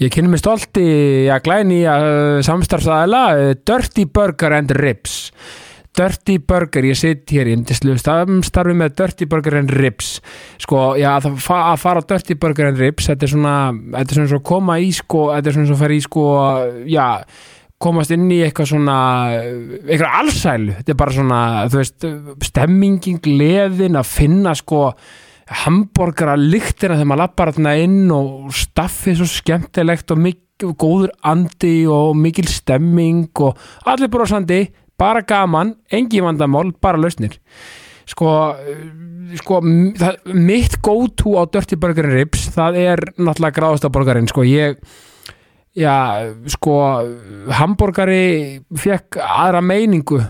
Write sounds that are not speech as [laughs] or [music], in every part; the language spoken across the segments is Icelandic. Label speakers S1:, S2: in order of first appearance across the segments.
S1: Ég kynni mig stolt í að glæni að samstarfsaðala eh, Dirty Burger and Ribs Dirty Burger, ég sitt hér í indislu samstarfi með Dirty Burger and Ribs sko, já, að, fa að fara á Dirty Burger and Ribs, þetta er svona þetta er svona svo koma í sko þetta er svona svo fara í sko, já komast inn í eitthvað svona eitthvað allsælu, þetta er bara svona þú veist, stemmingin, gleðin að finna sko hambúrgara lyktina þegar maður lappar þarna inn og staffið svo skemmtilegt og mikil, góður andi og mikil stemming og allir brosandi, bara gaman engi vandamál, bara lausnir sko, eh, sko m- það, mitt go-to á Dirty Burger and Ribs, það er náttúrulega gráðasta borgarinn, sko, ég já, sko hambúrgari fekk aðra meiningu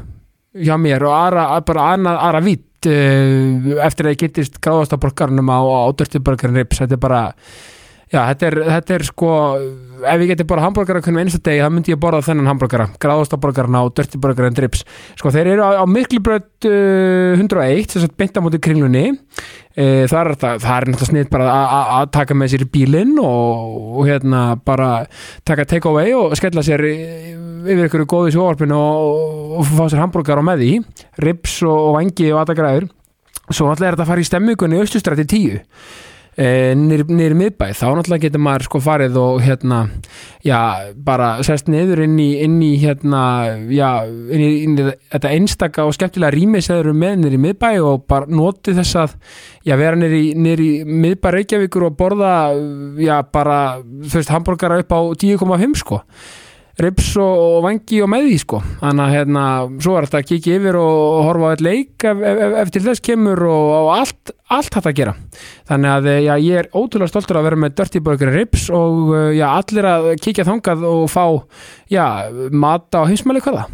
S1: hjá mér og aðra, að- bara annað, aðra vitt uh, eftir að ég getist gráðasta borgarnum á, á dörtiborgarinn rips, þetta er bara já, þetta er, þetta er sko ef ég geti borða hambúrgara hvernig einsta degi þá myndi ég borða þennan hambúrgara, gráðasta borgarna á dörtiborgarinn rips, sko þeir eru á, á miklubröð uh, 101 þess að beinta móti kringlunni e, það, er, það, það er náttúrulega snitt bara að- að- að taka með sér í bílinn og, og hérna bara taka take away og skella sér í- yfir ykkur góðu sjóvarpinu og, og fá sér hambúrgar og með því rips og, og vangi og aðagræður svo náttúrulega er þetta að fara í stemmingunni austustrætti 10 e, nýri miðbæ þá náttúrulega getur maður sko farið og hérna já, bara sest niður inn í, inn í hérna, já, inn í, inn í þetta einstaka og skemmtilega rými sem þeir eru með niður í miðbæ og bara notið þess að, já, vera niður í, niður í miðbæ Reykjavíkur og borða, já, bara, þú veist, hambúrgara upp á 10,5 sko rips og, og vangi og með því sko þannig að hérna, svo er þetta að kikið yfir og, og horfa á eitt leik ef, ef, ef, ef til þess kemur og, og allt, allt hægt að gera þannig að eh, já, ég er ótrúlega stoltur að vera með Dirty Burger and Rips og eh, já, allir að kikið þangað og fá já, mata og heimsmæli hvaða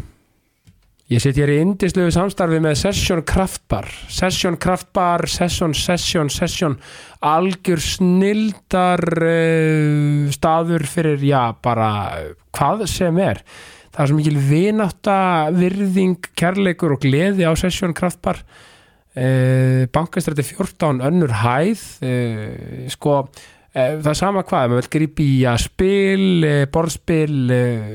S1: Ég sitt hér í indislegu samstarfi með Session Kraftbar Session Kraftbar, Session, Session, Session algjör snildar uh, staður fyrir, já, bara eh, hvað sem er það er svo mikil vinátta, virðing kærleikur og gleði á Session Kraftbar uh, bankastræti 14 önnur hæð uh, sko uh, það er sama hvað, ef maður vil grípi í að spil, uh, borðspil uh,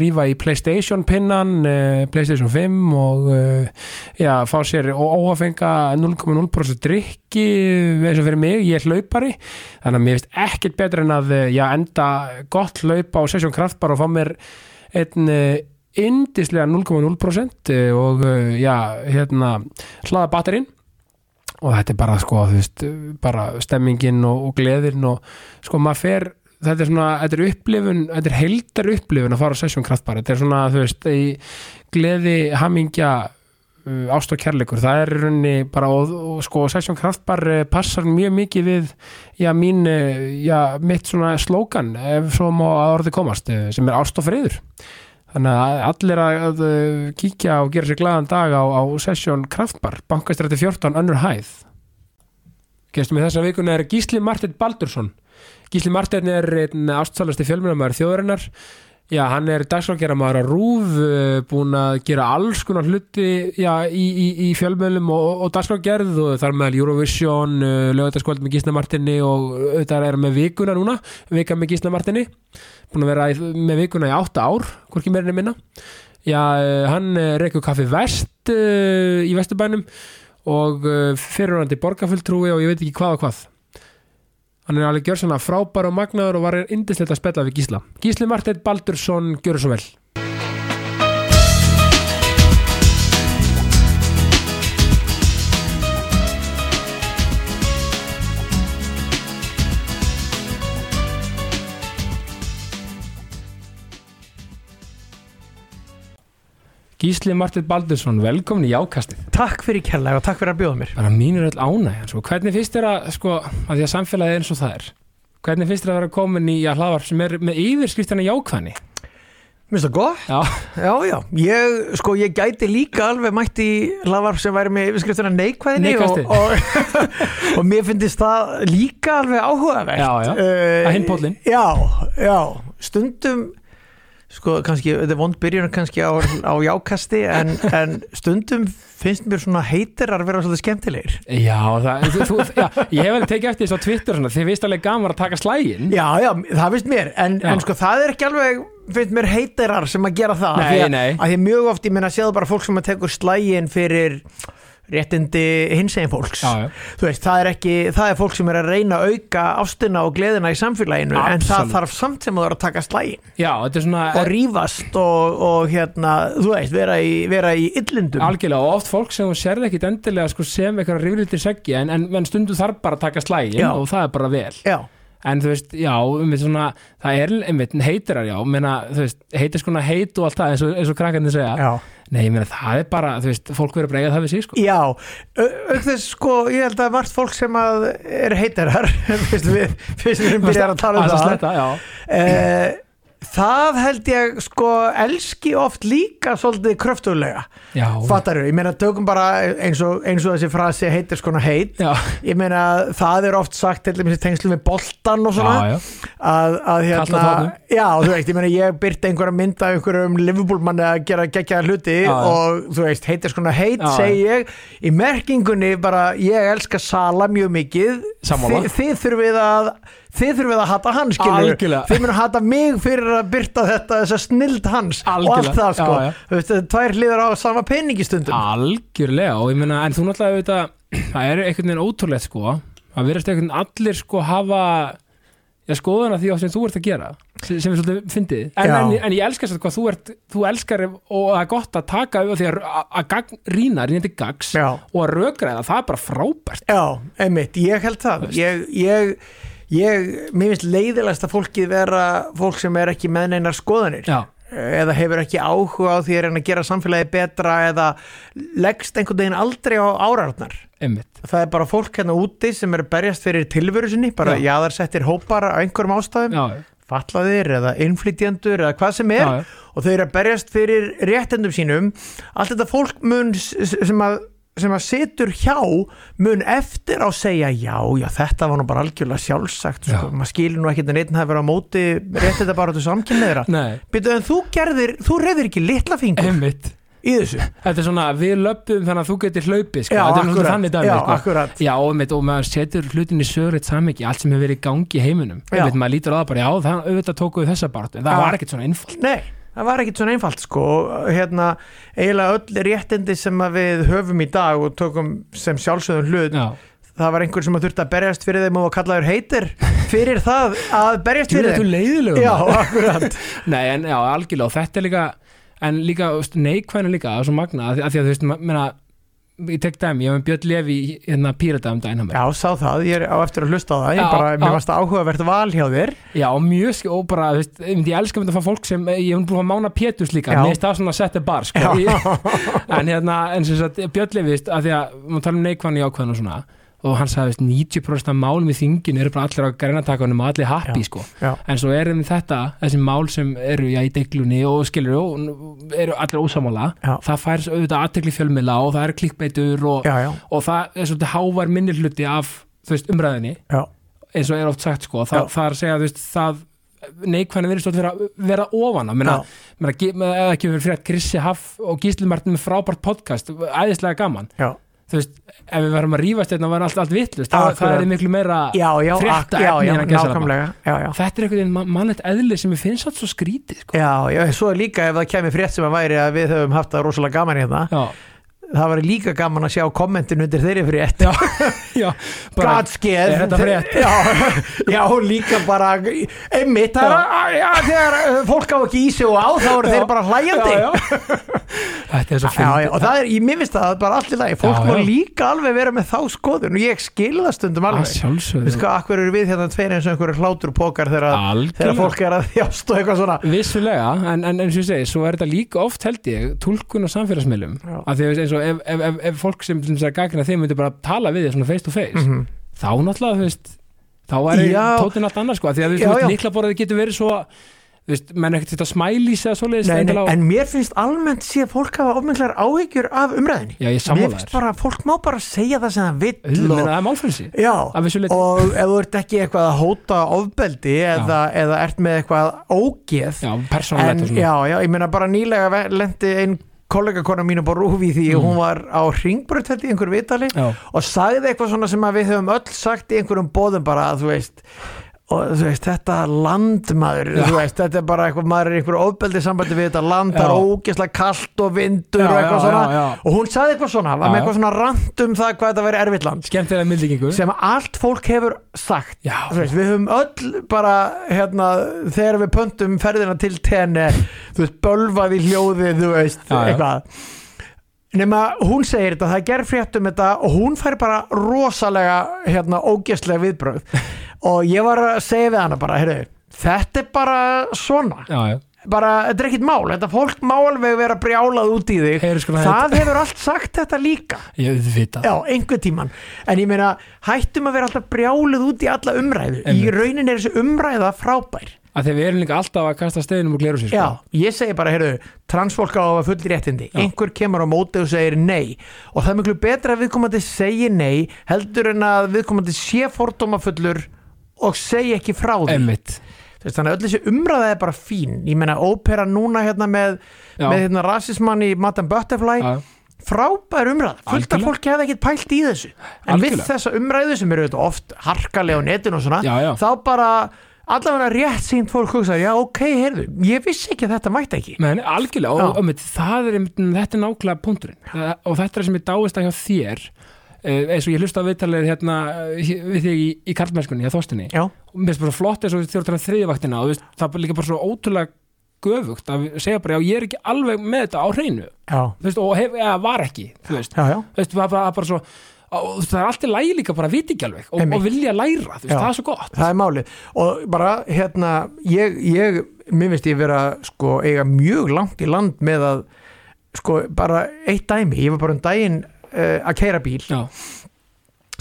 S1: rífa í Playstation pinnan, uh, Playstation 5 og uh, já, fá sér og óhafenga 0,0% drikki eh, eins og fyrir mig, ég er hlaupari þannig að mér finnst ekkert betur en að eh, já, enda gott hlaupa á Session Kraftbar og fá mér einn eh, yndislega 0,0% eh, og eh, já, hérna hlaða batterinn og þetta er bara sko, þú veist, bara stemmingin og, og gleðin og sko maður fer, þetta er svona, þetta er upplifun þetta er heldar upplifun að fara á sessjón kraftbar, þetta er svona, þú veist, í gleði, hamingja uh, ást og kærleikur, það er í rauninni bara, og, og sko, sessjón kraftbar eh, passar mjög mikið við, já, mín eh, já, mitt svona slókan ef svo má að orði komast, eh, sem er ást og friður Þannig að allir að, að uh, kíkja og gera sér glaðan dag á, á sessjón Kraftbar, bankastræti 14, önnur hæð. Gestum við þessa vikuna er Gísli Martin Baldursson. Gísli Martin er einn ástsalasti fjölmjörnumæður þjóðarinnar. Já, hann er dagsfólkgeramaður að rúf, búin eh, að gera alls konar hluti já, í, í, í fjölmjölum og, og dagsfólkgerð og þar meðal Eurovision, lögutaskvöld með Gísla Martinni og auðvitað er hann með vikuna núna, vika með Gísla Martinni búin að vera í, með vikuna í átta ár hvorki meirinni minna já, eh, hann reikur kaffi vest uh, í vesturbænum og uh, fyrirhandi borgarfulltrúi og ég veit ekki hvað og hvað hann er alveg gjörsanna frábær og magnaður og var indislegt að spella við Gísla Gísli Marteinn Baldursson, gjörðu svo vel Gísli Marteinn Baldursson, velkomin í jákastið
S2: Takk fyrir kærlega og takk fyrir að bjóða mér
S1: bara mínur öll ánægjan sko. hvernig finnst þér að, sko, að því að samfélagið er eins og það er hvernig finnst þér að vera komin í að hlaðvarp sem er með yfirskriftina jákvæðni
S2: Mér finnst það gott?
S1: já,
S2: Já, já, ég, sko, ég gæti líka alveg mætt í lavarf sem væri með yfirskriftina neikvæðinni
S1: Neikvæðasti.
S2: og, og, og [laughs] mér finnst það líka alveg áhugavert
S1: Já, já.
S2: Eh,
S1: Að hinn póllinn.
S2: Já, já, stundum sko kannski, þetta er vond byrjun kannski á, á jákasti en, en stundum finnst mér svona heitirar vera svolítið skemmtilegir
S1: Já, það, þú, þú, já, ég hef alveg tekið eftir þess á Twitter svona, þið vist alveg gaman að taka slægin
S2: Já, já, það finnst mér en,
S1: Já.
S2: en sko það er ekki alveg finnst mér heitirar sem að gera það
S1: Nei,
S2: Af því að,
S1: nei.
S2: að því að mjög oft ég minna að séðu bara fólk sem að tekur slægin fyrir réttindi hinsegin fólks
S1: Já, já.
S2: þú veist, það er ekki, það er fólk sem er að reyna að auka ástina og gleðina í samfélaginu en
S1: Absolutt.
S2: það þarf samt sem að vera að taka slægin
S1: Já, þetta er svona eh,
S2: og rífast og, og hérna, þú veist, vera í, vera í illindum
S1: algjörlega og oft fólk sem þú sérði ekkit endilega sko, sem eitthvað ríflítir segja en, en, en stundu þarf bara að taka slægin
S2: Já.
S1: og það er bara vel
S2: Já,
S1: en þú veist, já, um svona, það er einmitt heitirar, já, meina, þú veist heitir skona heit og allt það, eins og, eins og krakkarnir segja
S2: já,
S1: nei, ég meina, það er bara, þú veist, fólk verður bara að eiga það við sig, sko
S2: já Au- auk þess sko, ég held að margt fólk sem að er heitarar [laughs] fyrst við, fyrst við erum byrjar að tala um
S1: Aðeins að
S2: það
S1: sletta, já.
S2: Eh, Það held ég sko elski oft líka svolítið kröftulega
S1: Já,
S2: Fattaru, ég meina tökum bara eins og, eins og þessi frasi heitir skona heit
S1: já,
S2: Ég meina það er oft sagt til þessi tengslu með boltan og svona
S1: já, já.
S2: að, að
S1: Kalt á
S2: hérna
S1: tánum.
S2: já, þú veist, ég meina ég byrti einhverja mynda einhverjum Liverpool-manni að gera geggjaða hluti
S1: Já, já.
S2: og þú veist, heitir skona heit
S1: Já, já.
S2: segi ég, í merkingunni bara ég elska Sala mjög mikið
S1: Sammála.
S2: Þi, þið þurfið að þið þurfið að hata hann, skilur
S1: Algjörlega.
S2: þið munum hata mig fyrir að byrta þetta þessa snild hans og
S1: Algjörlega.
S2: allt það sko
S1: Já, já.
S2: Þú veist, þetta er tvær hliðar á sama peningistundum
S1: Algjörlega og ég meina en þú náttúrulega auðvitað, [clears throat] það er einhvern veginn ótrúlegt sko að verðast einhvern veginn allir sko hafa já, skoðan að því á sem þú ert að gera sem sem er svolítið fyndið en,
S2: Já.
S1: en, en ég elskar þetta hvað þú ert þú elskar ef- og það er gott að taka auðvitað því að, að, að gagn, rýna, rýna til gags
S2: Já.
S1: og að rökræða, það er bara frábært
S2: Já, einmitt, ég held það ég, ég, ég, mér finnst leiðilegast að fólkið vera fólk sem er ekki með neinar skoðanir
S1: Já,
S2: eða hefur ekki áhuga á því að reyna að gera samfélagi betra eða leggst einhvern veginn aldrei á árarnar
S1: einmitt
S2: það er bara fólk hérna úti sem er að berjast fyrir tilveru sinni, bara
S1: Já.
S2: jaðarsettir hópar á einhverjum ástæðum,
S1: Já,
S2: fatlaðir eða innflytjendur eða hvað sem er
S1: já, já,
S2: og þau eru að berjast fyrir réttendum sínum allt þetta fólk mun s- sem að sem að situr hjá mun eftir á að segja já, já, þetta var nú bara algjörlega sjálfsagt sko.
S1: Já.
S2: maður skilur nú ekkert en einn hafi verið á móti rétt þetta bara til
S1: [laughs]
S2: samkynniðra
S1: nei,
S2: Býtu, en þú gerðir, þú reyðir ekki litla fingur
S1: einmitt
S2: í þessu
S1: Þetta er svona, við löpum þannig að þú getur hlaupið sko.
S2: Já,
S1: Þetta er svona
S2: akkurat.
S1: þannig dæmi
S2: Já,
S1: sko.
S2: akkurat.
S1: Já, og, einmitt, og maður setur hlutin í sögurreitt samhengi allt sem hefur verið í gangi í heiminum
S2: Já.
S1: einmitt, maður lítur á það bara, já, það, auðvitað tókuðu þessa baráttu en það
S2: Já.
S1: var ekkert svona einfalt
S2: Nei, það var ekkit svona einfalt sko og hérna, eiginlega öll réttindi sem að við höfum í dag og tökum sem sjálfsögðum hlut
S1: Já,
S2: það var einhver sem að þurfti að berjast fyrir þeim og var kallaður heitir fyrir það að berjast
S1: Djú,
S2: fyrir
S1: þetta
S2: þeim
S1: er leiðilegum
S2: Já, akkurat
S1: Nei, en já, algjörlega, og þetta er líka en líka, neikvæðinu líka, það er svo magna af því af því að þú veist, ma- meina ég tek dæmi, ég hef með Björn Levi í, hérna pírata um dæna mér
S2: Já, sá það, ég er á eftir að hlusta á það
S1: Já,
S2: Ég bara,
S1: já.
S2: mér varst það áhugavert val hjá þér
S1: Já, og mjög, sk- og bara, þú veist, einmitt, ég elska mynd að fá fólk sem, ég hef búin að mána Péturs líka,
S2: Já.
S1: mér finnst það svona að setja bar, sko,
S2: Já.
S1: ég, [laughs] en hérna, en sem sagt, Björn Leifist, að því að, maður tala um neikvæðan og jákvæðan og svona, og hann sagði, veist, 90% af málum í þinginu eru bara allir á greinatakunum og allir happy,
S2: Já.
S1: sko,
S2: Já,
S1: en svo erum þetta, þessi mál sem eru, já, í deiklunni og skilur, og eru allir ósamála,
S2: Já.
S1: það fær svo auðvitað aðtekli fjölmila og það eru klikkbeitur og,
S2: já, já,
S1: og það er svolítið hávar minni hluti af, þú veist, umræðinni
S2: já.
S1: eins og er oft sagt sko, það,
S2: Já.
S1: það er að segja þú veist, það neikvæðan verið stótt vera, vera ofan á, menna,
S2: Já.
S1: menna, ge- menna eða ekki verið frétt Krissi Haff og Gísli Martin með frábært podcast, æðislega gaman
S2: Já,
S1: þú veist, ef við verðum að rífast þetta var allt, allt vitlust, það, það
S2: Akkurat.
S1: er miklu meira
S2: já, já,
S1: Frétta
S2: ak- já,
S1: efni hérna,
S2: já,
S1: en að gesa
S2: nákvæmlega Já, já,
S1: þetta er einhvern veginn ma- mannlegt eðli sem ég finnst allt svo skrítið sko.
S2: já, já, svo er líka ef það kemur frétt sem að væri að við höfum haft það rosalega gaman hérna
S1: já,
S2: Það var líka gaman að sjá kommentin undir þeirri frétt
S1: já, já bara,
S2: Gatskeið
S1: er þetta frétt?
S2: Já, já, líka bara Einmitt, það er að já, þegar uh, fólk á ekki í sig og á þá eru þeir bara hlæjandi
S1: já, já. þetta er svo
S2: Já, já,
S1: fyndið.
S2: og það er, ég mér finnst að það er bara allt í lagi fólk
S1: Já,
S2: má
S1: já.
S2: líka alveg vera með þá skoðun og ég skil það stundum
S1: Að
S2: alveg
S1: sjálfsögðu.
S2: veist hvað, akkur eru við hérna tveir eins og einhverju hláturpokar þegar,
S1: Algjörlega.
S2: þegar fólk er að þjást og eitthvað svona
S1: Vissulega, en, en eins og ég segi, svo er þetta líka oft held ég, tólkun á samfélagsmiðlum
S2: Já.
S1: að því að eins og ef, ef, ef, ef fólk sem, sem sagði gagna þeim myndi bara tala við þér svona face to face
S2: Mhm.
S1: þá náttúrulega, þú veist þá er
S2: Já.
S1: tótin allt annars sko, af því að þú veist,
S2: Já,
S1: þú veist,
S2: já.
S1: líkla borðið getur verið svo þú veist, menn ekkert þetta smælís eða svoleiðis
S2: Nei, nei,
S1: endilega á-
S2: en mér finnst almennt sé að fólk hafa ofmenglar áhyggjur af umræðinni
S1: Já, ég er sammála
S2: Mér finnst
S1: þér.
S2: bara að fólk má bara segja það sem það
S1: Auðvitað,
S2: vill
S1: meina,
S2: og,
S1: það er málfrelsi
S2: Já,
S1: Að vissu leyti.
S2: og ef þú ert ekki eitthvað að hóta ofbeldi eða, eða ert með eitthvað ógeð
S1: já, persónulegt
S2: en,
S1: og svona
S2: já, já, ég meina bara nýlega lendi einn kollegakona mín upp á rúfi því hún var á ringbröð held í einhverju vitali
S1: Mm. Já.
S2: og sagði eitthvað svona sem að við höfum öll sagt í einhverjum bóðum bara að þú veist og þú veist, þetta landmaður
S1: Já.
S2: þú veist, þetta er bara eitthvað, maður er einhverju ofbeldi sambandi við þetta land, það
S1: Já.
S2: er ógeðslega kalt og vindur
S1: Já,
S2: og eitthvað
S1: já,
S2: svona
S1: já, já.
S2: og hún sagði eitthvað svona, var
S1: Já,
S2: með
S1: já.
S2: eitthvað svona rant um það hvað þetta verið erfitt land
S1: skemmtilega myndlíkingu
S2: sem allt fólk hefur sagt
S1: Já.
S2: Þú veist, við höfum öll bara hérna, þegar við pöntum ferðina til tenni, þú veist, bölvað í hljóði þú veist,
S1: Já, já.
S2: eitthvað nema hún segir þetta, það ger fréttum um þetta og hún fær bara rosalega, hérna, ógæslega
S1: [laughs]
S2: viðbröð og ég var að segja við hana bara, heyrðu, þetta er bara svona,
S1: já, já,
S2: bara, þetta er ekkit mál þetta fólk má alveg vera brjálað út í þig
S1: Heyrðu, sko,
S2: það hefur allt sagt þetta líka
S1: ég við vita
S2: Já, einhver tíman En ég meina, hættum að vera alltaf brjálið út í alla umræðu Í
S1: Einmitt.
S2: raunin er þessi umræða frábær
S1: að þegar við erum líka alltaf að kasta steginum og glera sér sko.
S2: Já, ég segi bara, heyrðu, transfólk á að hafa full réttindi Einhver kemur á móti og segir nei Og það er miklu betra að viðkomandi segi nei Heldur en að viðkomandi sé fordómafullur Og segi ekki frá því
S1: einmitt
S2: Þú veist, Þannig að öll þessi umræða er bara fín Ég meina, ópera núna hérna með,
S1: Já.
S2: með hérna, rasismann í Madame Butterfly
S1: Já.
S2: frábær umræða, fullt af
S1: Algjörlega.
S2: fólki hefði ekkert pælt í þessu en við
S1: Algjörlega.
S2: þessa umræðu sem eru auðvitað oft harkalega á netinu og svona
S1: Já, já.
S2: þá bara allavega rétt sínt fólk hugsa, já ok, heyrðu, ég vissi ekki að þetta mætti ekki
S1: Men, algjörlega,
S2: Já.
S1: og, og mitt, það er einmitt, þetta er nákvæmlega punkturinn Það- og þetta er sem ég dáist að hjá þér eh, eins og ég hlusta á viðtalið hérna, eh, við þig í, í karlmennskunni, hjá Þorstinni
S2: Já,
S1: og mér finnst bara flott eins og þér talaði þriðvaktina um og þú veist, það er líka bara svo ótrúlega göfugt að segja bara, já, ég er ekki alveg með þetta á hreinu,
S2: já,
S1: þú veist, og hef, eða, var ekki þú veist,
S2: já, já
S1: þú veist, það er bara, bara svo og, það er allt í lægi líka bara að vita ekki alveg og,
S2: Einmitt.
S1: og vilja læra, þú veist,
S2: Já.
S1: það er svo gott
S2: það er málið og bara hérna ég, ég mér finnst ég vera sko eiga mjög langt í land með að sko bara eitt dæmi, ég var bara um daginn uh, að keira bíl
S1: Já,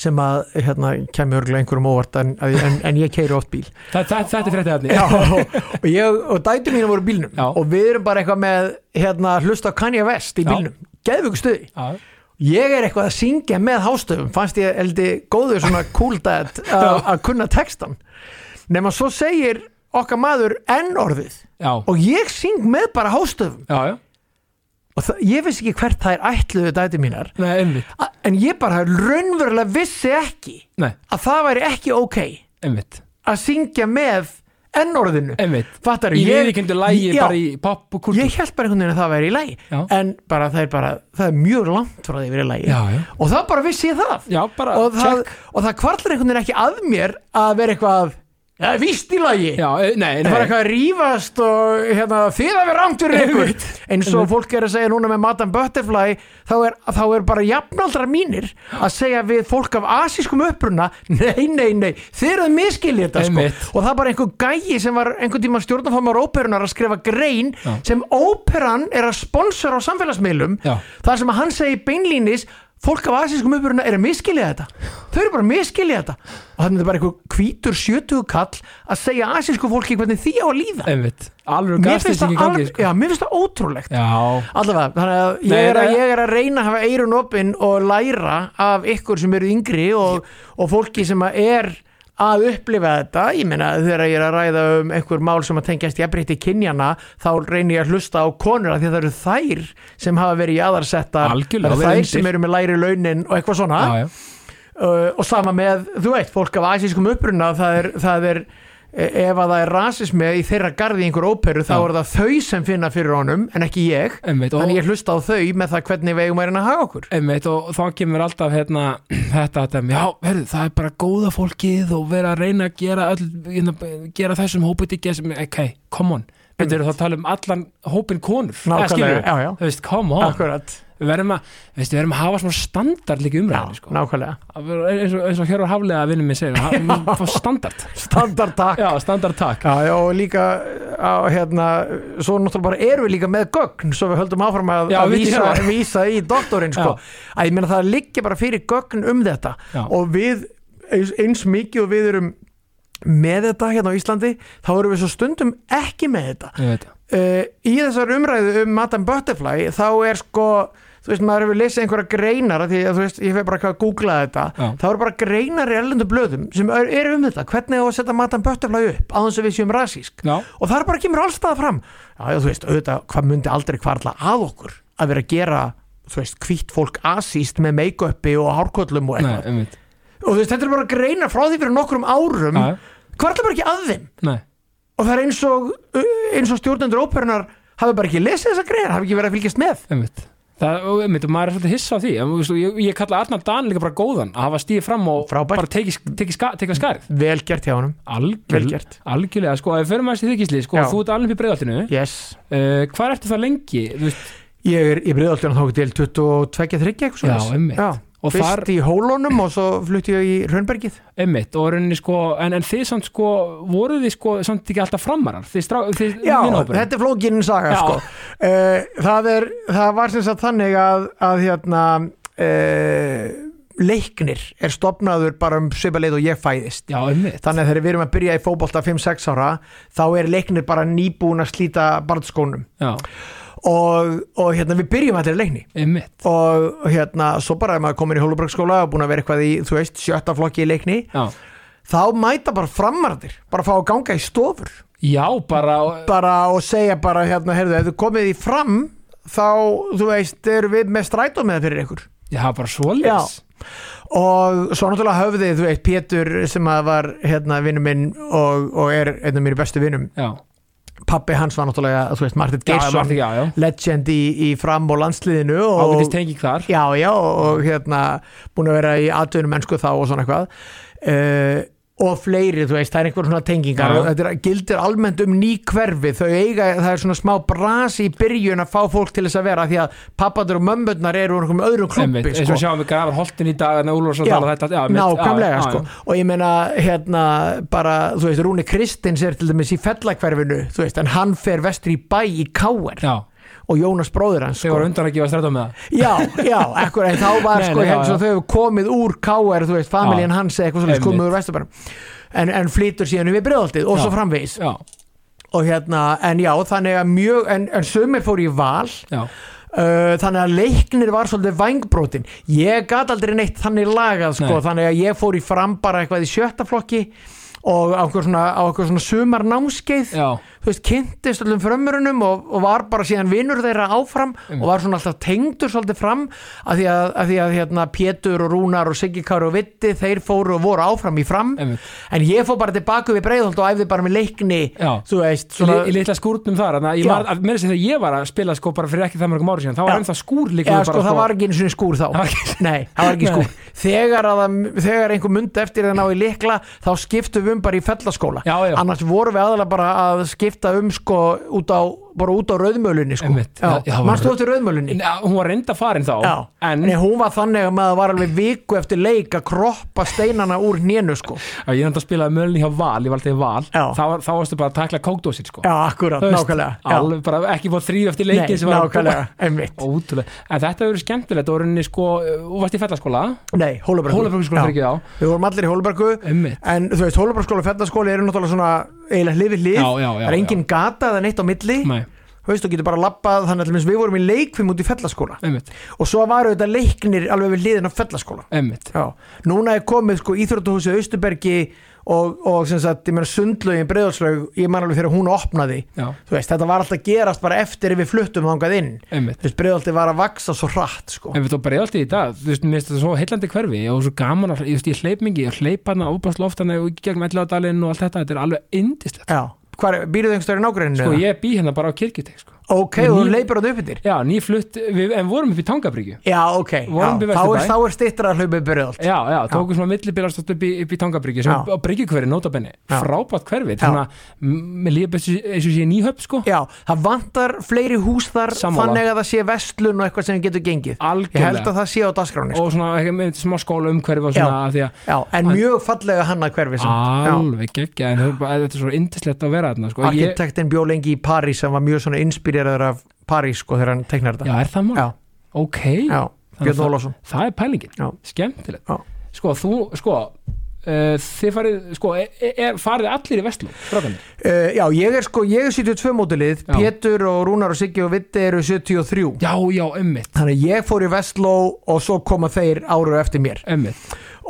S2: sem að hérna kemur örgulega einhverjum óvart en, en, en ég keiri oft bíl
S1: það, það, þetta er fréttið efni
S2: Já, [laughs] og, ég, og dætur mínu voru í bílnum
S1: Já.
S2: og við erum bara eitthvað með hérna, hlusta á Kanye West í
S1: Já.
S2: bílnum geðvöku stuði,
S1: Já.
S2: ég er eitthvað að syngja með hástöfum, fannst ég eldi góður svona cool
S1: [laughs]
S2: dad a- að kunna textan, nema svo segir okkar maður enn orðið
S1: Já.
S2: og ég syng með bara hástöfum
S1: já, já,
S2: og það, ég vissi ekki hvert það er ætluðu dætur mínar
S1: nei, einmitt
S2: A- en ég bara raunverulega vissi ekki
S1: Nei,
S2: að það væri ekki ok
S1: einmitt,
S2: að syngja með enn orðinu
S1: einmitt
S2: Fattar,
S1: í viðkjöndu lægi bara í pop og kultúr
S2: ég held bara einhvern veginn að það væri í lagi
S1: Já.
S2: en bara það, er bara það er mjög langt frá því að vera í lagi
S1: Já, já.
S2: og það bara vissi ég það
S1: já, bara,
S2: og, það
S1: check.
S2: og það kvarlar einhvern veginn ekki að mér að vera eitthvað ja, víst í lagi
S1: já, eh, nei,
S2: það var
S1: nei,
S2: eitthvað að rífast og hérna, þið að vera rangt fyrir ykkur eins og fólk er að segja núna með Madame Butterfly þá er, þá er bara jafnaldra mínir að segja við fólk af asískum uppruna nei, nei, nei, þið eruð miskilið þetta sko.
S1: Einmitt.
S2: og það er bara einhver gæi sem var einhvern tíma stjórnarfamar óperunar að skrifa grein
S1: Já.
S2: sem óperan er að sponsora á samfélagsmiðlum
S1: Já.
S2: þar sem að hann segi beinlínis fólk af asískum uppruna er að miskilja þetta þau eru bara að miskilja þetta og þannig er bara einhver hvítur sjötugu kall að segja asísku fólki hvernig því á að líða
S1: einmitt alveg
S2: mér finnst,
S1: gastisting
S2: það
S1: í gangi
S2: alveg,
S1: sko.
S2: já, mér finnst það ótrúlegt
S1: já,
S2: allavega, þannig að ég,
S1: Nei,
S2: er að
S1: nei.
S2: ég er að reyna að hafa eirun opinn og læra af ykkur sem eru yngri og, og fólki sem að er að upplifa þetta, ég meina þegar ég er að ræða um einhver mál sem að tengjast ég breyti kynjana, þá reynir ég að hlusta á konur af því að það eru þær sem hafa verið jáðarsettar,
S1: Algjörlega,
S2: það
S1: verið
S2: eru þær
S1: undir.
S2: sem eru með læri launin og eitthvað svona
S1: já, já,
S2: uh, og sama með, þú veit, fólk af asískum uppruna það er, það er eh, ef að það er rasismi í þeirra garði í einhver óperu þá
S1: Já.
S2: er það þau sem finna fyrir honum en ekki ég,
S1: einmitt og,
S2: þannig ég hlusta á þau með það hvernig við eigum að reyna að haga okkur
S1: einmitt og þá kemur alltaf hérna, [clears throat] þetta, þetta, já, herðu, það er bara góða fólkið og vera að reyna að gera öll, hérna, gera þessum hópið ekki sem, ok, come on þetta eru þá að tala um allan hópin konur
S2: Nákvæmlega,
S1: Eh, skilurðu?
S2: já, já.
S1: þú veist, come on
S2: akkurat,
S1: við verðum að, veist, við verðum að hafa svona standard líka í
S2: já,
S1: umræðinni, sko
S2: nákvæmlega
S1: Að vera eins og, eins og hér á haflega vinnum minn segir, ha- fá [laughs] standard
S2: standard takk
S1: já, standard takk
S2: Já, já, og líka á, hérna, svo náttúrulega bara erum við líka með gögn svo við höldum áfram að,
S1: Já,
S2: að
S1: við
S2: vísa,
S1: gerum það.
S2: vísa í doktorinn sko. að ég meina það liggja bara fyrir gögn um þetta
S1: Já.
S2: og við eins, eins mikið og við erum með þetta hérna á Íslandi þá erum við svo stundum ekki með þetta
S1: ég veit
S2: uh, í þessar umræðu um Madame Butterfly þá er sko þú veist maður hefur lesið einhverja greinar af því að þú veist ég fer bara að googla þetta
S1: Já.
S2: þá eru bara greinar í erlendu blöðum sem eru er um þetta hvernig á að setja Madame Butterfly upp á þess að við séum rasísk
S1: Já.
S2: og þar bara kemur allstaða fram já, já þú veist auðvitað hvað myndi aldrei hvarla að okkur að vera að gera þú veist hvítt fólk asíst með make-upi og hárkollum og
S1: Nei,
S2: eitthvað
S1: einmitt
S2: og þú veist þetta er bara greinar frá því fyrir nokkrum árum
S1: Já, já.
S2: hvarla bara ekki að þeim
S1: Nei,
S2: og það er eins og, uh, eins og stjórnendur óperunar hafi bara ekki lesið þessa greinar, hafi ekki verið að fylgjast með
S1: einmitt Það, og einmitt, og maður er svolítið hissa á því En, þú veist, ég, ég kalla Arnar Dan líka bara góðan að hafa stíð fram og
S2: Frábært.
S1: bara tekið teki ska, teki skarið
S2: vel gert hjá honum, Vel
S1: Algjörl,
S2: gert.
S1: algjörlega, sko, ef við förum aðeins í þykisli sko,
S2: Já.
S1: þú ert alveg upp í breiðaltinu yeah.
S2: yes
S1: uh, hvað ertu það lengi, þú veist
S2: ég er, ég breiði alltaf þá til 22-23 eitthvað
S1: Já,
S2: svoleiðis.
S1: einmitt.
S2: já,
S1: Og
S2: fyrst
S1: þar-
S2: í hólunum og svo flutti ég í Rönnbergið
S1: Einmitt, og í rauninni sko, en, en þið samt sko, voruð þið sko, samt ekki alltaf framarar, þið strá, þið
S2: já,
S1: vinahópurinn.
S2: þetta er flókinn saga
S1: Já.
S2: sko. uh, það, er, það var sem sagt þannig að, að hérna uh, leiknir er stopnaður bara um svipaleið og ég fæðist
S1: Já, einmitt,
S2: þannig að þegar við erum að byrja í fótbolta 5-6 ára þá er leiknir bara nýbúin að slíta barnskónum
S1: já,
S2: og, og hérna við byrjum allir leikni
S1: einmitt,
S2: og hérna svo bara ef maður komin í Hólubröksskóla og búin að vera eitthvað í, þú veist, sjötta flokki í leikni
S1: já.
S2: þá mæta bara framarðir bara fá að ganga í stofur
S1: Já, bara,
S2: bara og segja bara hérna, heyrðu, ef þú komið í fram þá, þú veist, erum við með strætó með fyrir ykkur
S1: já, bara svoleiðis.
S2: og svo náttúrulega höfði, þú veist, Pétur sem að var, hérna, vinnu minn og, og er einn af mér bestu vinnum
S1: Já,
S2: pappi hans var náttúrulega, þú veist, Martin
S1: já, já,
S2: Geirsson
S1: já, já.
S2: legend í, í fram og landsliðinu og,
S1: Ágætist tenging þar.
S2: já, já, og hérna búin að vera í atvinnum mennsku þá og svona eitthvað uh, og fleiri, þú veist, það er einhver svona tengingar
S1: Já.
S2: og þetta er, gildir almennt um ný hverfi þau eiga, það er svona smá brasi í byrjun að fá fólk til þess að vera því að pappandur og mömmurnar eru úr einhverjum öðrum
S1: Einmitt,
S2: klubbi sko.
S1: eins og sjáum við grafar holtin í dag, en Úlfur svo tala þetta. Já, einmitt,
S2: nákvæmlega
S1: já, já,
S2: sko og ég meina hérna bara þú veist Rúni Kristins er til dæmis í fellakverfinu þú veist en hann fer vestur í bæ í Káer
S1: Já,
S2: og Jónas bróður hans
S1: þau
S2: sko.
S1: voru undan að gefa strætó með það.
S2: já, já, ekkur en þá var
S1: Nei,
S2: sko
S1: nei, já,
S2: hérna svo
S1: já.
S2: þau hefur komið úr Káer þú veist familjan
S1: Já.
S2: hans eða eitthvað svolítið
S1: Einmitt.
S2: komið úr vesturbærum en, en flytur síðan við bregðaldið og
S1: Já.
S2: svo framvegis
S1: Já,
S2: og hérna en já þannig að mjög en, en sumir fór í val
S1: já,
S2: Uh, þannig að leiknir var svolítið vangbrotin ég gat aldrei neitt þannig lagað sko,
S1: Nei.
S2: þannig að ég fór í fram bara eitthvað í sjötta flokki og á okkur svona, á okkur svona sumar námskeið
S1: já,
S2: þú veist, kynntist öllum frömmurunum og, og var bara síðan vinnur þeirra áfram og var svona alltaf tengdur svolítið fram af því að, af því að hérna, Pétur og Rúnar og Siggi Kári og Vitti þeir fóru og voru áfram í fram
S1: einmitt.
S2: en ég fór bara tilbaka við breiðholt og æfði bara með leikni
S1: Já.
S2: þú veist,
S1: Svona,
S2: svona
S1: í litla skúrnum þar, þannig að ég
S2: Já.
S1: var, að- meira að segja þegar ég var að spila sko bara fyrir ekki það mörgum ári síðan, þá var
S2: Já.
S1: ennþá skúr líka
S2: Já,
S1: bara,
S2: sko, það var ekki einu sinni skúr þá
S1: var ekki-
S2: Nei, það var
S1: [laughs]
S2: ekki
S1: Nei.
S2: skúr Þegar, að, það- þegar einhver mundi eftir að ná í likla þá skiptum við um bara í fellaskóla
S1: Já, já.
S2: Annars vorum við aðalega bara að skipta um sko, út á, bara út á rauðmölunni sko.
S1: Einmitt. Já, já,
S2: Já,
S1: það var-
S2: Manstu eftir rauðmölunni?
S1: Já, hún var reynda farin þá,
S2: Já, en,
S1: en
S2: hún var þannig að maður var alveg viku eftir leik að kroppa steinana úr nénu sko.
S1: Já, ég er enda að spila mölni hjá Val, ég var alltaf í Val
S2: Já.
S1: þá, var- þá varstu bara að takla kókdósir sko.
S2: Já, akkurat,
S1: Þú veist,
S2: nákvæmlega já.
S1: alveg bara ekki búið þrýf eftir
S2: Nei,
S1: leikin sem var
S2: nákvæmlega, einmitt
S1: ótrúlega, en þetta hefur verið skemmtilegt og rauninni sko, þú varst í fellaskóla
S2: Nei, Hólabergu
S1: Hólabergsskóla sko, fyrir ekki á
S2: Við vorum allir í Hólabergu
S1: Einmitt.
S2: En þú veist, Hólabergsskóla og Fellaskóla eru náttúrulega svona eiginlega hlið við hlið
S1: Já, já, já,
S2: Það er engin gata eða neitt á milli
S1: Nei,
S2: Þú veist, þú getur bara labbað Þannig að til dæmis við vorum í leikfim út í Fellaskóla
S1: einmitt,
S2: Og svo varu þetta leiknir alveg við hliðin á Fellaskóla
S1: einmitt
S2: Já, núna er komið sko Íþróttahúsið Austurbergi og, og sem sagt, ég meina sundlaugin breiðalslaug Ég man alveg þegar hún opnaði
S1: Já,
S2: Þú veist, þetta var alltaf gerast bara eftir ef við fluttum þangað inn
S1: einmitt
S2: Þú veist, breiðalti var að vaksa svo hratt sko.
S1: En við þú bara ég alltaf í dag, þú veist, mér finnst þetta svo heillandi hverfi og svo gaman að, ég veist, ég hleyp mingi, ég hleyp hana óbæðslu oft hana og gegn meðlagadalinn og allt þetta, þetta er alveg indislegt.
S2: Já, hvar, býrðu einhvers stöður í nágræninu?
S1: Sko, ég bý hérna bara á kirkjutek, sko.
S2: Ok,
S1: Með
S2: og þú
S1: ný-
S2: leipir hann upp yfir
S1: Já, nýflutt, við, en vorum upp í Tangabryggju.
S2: Já, ok, já.
S1: Vorum við
S2: Þá, er,
S1: Vesturbæ?
S2: þá er stittra að hlaupa upp yfir allt
S1: Já, já, tókum svona millibilastótt upp í, upp í tangabryggju sem
S2: Já.
S1: á bryggjukverfi, nótabenni,
S2: Já.
S1: frábært hverfi þannig að m- mér líður best eins og sé nýhöpp sko,
S2: Já, það vantar fleiri hús þar
S1: Sammála.
S2: Þannig að það sé vestlun og eitthvað sem getur gengið Ég held
S1: algjörlega
S2: að það sé á dagskráni sko.
S1: og svona ekki með smá skóla umhverfi og svona af því að
S2: Já, en mjög fallega hann að hverfi samt. Já.
S1: alveg geggja en það er bara- þetta er svo indislegt að vera þarna sko. Ég-
S2: Arkitektinn bjó lengi í París sem var mjög svona inspireraður af París sko þegar hann teiknar
S1: Já,
S2: þetta
S1: er það mál?
S2: já,
S1: Ok,
S2: já.
S1: Þannig
S2: Björn
S1: það-
S2: Ólafsson
S1: það er pælingin,
S2: Já.
S1: skemmtilegt
S2: Já.
S1: sko, þú, sko uh, þið farið, sko, er, er, farið allir í vestlum, strákanir?
S2: Uh, já, ég er sko, ég er 72 mótilið
S1: Já.
S2: Pétur og Rúnar og Siggi og Vitti eru 73
S1: Já, já, ömmit,
S2: Þannig að ég fór í Vestló og svo koma þeir áru eftir mér
S1: ömmit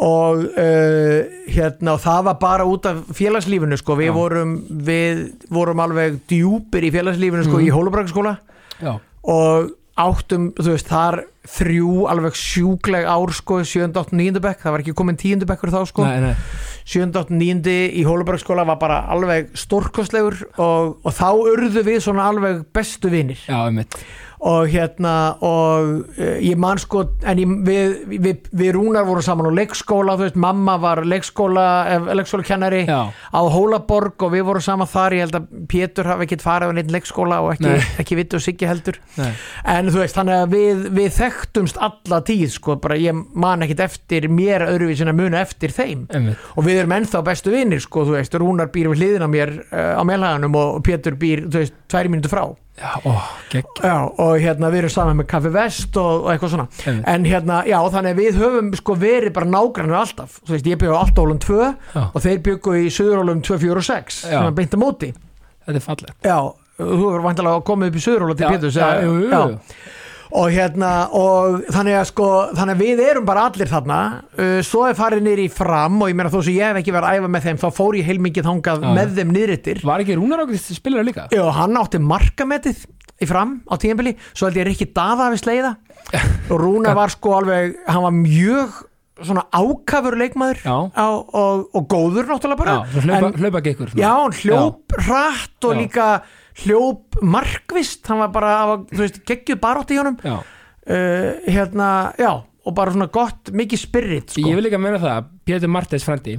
S2: og uh, hérna og það var bara út af félagslífinu sko, við
S1: Já.
S2: vorum við vorum alveg djúpir í félagslífinu sko,
S1: Mhm.
S2: í Hólubrækskóla
S1: Já,
S2: og áttum, þú veist, þar þrjú alveg sjúkleg ár sko, 7. 8. 9. bekk, það var ekki komin 10. bekkur þá sko,
S1: nei, nei
S2: 7. 8. 9. í Hólubrækskóla var bara alveg stórkostlegur og, og þá urðu við svona alveg bestu vinir
S1: Já, ömmit,
S2: og hérna og uh, ég man sko en ég, við, við, við Rúnar vorum saman á leikskóla, þú veist, mamma var leikskóla eh, leikskólakennari
S1: já
S2: á Hólaborg og við vorum saman þar ég held að Pétur hafi ekkit farið á neitt leikskóla og ekki,
S1: Nei.
S2: ekki viti og siggi heldur
S1: Nei.
S2: en þú veist, þannig að við, við þekktumst alla tíð, sko, bara ég man ekkit eftir mér öðruvísin að muna eftir þeim
S1: Einmitt.
S2: og við erum ennþá bestu vinnir, sko, þú veist Rúnar býr við hliðina á mér uh, á meðlaganum og Pétur býr, þú veist, tværi mínútu frá
S1: Já, ó, gegg
S2: Já, og hérna við erum saman með Kaffi Vest og, og eitthvað svona
S1: Einmitt.
S2: en hérna, já, þannig að við höfum sko verið bara nágrannir alltaf þú veist, ég byggu á 8 ólum 2
S1: Já.
S2: og þeir byggu í Suðurólum 2, 4 og 6
S1: Já.
S2: sem er beint að móti
S1: Þetta er fallegt
S2: Já, þú er vantilega að koma upp í Suðuróla til
S1: Já,
S2: Péturs
S1: já,
S2: eða-
S1: jú, jú, jú.
S2: og hérna og þannig að sko, þannig að við erum bara allir þarna uh, svo er farið niður í fram og ég meina þó sem ég hef ekki verið að æfa með þeim þá fór ég heilmikið þangað
S1: Já,
S2: með þeim niðrittir
S1: Var ekki Rúnar ákveðist til spilara líka?
S2: Já, hann átti markametið í fram á tíðanbili, svo held ég Rikki Daða hafi sleiða
S1: [laughs]
S2: og Rúna var sko alveg, hann var mjög svona ákafur leikmaður
S1: Já.
S2: á, og, og góður náttúrulega bara
S1: Já, svo hlaupa, en, hlaupa gekkur
S2: já, hann hljóp hratt
S1: Já.
S2: og líka hljóp markvist, hann var bara hann var, þú veist, geggjuð barótt í honum uh,
S1: Já,
S2: hérna, já, og bara svona gott mikið spirit, sko
S1: ég vil líka meina það Pétur Martins frendi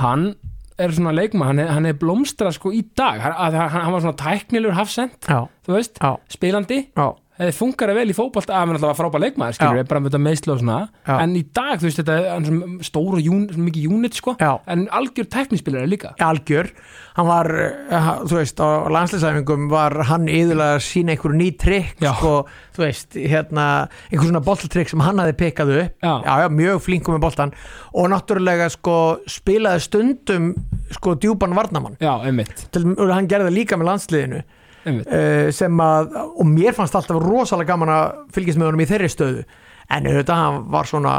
S1: hann er svona leikma, hann er, hann er blómstra sko í dag, hann, að- hann, hann var svona tæknilegur hafsend,
S2: já,
S1: þú veist
S2: já,
S1: spilandi,
S2: já,
S1: það funkar vel í fótbolt að hann alltaf var frábæð leikmaður, skilur
S2: Já.
S1: við, bara með þetta meðslu og svona
S2: Já.
S1: en í dag, þú veist, þetta er hann sem stóra jún, svona mikið unit, sko
S2: Já.
S1: en algjör tæknispilari líka
S2: algjör hann var, eh, ha- þú veist, á landsleisæfingum var hann yðurlega að sína einhverju ný trikk,
S1: Já.
S2: sko, þú veist hérna, einhver svona boltatrikk sem hann hafi pekað upp,
S1: Já.
S2: já, mjög flinkum með boltan og náttúrulega, sko, spilaði stundum, sko, djúpan varnamann,
S1: Já, einmitt,
S2: til og hann gerði það líka með landsliðinu,
S1: einmitt
S2: uh, sem að og mér fannst alltaf rosalega gaman að fylgjast með honum í þeirri stöðu, en auðvitað hann var svona,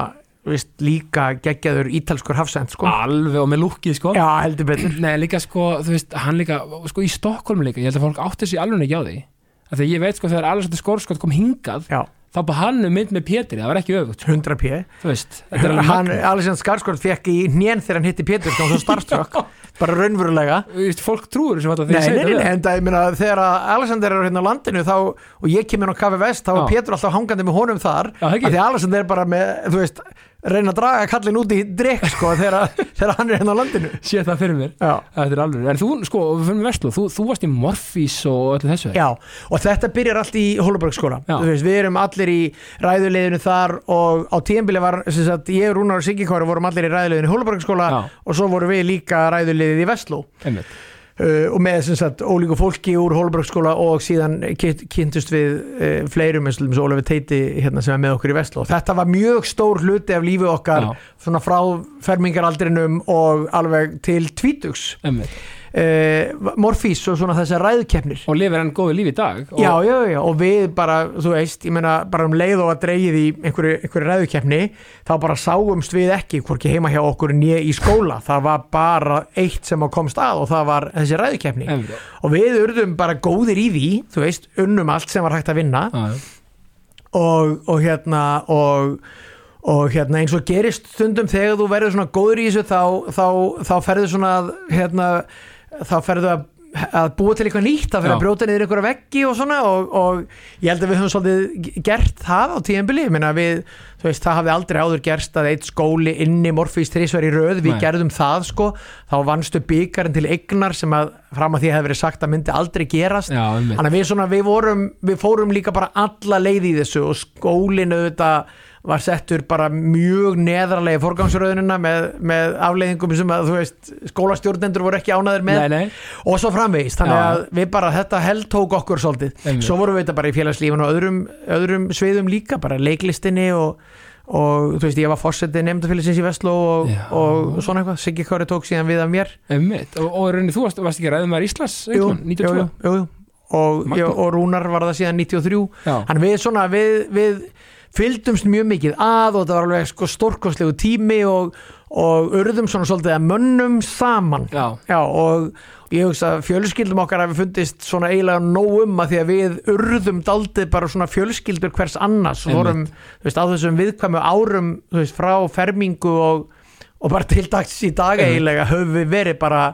S2: veist, líka geggjaður ítalskur hafsend, sko
S1: Alveg og með lúkið, sko
S2: já, heldur betur
S1: Nei, líka sko, þú veist, hann líka sko í Stokkólmi líka, ég held að fólk átti sig alveg ekki á því af því að ég veit sko þegar Alessandr Skórskott kom hingað,
S2: já,
S1: þá bara hann um mynd með Pétri, það var ekki öfugt,
S2: 100 pjö
S1: sko, þú veist þetta er alveg
S2: hann,
S1: magnað.
S2: Alexander Skarsgård fekk í hnén þegar hann hitti Pétur þá svo
S1: [laughs]
S2: starfströkk, bara raunverulega
S1: Þú veist, fólk trúur þessu alltaf
S2: Nei,
S1: þegar ég
S2: nei,
S1: segi
S2: nei,
S1: þetta
S2: en það, ég meina, þegar að Alexander er hérna á landinu þá, og ég kemur á Kaffi Vest, þá er
S1: Já.
S2: Pétur alltaf hangandi með honum þar,
S1: Já,
S2: af
S1: ekki.
S2: því að Alexander er bara með, þú veist, reyna að draga kallin út í drikk, sko, [laughs] þegar, að- þegar hann er hérna á landinu.
S1: við sé það fyrir mér,
S2: Já.
S1: þetta er alveg en þú, sko, og við fyrir vestlú, þú, þú varst í Morfís og öllu þessu,
S2: Já, og þetta byrjar allt í Hólabergsskóla
S1: Já.
S2: Þú veist, Við erum allir í ræðuleginu þar og á tíðanbili var sem sagt, ég, Rúnar og Siggi Kóri vorum allir í ræðuleginu í Hólabergsskóla
S1: Já.
S2: og svo vorum við líka ræðulegið í Vestló
S1: einmitt,
S2: uh, og með sem sagt, ólíku fólki úr Hólabergsskóla og síðan kyn- kynntust við uh, fleirum eins og til dæmis Ólefi Teiti hérna, sem er með okkur í Vestló Þetta var mjög stór hluti af lífi okkar
S1: Já.
S2: svona frá fermingaraldrinum og alveg til tvítugs
S1: einmitt
S2: uh, Morfís og svona þessar ræðkeppnir
S1: og lifir hann góðu lífi í dag og,
S2: já, já, já, og við bara, þú veist, ég meina bara um leið og að dreigið í einhverju, einhverju ræðukeppni þá bara sáumst við ekki hvorki heima hjá okkur nýja í skóla það var bara eitt sem að komst að og það var þessi ræðukeppni
S1: einmitt,
S2: og við urðum bara góðir í því þú veist, unnum allt sem var hægt að vinna
S1: já, já.
S2: og, og hérna og og hérna eins og gerist stundum þegar þú verður svona góður í þessu þá, þá, þá ferðu svona að, hérna, þá ferðu að, að búa til eitthvað nýtt, það fer
S1: Já.
S2: að brjóta niður einhverja veggi og svona og, og ég held að við höfum svolítið g- gert það á tíðanbili, ég meina við þú veist, það hafði aldrei áður gerst að eitt skóli inni morfís þrísver í röð, við
S1: Nei.
S2: gerðum það sko, þá vannstu byggarinn til eignar sem að fram að því hefði verið sagt að myndi aldrei gerast
S1: já, einmitt,
S2: Þannig að við, svona, við, vorum, við fórum líka bara alla leið í þessu og skólinu auðvitað var settur bara mjög neðralegi forgangsröðunina með, með afleiðingum sem að þú veist skólastjórnendur voru ekki ánaður með
S1: nei, nei,
S2: og svo framvegis, þannig
S1: Já.
S2: að við bara þetta held tók okkur svolítið,
S1: Einmitt.
S2: svo vorum við þetta bara í félagslífinu og öðrum, öðrum sviðum líka, bara leiklistinni og, og þú veist ég var fórsetið nefndafélagsins í Vestló og,
S1: Já.
S2: og svona eitthvað, Siggi Kári tók síðan við af mér
S1: Einmitt. og, og í rauninni þú varst, varst ekki ræðum að um Íslands
S2: Jú,
S1: einhvern tímann, 92
S2: jú, jú, jú. Og,
S1: Magnað.
S2: já, og Rúnar var það síðan 93
S1: Já.
S2: hann við svona við, við fylgdumst mjög mikið að og það var alveg sko stórkostlegu tími og, og urðum svona svolítið að mönnum saman
S1: Já.
S2: Já, og ég hugsa að fjölskyldum okkar hafi fundist svona eiginlega nóg um að því að við urðum daldið bara svona fjölskyldur hvers annars og
S1: Einmitt.
S2: vorum, þú veist, á þessum viðkvæmu árum, þú veist, frá fermingu og, og bara til dags í dag eiginlega höfum við verið bara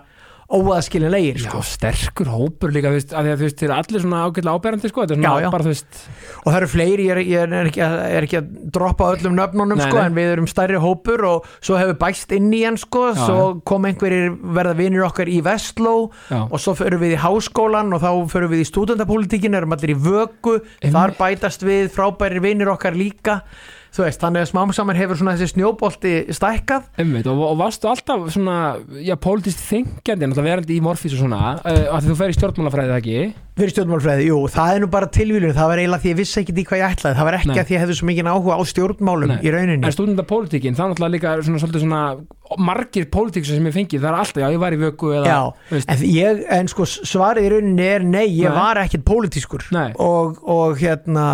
S2: óaðskilin leir,
S1: Já,
S2: sko.
S1: sterkur hópur líka, þú veist, að því að þú veist, þeir eru allir svona ágætlega áberandi, sko, þetta er svona
S2: Já, já.
S1: bara, þú veist,
S2: og það eru fleiri, ég er, ég er, ekki, að, er ekki að droppa öllum nöfnunum
S1: Nei,
S2: sko,
S1: nei.
S2: en við erum stærri hópur og svo hefur bæst inn í hann sko,
S1: Já,
S2: svo kom einhverjir verða vinir okkar í Vestló
S1: Já.
S2: og svo förum við í háskólan og þá förum við í stúdendapolítikin, erum allir í vöku
S1: Einmitt.
S2: þar bætast við frábæri vinir okkar líka þú veist, þannig að smám saman hefur svona þessi snjóbolti stækkað
S1: Einmitt, og, og varstu alltaf svona, já, pólitist þengjandi, náttúrulega verandi í morfís og svona, uh, að þú fer í stjórnmálafræði það ekki?
S2: Fyrir stjórnmálfræði, jú, það er nú bara tilvílun það var eiginlega því ég vissi ekki því hvað ég ætlaði það var ekki
S1: Nei.
S2: að því ég hefði svo mikið áhuga á stjórnmálum í rauninni
S1: En stúdendapólitíkin, það er náttúrulega líka svona, svolítið svona margir pólitíksar sem ég fengið, það er alltaf, já, ég var í vöku eða,
S2: Já,
S1: þú veist,
S2: en, ég, en sko svarið í rauninni er nei, ég
S1: Nei.
S2: var ekkert pólitískur
S1: Nei.
S2: og, og hérna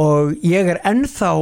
S2: og ég er ennþá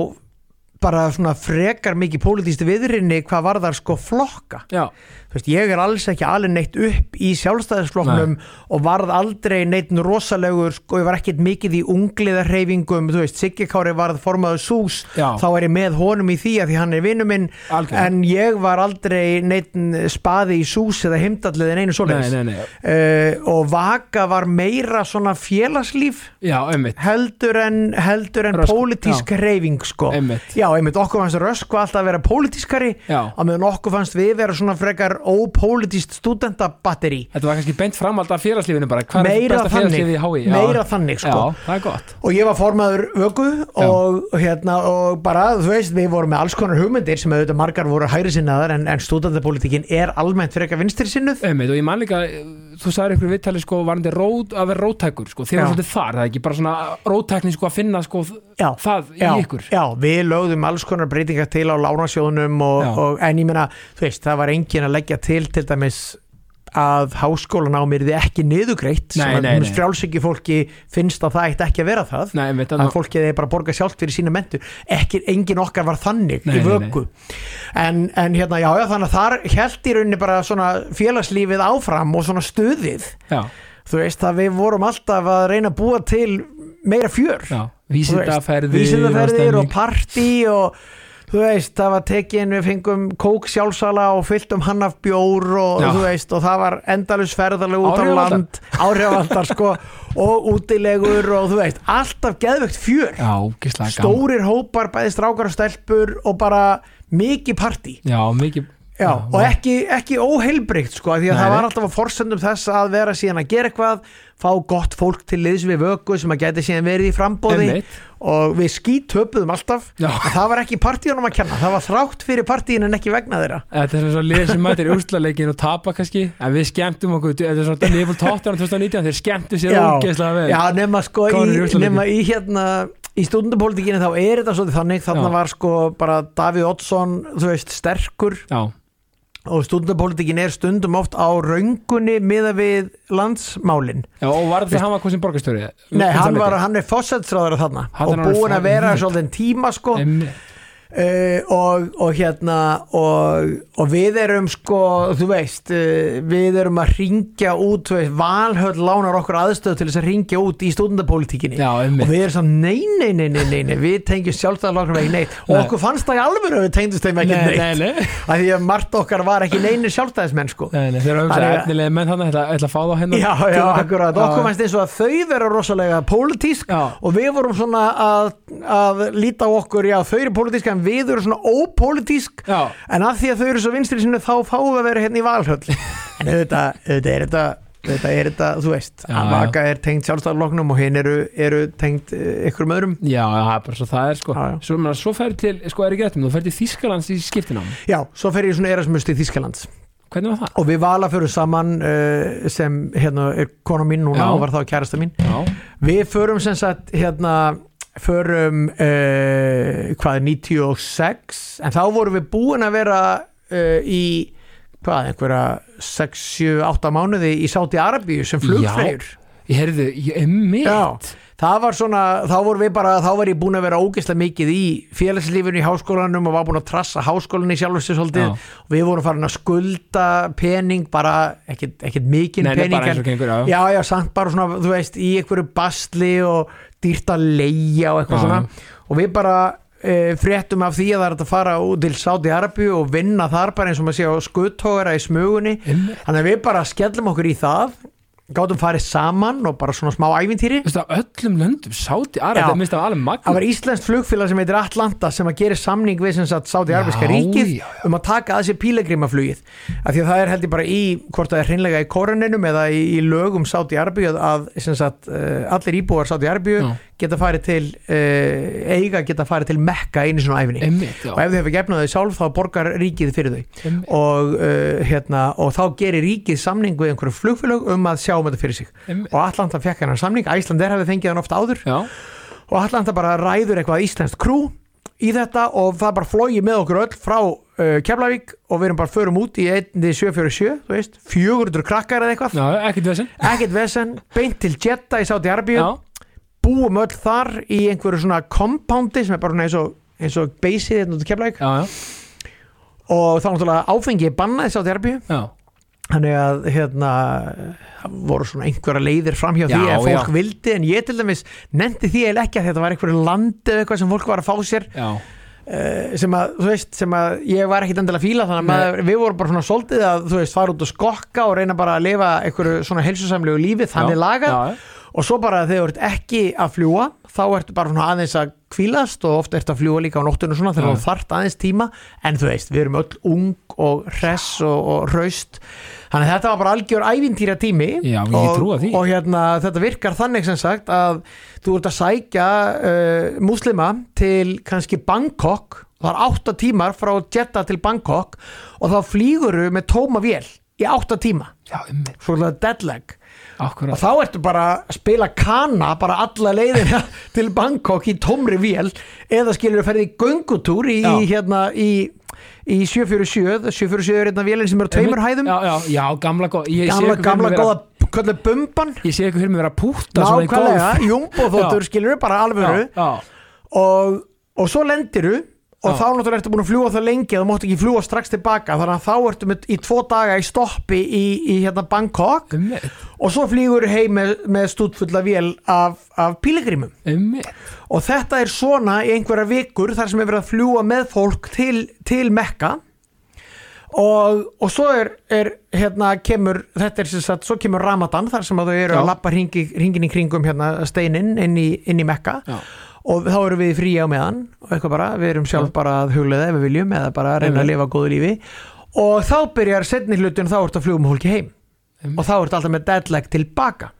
S2: bara svona frekar mikið pólitísti viðrinni hvað varðar sko flokka
S1: já,
S2: Þú veist, ég er alls ekki alveg neitt upp í sjálfstæðisflokknum og varð aldrei neitt rosalegur sko, ég var ekkert mikið í ungliðarheifingum þú veist, Siggi Kári varð formaður sús
S1: Já.
S2: þá er ég með honum í því að því hann er vinnu minn
S1: Algjörlega.
S2: en ég var aldrei neitt spaði í sús eða heimdallið en einu
S1: nei,
S2: svoleiðis
S1: nei, nei,
S2: Uh, og Vaka var meira svona félagslíf
S1: já, einmitt,
S2: heldur en, heldur en
S1: Rösk-
S2: pólitísk reyfing sko.
S1: Einmitt.
S2: Já, einmitt, okkur fannst rösku alltaf að vera pólitískari
S1: Já.
S2: að meðan okkur fannst við vera svona frekar ópólitíst stúdentabatteri
S1: þetta var kannski beint fram alltaf félagslífinu bara, hvað er
S2: Meira
S1: besta
S2: þannig.
S1: félagslífi í HÍ? Já.
S2: Meira þannig, sko.
S1: Já, það er gott,
S2: og ég var formaður vöku og hérna og bara þú veist við vorum með alls konar hugmyndir sem auðvitað margar voru hægri sinnaðar en, en stúdentapolítikin er almennt frekar vinstri sinnuð
S1: einmitt, og ég man líka, eh, þú sagðir ykkur viðtali, sko, varandi rót, að vera rótækur, sko, þér var
S2: Já.
S1: svolítið þar, það er ekki bara svona rótækni, sko, að finna, sko,
S2: Já.
S1: það í
S2: já,
S1: ykkur.
S2: já, við lögðum alls konar breytingar til á lánasjóðunum og,
S1: Já.
S2: og, en ég meina, þú veist, það var engin að leggja til til dæmis að háskólan á mér þið ekki niðugreitt
S1: Nei, nei, nei.
S2: frjálsiki fólki finnst að það eitt ekki að vera það
S1: Nei, einmitt,
S2: að
S1: þannig,
S2: fólkið er bara að borga sjálft fyrir sína mentu ekki, engin okkar var þannig
S1: Nei,
S2: í
S1: nei, nei.
S2: vöku En, en hérna, já, já, þannig að þar held í rauninni bara svona félagslífið áfram og svona stuðið
S1: já,
S2: þú veist að við vorum alltaf að reyna að búa til meira fjör
S1: já, vísindaferðir,
S2: vísindaferðir og
S1: stemning.
S2: partí og þú veist, það var tekin við fengum kók sjálfsala og fylltum hann af bjór og
S1: Já.
S2: þú veist, og það var endalus ferðarlegu út á
S1: Áhrifavaldar.
S2: land áhrifaldar sko, og útilegur og þú veist, alltaf geðvögt fjör
S1: Já, ógeðslega gaman.
S2: stórir hópar, bæði strákar og stelpur og bara mikið partí
S1: Já, mikið
S2: Já, og ekki, ekki óheilbrygt sko, af því að
S1: Nei,
S2: það var
S1: nei.
S2: alltaf að forsendum þess að vera síðan að gera eitthvað fá gott fólk til liðs við vöku sem að geti síðan verið í frambóði
S1: Einmitt.
S2: og við skítöpuðum alltaf
S1: Já.
S2: en það var ekki partíunum að kenna, það var þrátt fyrir partíin en ekki vegna þeirra
S1: Þetta er svo lið sem mætir úrslaleikin og tapa kannski En við skemmtum okkur Þetta er svona Liverpool Tottenham 2019 Þeir skemmtu sér ógeðslega vel
S2: já, nema sko
S1: Konur í
S2: í,
S1: úrslitaleikinn.
S2: nema í hérna í stundupolítikinu þá er þetta svolítið þannig þarna
S1: Já.
S2: var sko bara Davíð Oddsson þú veist, sterkur
S1: já,
S2: og stundupolítikin er stundum oft á röngunni miða við landsmálin
S1: já og var þetta hann var hvað sem borgarstjóri
S2: Nei, hann, var, hann er fósætsráður þarna
S1: Hann er
S2: og
S1: alveg
S2: búin að
S1: frá-
S2: vera
S1: Einmitt.
S2: svolítið tíma sko uh,
S1: Einmitt.
S2: og, og hérna og, og við erum sko þú veist, uh, við erum að ringja út, þú veist, valhöll lánar okkur aðstöð til þess að ringja út í stúdendapolitíkinni
S1: Já,
S2: og
S1: einmitt
S2: við erum samt nei, nei, nei, nei, nei, nei við tengjum sjálfstæðarlokkur ekki neitt og
S1: Nei.
S2: okkur fannst það í alvöru að við tengdust þeim ekki
S1: Nei,
S2: neitt
S1: nei, nei.
S2: að því að margt okkar var ekki neini sjálfstæðismenn sko
S1: Nei, nei, þeir eru auðvitað
S2: Þannig að-
S1: efnilega menn þannig ætla, ætla að fá þá hérna. hennar
S2: Já, já, akkurat, okkur fannst eins og að þau vera rosalega pólitísk
S1: Já.
S2: og við vorum svona að, að líta á okkur, já, þau eru pólitísk en við eru svona ópólitísk
S1: Já.
S2: en af því að þau eru svo vinstri sinni þá fáum við að vera hérna í valhöll en auðvitað, auðvitað er þetta auðvitað er þetta, þú veist,
S1: Já,
S2: að
S1: já.
S2: vaka er tengt sjálfstæðarloknum og hinn eru, eru tengt eh, einhverjum öðrum
S1: Já, já, það er bara svo það er sko
S2: Já, já.
S1: Svo, menn, svo færi til, sko er ekki réttum, þú færi til Þýskalands í skiptinám
S2: Já, svo fer ég í svona erasmust í Þýskalands
S1: Hvernig var það?
S2: og við vala fyrir saman uh, sem hérna er kona mín núna
S1: Já.
S2: og var þá kærasta mín
S1: Já,
S2: Við förum sem sagt hérna förum uh, hvað er 96 en þá vorum við búin að vera uh, í hvað einhverja 6, 7, 8 mánuði í Sáti Arabíu sem flugfreyr
S1: Ég heyrðu, ég er mitt
S2: Já, það var svona, þá vorum við bara þá var ég búin að vera ógeðslega mikið í félagslífinu í háskólanum og var búin að trassa háskólanum í sjálfustu
S1: Já.
S2: svolítið og við vorum farin að skulda pening bara, ekkit, ekkit mikinn
S1: Nei, nei,
S2: pening
S1: bara eins og
S2: en-
S1: gengur, já.
S2: Já, já, samt bara svona, þú veist, í einhverju basli og dýrt að leigja og eitthvað
S1: Já, já.
S2: svona og við bara e, fréttum af því að það er hægt að fara út til Sáti Arabíu og vinna þar bara eins og maður sé á skuttóra í smugunni
S1: Einmitt.
S2: þannig að við bara skellum okkur í það gátum farið saman og bara svona smá ævintýri
S1: Veistu, af öllum löndum, Sáti
S2: Já.
S1: Arabia minnst það alveg
S2: það
S1: magna
S2: var íslenskt flugfélag sem heitir Atlanta sem að gera samning við sem sagt Sáti
S1: Já,
S2: Arbiska ríkið
S1: já,
S2: um að taka að sér pílegrimaflugið af því að það er heldur bara í hvort það er hreinlega í koruninum eða í, í lögum Sáti Arbíu að sem sagt uh, allir íbúar Sáti Arbíu
S1: Já.
S2: geta farið til uh, eiga geta farið til Mekka einu svona æfinni
S1: Einmitt, já
S2: og ef þau hefur gefnað þau sjálf þá borgar ríkið fyrir þau
S1: Einmitt.
S2: og, uh, hérna, og þá gerir ríkið samning við einhverju flugfélög um að sjá um þetta fyrir sig
S1: Einmitt.
S2: og Atlanta fekk hennar samning, Æslandir hefði fengið hann oft áður
S1: Já,
S2: og Atlanta bara ræður eitthvað íslenskt krú í þetta og það bara flóið með okkur öll frá uh, Keflavík og við erum bara förum út í 1747, þú veist 400 krakkar eða eitthvað,
S1: já ekkert þessin
S2: ekkert vesen beint til Jeddah í Sáti Arbíu
S1: Já,
S2: búum öll þar í einhverju svona compoundi sem er bara svona eins og, eins og beysið hérna út í Keflavík
S1: já, já,
S2: og þá náttúrulega áfengi er bannað í Sáti Arbíu
S1: já.
S2: þannig að hérna það voru svona einhverja leiðir framhjá því
S1: Já,
S2: ef fólk
S1: já.
S2: vildi en ég til dæmis nefndi því eða ekki að þetta var einhverju landi eða eitthvað sem fólk var að fá sér
S1: já.
S2: eh, sem að, þú veist, sem að ég var ekkit endilega að fíla þannig að
S1: Nei.
S2: maður, við vorum bara svona soldið að, þú veist, fara út og skokka og reyna bara að lifa einhverju svona heilsusamlegu lífi þannig
S1: Já,
S2: lagað
S1: já, já.
S2: og svo bara þegar þú ert ekki að fljúa þá ertu bara svona aðeins að kvílast og ofta ertu að fljúa líka á nóttunum svona
S1: Já.
S2: þegar þú þart aðeins tíma en þú veist, við erum öll ung og hress og, og raust þannig að þetta var bara algjör ævintýra tími
S1: Já, ég
S2: og,
S1: trúa því.
S2: og hérna þetta virkar þannig sem sagt að þú ert að sækja uh, múslima til kannski Bangkok það er átta tímar frá Jeddah til Bangkok og þá flýguru með tóma vél í átta tíma
S1: já einmitt,
S2: svolega deadlag og
S1: akkurat
S2: þá ertu bara að spila kana bara alla leiðina [laughs] til Bangkok í tómri vél eða skilur að ferði í göngutúr í, í
S1: Já.
S2: hérna í, í 747 747 er hérna vélinn sem er á tveimur hæðum
S1: Já, já, já, gamla góð ég sé
S2: gamla,
S1: ykkur fyrir
S2: gamla
S1: mér vera-
S2: góða köllu bumban
S1: Ég sé ekki fyrir mig vera að púta svona í
S2: nákvæmlega,
S1: golf.
S2: jumboþóttur skilur bara alvöru
S1: Já,
S2: og, og svo lendiru
S1: Já.
S2: og þá náttúrulega ertu búin að fljúa það lengi þú mátt ekki fljúa strax tilbaka þannig að þá ertu með, í tvo daga í stoppi í, í hérna Bangkok
S1: já, einmitt,
S2: og svo flýgur heim með, með stúdfulla vél af, af pílegrimum
S1: einmitt
S2: og þetta er svona í einhverja vikur þar sem er verið að fljúa með fólk til, til Mekka og, og svo er, er hérna kemur, þetta er sem sagt svo kemur Ramadan þar sem að þau eru
S1: Já.
S2: að lappa hringi, hringin í kringum hérna steinin inn í, inn í Mekka
S1: Já.
S2: og þá erum við frí á meðan og eitthvað bara, við erum sjálf bara að huglega ef við viljum eða bara að reyna að lifa góðu lífi og þá byrjar setni hlutin þá ertu að fljúa með fólki heim og þá ertu alltaf með deadlag tilbaka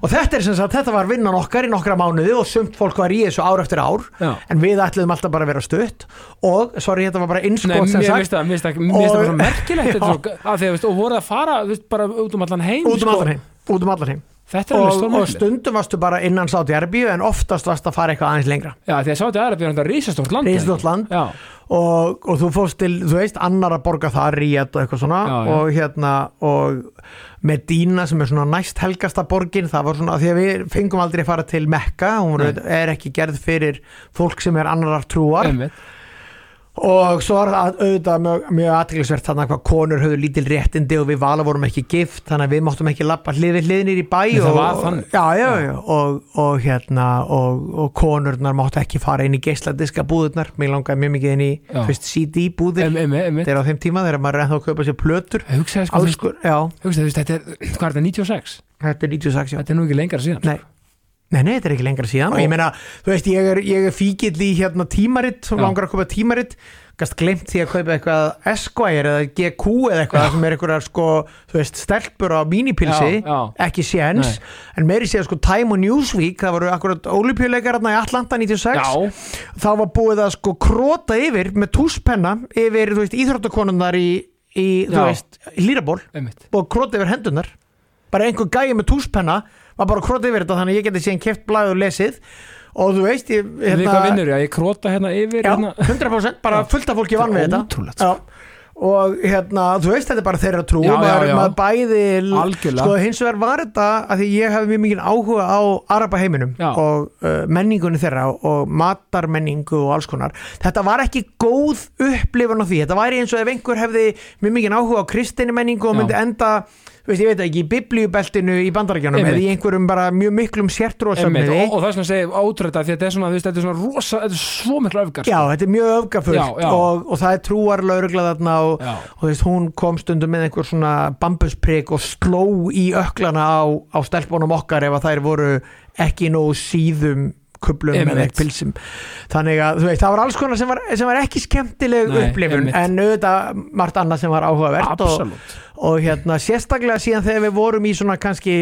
S2: og þetta er sem sagt, þetta var vinnan okkar í nokkra mánuði og sumt fólk var í þessu ár eftir ár
S1: Já.
S2: en við ætluðum alltaf bara að vera stutt og, sorry, þetta var bara
S1: Nei,
S2: innskot
S1: mér
S2: sko, sem
S1: finnst
S2: sagt,
S1: það, mér finnst það, mér finnst það
S2: Og-
S1: bara svo merkilegt þetta er
S2: Já.
S1: svo, að því að, veist, og voru að fara, veist, bara út um allan heim
S2: út um
S1: sko.
S2: allan heim út um allan heim
S1: Þetta er alveg
S2: og,
S1: stór
S2: og
S1: merkilegt
S2: stundum varstu bara innan sátt í Erbíu en oftast varstu að fara eitthvað aðeins lengra
S1: Já, því að Sáti Arabi er þetta risastórt land
S2: Risastórt
S1: ekki?
S2: land.
S1: Já,
S2: og, og þú fórst til, þú veist, annar að borga það ríðat og eitthvað svona
S1: Já, já.
S2: og hérna, og Medina sem er svona næst helgasta borgin það var svona, því að við fengum aldrei að fara til Mekka, hún
S1: Nei.
S2: er, er ekki gerð fyrir fólk sem er annarar trúar
S1: einmitt
S2: og svo var það auðvitað mjög, mjög aðteglisvert þannig að hvað konur höfðu lítil réttindi og við vala vorum ekki gift þannig að við máttum ekki lappa hliði hliðinir í bæ
S1: Nei, það
S2: og,
S1: var þannig.
S2: já, já, já, og, og hérna og, og konurnar máttu ekki fara inn í geisladiska búðurnar mér langaði mjög mikið inn í
S1: Já.
S2: fyrst CD búðir
S1: Einmitt, einmitt, einmitt
S2: þetta er á þeim tíma þegar maður er ennþá að kaupa sér plötur
S1: Hugsaði sko,
S2: alls,
S1: þú-
S2: sko, já,
S1: hugsaði, þú veist, þetta er, hvað er þetta, 96?
S2: þetta er 96 já.
S1: Þetta er nú ekki lengra síðan
S2: Nei. Nei, nei, þetta er ekki lengra síðan og ég meina, þú veist, ég er, ég er fíkill í hérna tímaritt,
S1: Já.
S2: langar að kaupa tímaritt gæst glemt því að kaupa eitthvað Esquire eða GQ eða eitthvað sem er eitthvað sko, þú veist, stelpur á mínipilsi,
S1: Já, já.
S2: ekki séns
S1: Nei.
S2: en meiri séð sko Time og Newsweek það voru akkurat olupjuleikarna í Atlanta 96
S1: Já,
S2: þá var búið að sko króta yfir með túspenna yfir, þú veist, íþróttakonunnar í, í þú
S1: Já.
S2: veist, líraból
S1: einmitt
S2: og króta yfir hendunar bara einhver gæi með túspenna var bara að króta yfir þetta þannig að ég geti síðan keft blæð og lesið og þú veist ég,
S1: Við hvað vinnur ég, ég króta hérna yfir
S2: Hérna- já,
S1: hérna.
S2: 100% bara fullt af fólki vann við þetta
S1: Ótrúlegt, sko.
S2: Já. og hérna, þú veist þetta er bara þeirra trú
S1: Já,
S2: maður,
S1: já, já.
S2: maður bæði
S1: Algjörlega.
S2: sko, hins vegar var þetta að því ég hef mjög mikið áhuga á araba heiminum
S1: Já.
S2: og uh, menningunni þeirra og matarmenningu og alls konar þetta var ekki góð upplifun á því þetta væri eins og ef einhver hefði mjög mikið áhuga á kristinni menningu og
S1: Já.
S2: myndi enda þú veist, ég veit ekki, í biblíubeltinu í bandarækjanum
S1: Einmitt.
S2: eða í einhverjum bara mjög miklum sértróðsöfniði
S1: Einmitt, og, og það er svona að segja ótrúlega því að þetta er svona, þú veist, þetta er svona rosa, þetta er svo miklu öfgar sko.
S2: Já, þetta er mjög öfgafullt
S1: Já, já.
S2: Og, og það er trúar laurugla þarna og,
S1: Já.
S2: og þú veist, hún kom stundum með einhver svona bambusprik og sló í öklana á, á stelpunum okkar ef að þær voru ekki nóg síðum kublum eða
S1: Einmitt.
S2: pilsum þannig að þú veist, það var alls konar sem var, sem var ekki skemmtileg
S1: Nei,
S2: upplifun
S1: einmitt.
S2: en auðvitað margt annað sem var áhugavert og,
S1: absolutt
S2: og hérna sérstaklega síðan þegar við vorum í svona kannski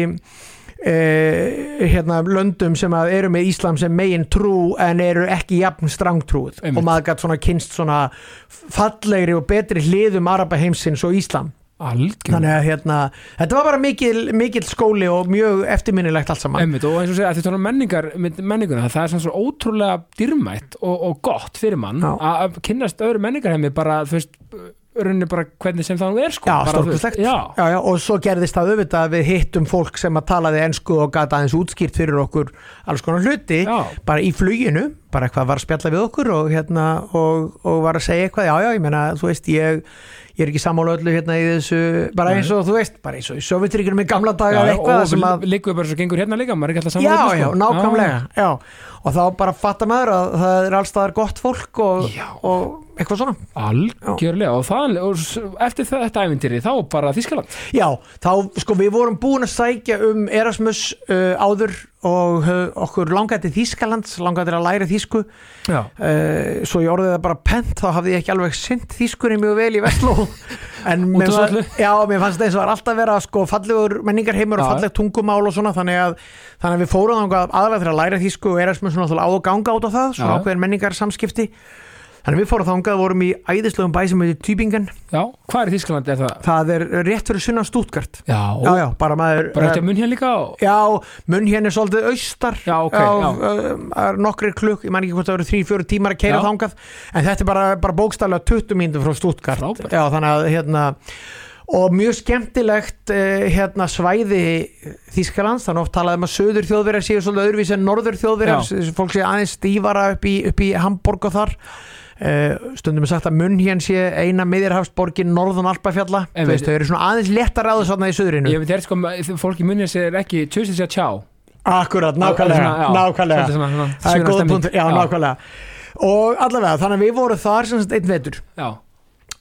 S2: eh, hérna löndum sem að eru með Íslam sem megin trú en eru ekki jafn strangtrúð
S1: Einmitt.
S2: og maður gætt svona kynst svona fallegri og betri hliðum Araba heimsins og Íslam
S1: algjörlega
S2: þannig að hérna þetta var bara mikil, mikil skóli og mjög eftirminnilegt allt saman
S1: Einmitt, og eins og segja, að þetta er menningar, mynd- menninguna það er svona svo ótrúlega dýrmætt og, og gott fyrir mann
S2: Já.
S1: að að kynnast öðru menningarheimi bara, þú veist, rauninni bara hvernig sem það nú er sko,
S2: Já,
S1: bara, þú veist,
S2: stórkustlegt
S1: já,
S2: já, já, Og svo gerðist það auðvitað að við hittum fólk sem að talaði ensku og gata aðeins útskýrt fyrir okkur alls konar hluti
S1: Já.
S2: bara í fluginu, bara eitthvað var að spjalla við okkur og, hérna, og, og var að segja eitthvað já, já, ég meina, þú veist, ég ég er ekki sammála öllu hérna í þessu bara eins og, þú veist, bara eins og í Sovjetryggjunum í gamla daga
S1: já,
S2: eitthvað
S1: og
S2: sem að
S1: líkuðu bara svo gengur hérna líka maður er ekki alltaf saman
S2: Já,
S1: hérna,
S2: já,
S1: sko.
S2: nákvæmlega já. og þá bara fatta maður að það er allstaðar gott fólk og,
S1: Já.
S2: og eitthvað svona
S1: algjörlega, og, það, og s- eftir þe- þetta æfintýri þá bara Þískaland
S2: Já, þá sko við vorum búin að sækja um Erasmus uh, áður og uh, okkur langaði til Þýskalands, langaði til að læra þýsku uh,
S1: já,
S2: Eh, svo ég orðið það bara pent þá hafði ég ekki alveg sint þýskunni mjög vel í Vestló
S1: [laughs]
S2: en mér
S1: af öllu.
S2: fannst, já, mér fannst eins og var alltaf vera sko fallegur menningarheimur og
S1: Já.
S2: falleg tungumál og svona þannig að, þannig að við fórum þangað aðlega til að læra þýsku og Erasmus náttúrulega á að ganga át á það, svona
S1: Já.
S2: ákveðin menningarsamskipti þannig að við fórum þangað, vorum í æðislegum bæ sem heitir Tübingen,
S1: já, hvað er í Þískaland er það?
S2: það er rétt fyrir sunnan Stuttgart
S1: já,
S2: já, já, bara maður
S1: bara eftir munn hérna líka og,
S2: Já, munn hérna er svolítið austar
S1: Já, ok, já.
S2: já. nokkri klukk, ég man ekki hvort það eru 3-4 tímar að keira
S1: Já.
S2: þangað en þetta er bara, bara bókstaflega 20 mínútur frá Stuttgart
S1: Frábært.
S2: Já, þannig að hérna og mjög skemmtilegt eh, hérna svæði Þýskalands, þannig oft talaði um að söður þjóðverjar séu svolítið öðruvísi en norður þjóðverjar
S1: Já.
S2: þessi fólk séu aðeins stífara upp í, upp í Hamburg og þar uh, stundum er sagt að munn hérna sé eina miðjarhafsborgin norðan Alpafjalla
S1: En
S2: Þú
S1: við-
S2: veist, þau eru svona aðeins léttar aðeins í söðrinu
S1: ég veit þér sko, fólk í munn hérna segir ekki tjóðsins að tjá
S2: Akkurat,
S1: Svona, já,
S2: nákvæmlega,
S1: svolítið
S2: nákvæmlega.
S1: svona- svona
S2: Það er
S1: sunnastemning.
S2: góð punktur, já, nákvæmlega Og allavega, þannig að við vorum þar sem sagt einn vetur
S1: já,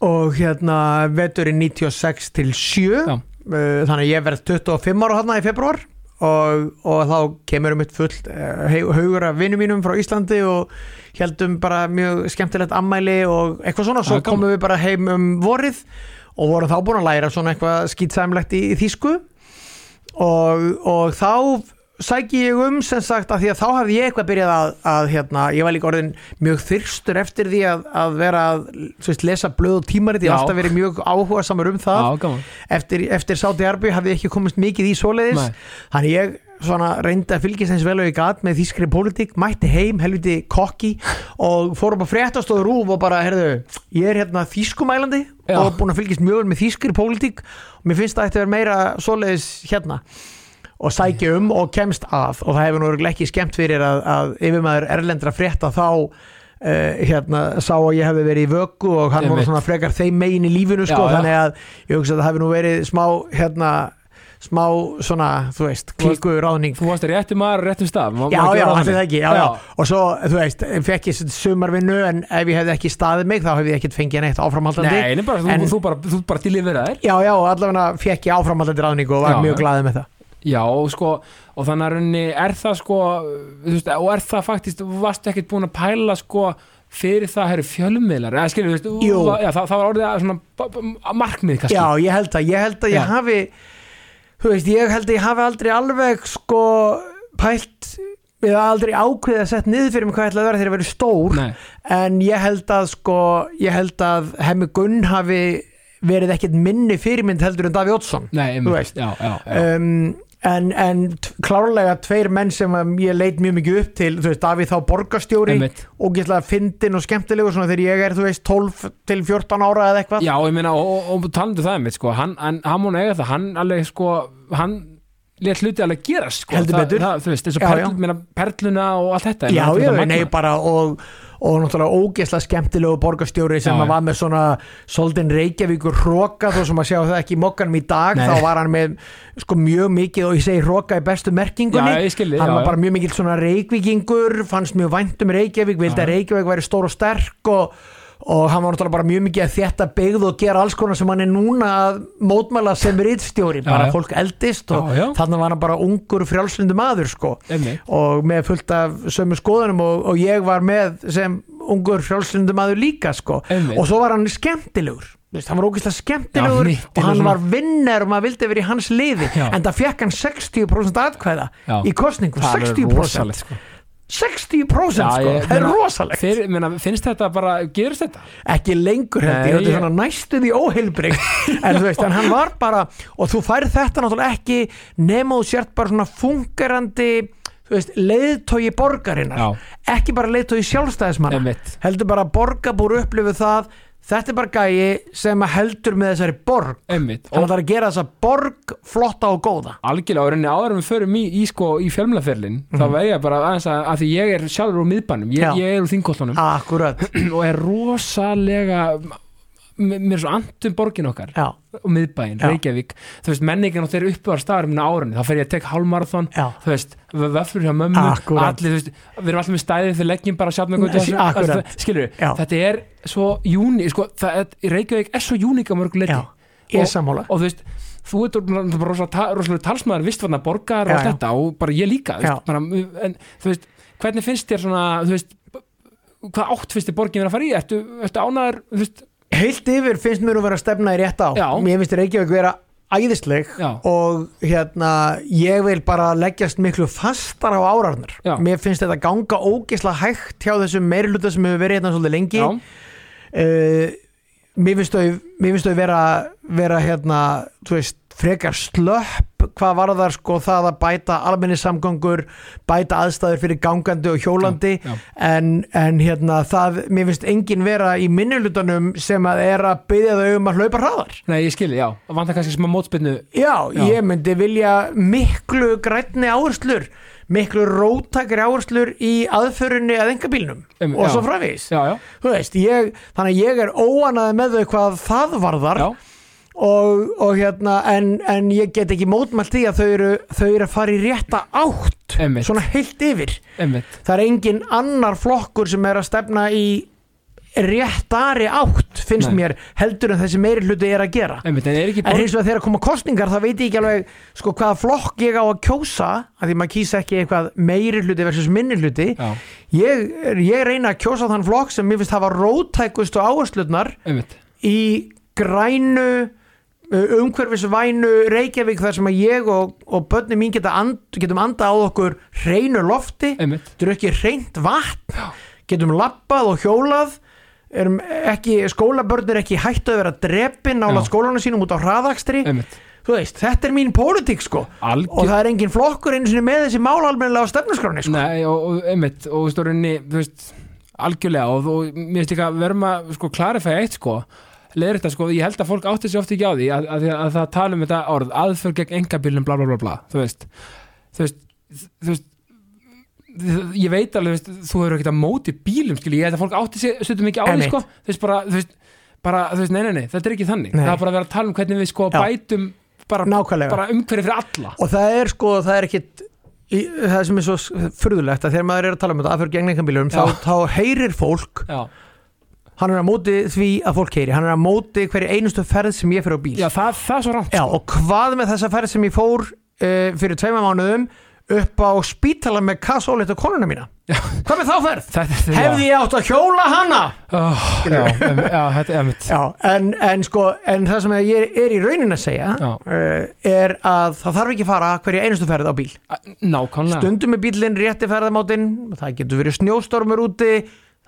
S2: Og hérna, veturinn 96 til 7
S1: Já.
S2: uh, Þannig að ég verð 25 ára hérna í februar og, og þá kemur um eitt fullt uh, haugur af vinnum mínum frá Íslandi og heldum bara mjög skemmtilegt ammæli og eitthvað svona
S1: Það
S2: Svo
S1: er gaman.
S2: komum við bara heim um vorið og vorum þá búin að læra svona eitthvað skýtsamlegt í, í þýsku og, og þá sæki ég um sem sagt að því að þá hafði ég eitthvað byrjað að, að hérna, ég var líka orðin mjög þyrstur eftir því að, að vera að þú veist, lesa blöð og tímarit ég
S1: Já.
S2: hef alltaf verið mjög áhuga samur um það
S1: já, gaman
S2: eftir, eftir Saudi Arbi hafði ég ekki komist mikið í svoleiðis
S1: Nei.
S2: þannig ég svona reyndi að fylgjast eins vel og ég gat með þýskri pólitík, mætti heim, helviti kokki og fór upp á fréttastóð rúf og bara, herðu, ég er hérna þýskumælandi
S1: Já.
S2: og búin að fylgjast mjög vel með þýskri pólitík og mér finnst það ætti að vera meira svoleiðis hérna og sækja um og kemst að og það hefur nú örugglega ekki skemmt fyrir að, að yfirmaður erlendra frétta þá uh, hérna, sá að ég hefði verið í vöku og hann voru
S1: Einmitt.
S2: svona frekar þeim megin í lífinu
S1: Já,
S2: sko,
S1: já.
S2: þannig að ég hugsa að það hefur nú verið smá hérna, smá svona, þú veist, klíku ráðning
S1: þú varst í réttum maður og réttum stað má- má
S2: Já, já,
S1: gera
S2: allir
S1: þannig.
S2: það ekki, já, já, og svo, þú veist, fekk ég sumarvinnu en ef ég hefði ekki staðið mig þá hefði ég ekkert fengið neitt áframhaldandi
S1: Nei, nei, bara, þú,
S2: En-
S1: þú bara, þú bara dýlir verið þær
S2: Já, já, allavega fekk ég áframhaldandi ráðningu og var
S1: Já,
S2: mjög
S1: já.
S2: glaðið með það
S1: Já, og sko, og þannig að rauninni er það sko, þú veist, og er það faktist varstu ekkert búin að pæla sko fyrir það herri fjölmiðlar eða skilur, þú veist,
S2: Jú.
S1: það- já, það, það var orðið að svona b- b- markmið kannski
S2: Já, ég held að, ég held að ég
S1: Já.
S2: hafi þú veist, ég held að ég hafi aldrei alveg sko pælt eða aldrei ákveðið að sett niður fyrir mig hvað ég ætla að vera þegar ég verið stór
S1: Nei,
S2: en ég held að sko, ég held að hemmi Gunn hafi verið ekkert minni fyrirmynd heldur en Daví Oddsson
S1: nei, einmitt,
S2: Þú veist.
S1: já, já, já.
S2: um, en, en t- klárlega tveir menn sem um, ég leit mjög mikið upp til þú veist, Davíð þá borgarstjóri
S1: Einmitt.
S2: og gæslega fyndin og skemmtilegur svona þegar ég er, þú veist, 12 til 14 ára eða eitthvað
S1: Já, ég meina, og, og, og talandi um það einmitt, sko, hann, hann, hann múna eiga það, hann alveg, sko, hann létt hluti alveg gerast, sko.
S2: Heldur
S1: það,
S2: betur.
S1: Það, þú veist, eins og
S2: Já,
S1: perl,
S2: já.
S1: Meina, perluna og allt þetta.
S2: Já,
S1: ég
S2: já,
S1: meina, þetta er
S2: nei,
S1: magnað.
S2: bara og, og náttúrulega ógeðslega skemmtilegu borgarstjóri sem
S1: Já, já.
S2: var með svona soldin Reykjavíkur hróka þó sem að sjá það ekki í mokkanum í dag
S1: Nei.
S2: þá var hann með sko mjög mikið og ég segi hróka í bestu merkingunni
S1: Já, ég skil þig,
S2: hann
S1: já,
S2: var
S1: já.
S2: bara mjög mikill svona reykvíkingur fannst mjög vænt um Reykjavík, vildi
S1: Já.
S2: að Reykjavík væri stór og sterk og og hann var náttúrulega bara mjög mikið að þétta byggð og gera alls konar sem hann er núna að mótmæla sem rittstjóri,
S1: Já,
S2: bara
S1: já.
S2: fólk eldist og
S1: Já, já.
S2: þannig var hann bara ungur frjálslindu maður sko
S1: Einmitt.
S2: og með fullt af sömu skoðunum og, og ég var með sem ungur frjálslindumæður líka sko
S1: Einmitt.
S2: og svo var hann skemmtilegur Þú veist, hann var ógeðslega skemmtilegur
S1: Já, nýtt,
S2: og hann
S1: eitthvað
S2: var vinnar og maður vildi verið í hans liði
S1: Já.
S2: en það fekk hann 60% atkvæða
S1: Já.
S2: í kostningu,
S1: Það er
S2: 60%
S1: rosalegt, sko.
S2: 60%
S1: Já,
S2: sko,
S1: ég-
S2: það er
S1: meina,
S2: rosalegt
S1: Þeir, meina, finnst þetta bara, gerist þetta?
S2: ekki lengur held ég,
S1: Nei,
S2: þetta er
S1: ég-
S2: svona næstuði óheilbrigt en þú veist, en hann var bara og þú færð þetta náttúrulega ekki nema þú sért bara svona fungerandi þú veist, leiðtógi borgarinnar
S1: Já.
S2: ekki bara leiðtógi sjálfstæðismanna
S1: Einmitt.
S2: heldur bara að borgarbúr upplifu það þetta er bara gæi sem að heldur með þessari borg
S1: Einmitt.
S2: hann ætlar að gera þessa borg flotta og góða
S1: algjörlega og í rauninni áður en við förum í, í, sko, í fjölmlaferlin þá verð ég bara aðeins að, að því ég er sjálfur úr miðbænum,
S2: Mhm. Já. Ah.
S1: ég, ég er úr þingkóllunum
S2: akkurat,
S1: og er rosalega m- mér er svo andum borgin okkar
S2: já,
S1: og miðbæin,
S2: Já.
S1: Reykjavík þú veist, menningin og þeir uppuðar staðar minna árunni þá fer ég að tek hálmarathon,
S2: Já.
S1: þú veist v- vöfflur hjá mömmu,
S2: Akkúrat.
S1: allir, þú veist við erum allir með stæðið þegar leggjum bara sjálf með
S2: Nei, akkúrat.
S1: skilur
S2: Já.
S1: þetta er svo júni, sko, það, er- Reykjavík er svo júník á mörg
S2: já,
S1: leiti
S2: ég
S1: Og-
S2: er sammála
S1: og þú veist þú ert orðinn bara rosa- ta- rosalega talsmaður vistvarna borgar og
S2: Já,
S1: allt
S2: já.
S1: þetta og bara ég líka þú
S2: Já.
S1: veist, bara, en þú veist, hvernig finnst þér svona þú veist, hvað átt finnst þér borgin vera að fara í, ertu, ertu ánæður þú veist,
S2: heilt yfir finnst mér að vera að stefna í rétt á
S1: Já.
S2: mér finnst Reykjavík vera æðisleg
S1: Já.
S2: og hérna ég vil bara leggjast miklu fastar á árarnar
S1: Já.
S2: mér finnst þetta ganga ógisla hægt hjá þessum meirluta sem hefur verið hérna svolítið lengi
S1: já,
S2: uh, mér finnst þau mér finnst þau vera, vera hérna, þú veist, frekar slöpp hvað var það sko það að bæta almennissamgöngur, bæta aðstæður fyrir gangandi og hjólandi
S1: Já, já.
S2: En, en hérna það mér finnst engin vera í minnulutanum sem að er að byggja þau um að hlaupa hraðar
S1: nei ég skil, já vantar kannski sem að mótspinnu
S2: Já,
S1: Já.
S2: ég myndi vilja miklu grænni áherslur miklu róttakri áherslur í aðförunni að engabílnum
S1: Em,
S2: og
S1: Um, já.
S2: svo framvegis
S1: já, já,
S2: Þú veist, ég, þannig að ég er óanaði með þau hvað það varðar
S1: já,
S2: og, og hérna en, en ég get ekki mótmælt því að þau eru, þau eru að fara í rétta átt
S1: Einmitt.
S2: svona heilt yfir
S1: emmitt
S2: það er engin annar flokkur sem er að stefna í réttari átt finnst
S1: Nei.
S2: mér heldur en þessi meiri hluti er að gera
S1: Einmitt, en er ekki
S2: En
S1: borg,
S2: hins vegar þegar koma kostningar þá veit ég ekki alveg sko hvaða flokk ég á að kjósa að því maður kýsa ekki eitthvað meiri hluti versus minni hluti
S1: já,
S2: ég, ég reyna að kjósa þann flokk sem mér finnst hafa rótækustu áherslutnar
S1: einmitt
S2: í grænu uh, umhverfisvænu Reykjavík þar sem að ég og, og börnum mín geta and, getum anda á okkur hreinu lofti
S1: einmitt,
S2: drukkið hreint vatn getum lappað og hjólað erum ekki, skólabörn er ekki hættu að vera drepin nála
S1: Já.
S2: skólanum sínum út á hraðakstri
S1: einmitt
S2: þú veist, þetta er mín pólitík sko og
S1: algjör,
S2: það er engin flokkur einu sinni með þessi mál almennilega á stefnusgráni sko.
S1: nei, og, og einmitt og þú veist, og rauninni, þú veist algjörlega og, og mér veist líka, við erum að sko klarifæja eitt sko leiðir þetta sko, ég held að fólk átti sér ofta ekki á því að, að, að það tala um þetta orð aðför gegn engabílum bla bla bla bla þú veist, þú veist, þú veist ég veit alveg, þú veist, þú hefur ekkert að móti bílum skilji, ég held að fólk átti sér stundum ekki á því
S2: Einmitt.
S1: sko, þú veist bara, þú veist bara, þú veist, nei, nei, nei, þetta er ekki þannig
S2: Nei.
S1: það er bara að vera að tala um hvernig við sko
S2: Já.
S1: bætum bara,
S2: nákvæmlega
S1: bara umhverju fyrir alla
S2: og það er sko, það er ekkit í, það sem er svo furðulegt að þegar maður er að tala um þetta aðfyrir gengninganbílum þá,
S1: Já.
S2: þá heyrir fólk,
S1: já,
S2: hann er að móti því að fólk heyri, hann er að móti hverju einustu ferð sem ég fyrir á bíl
S1: já það, það er svo rámt
S2: Já, og hvað með þessa ferð sem ég fór uh, fyrir tveima mánuðum upp á spítala með kassóleitt og konuna mína hvað með þá ferð?
S1: sko. þetta, þetta,
S2: hefði ég átt að hjóla hana?
S1: oh, já, em, já, þetta er mitt
S2: Já, en, en sko, en það sem ég er í raunin að segja
S1: Já.
S2: uh, er að það þarf ekki að fara hverja einustu ferð á bíl.
S1: nákvæmlega
S2: Stundum er bílinn rétti ferðamátinn, það getur verið snjóstormur úti,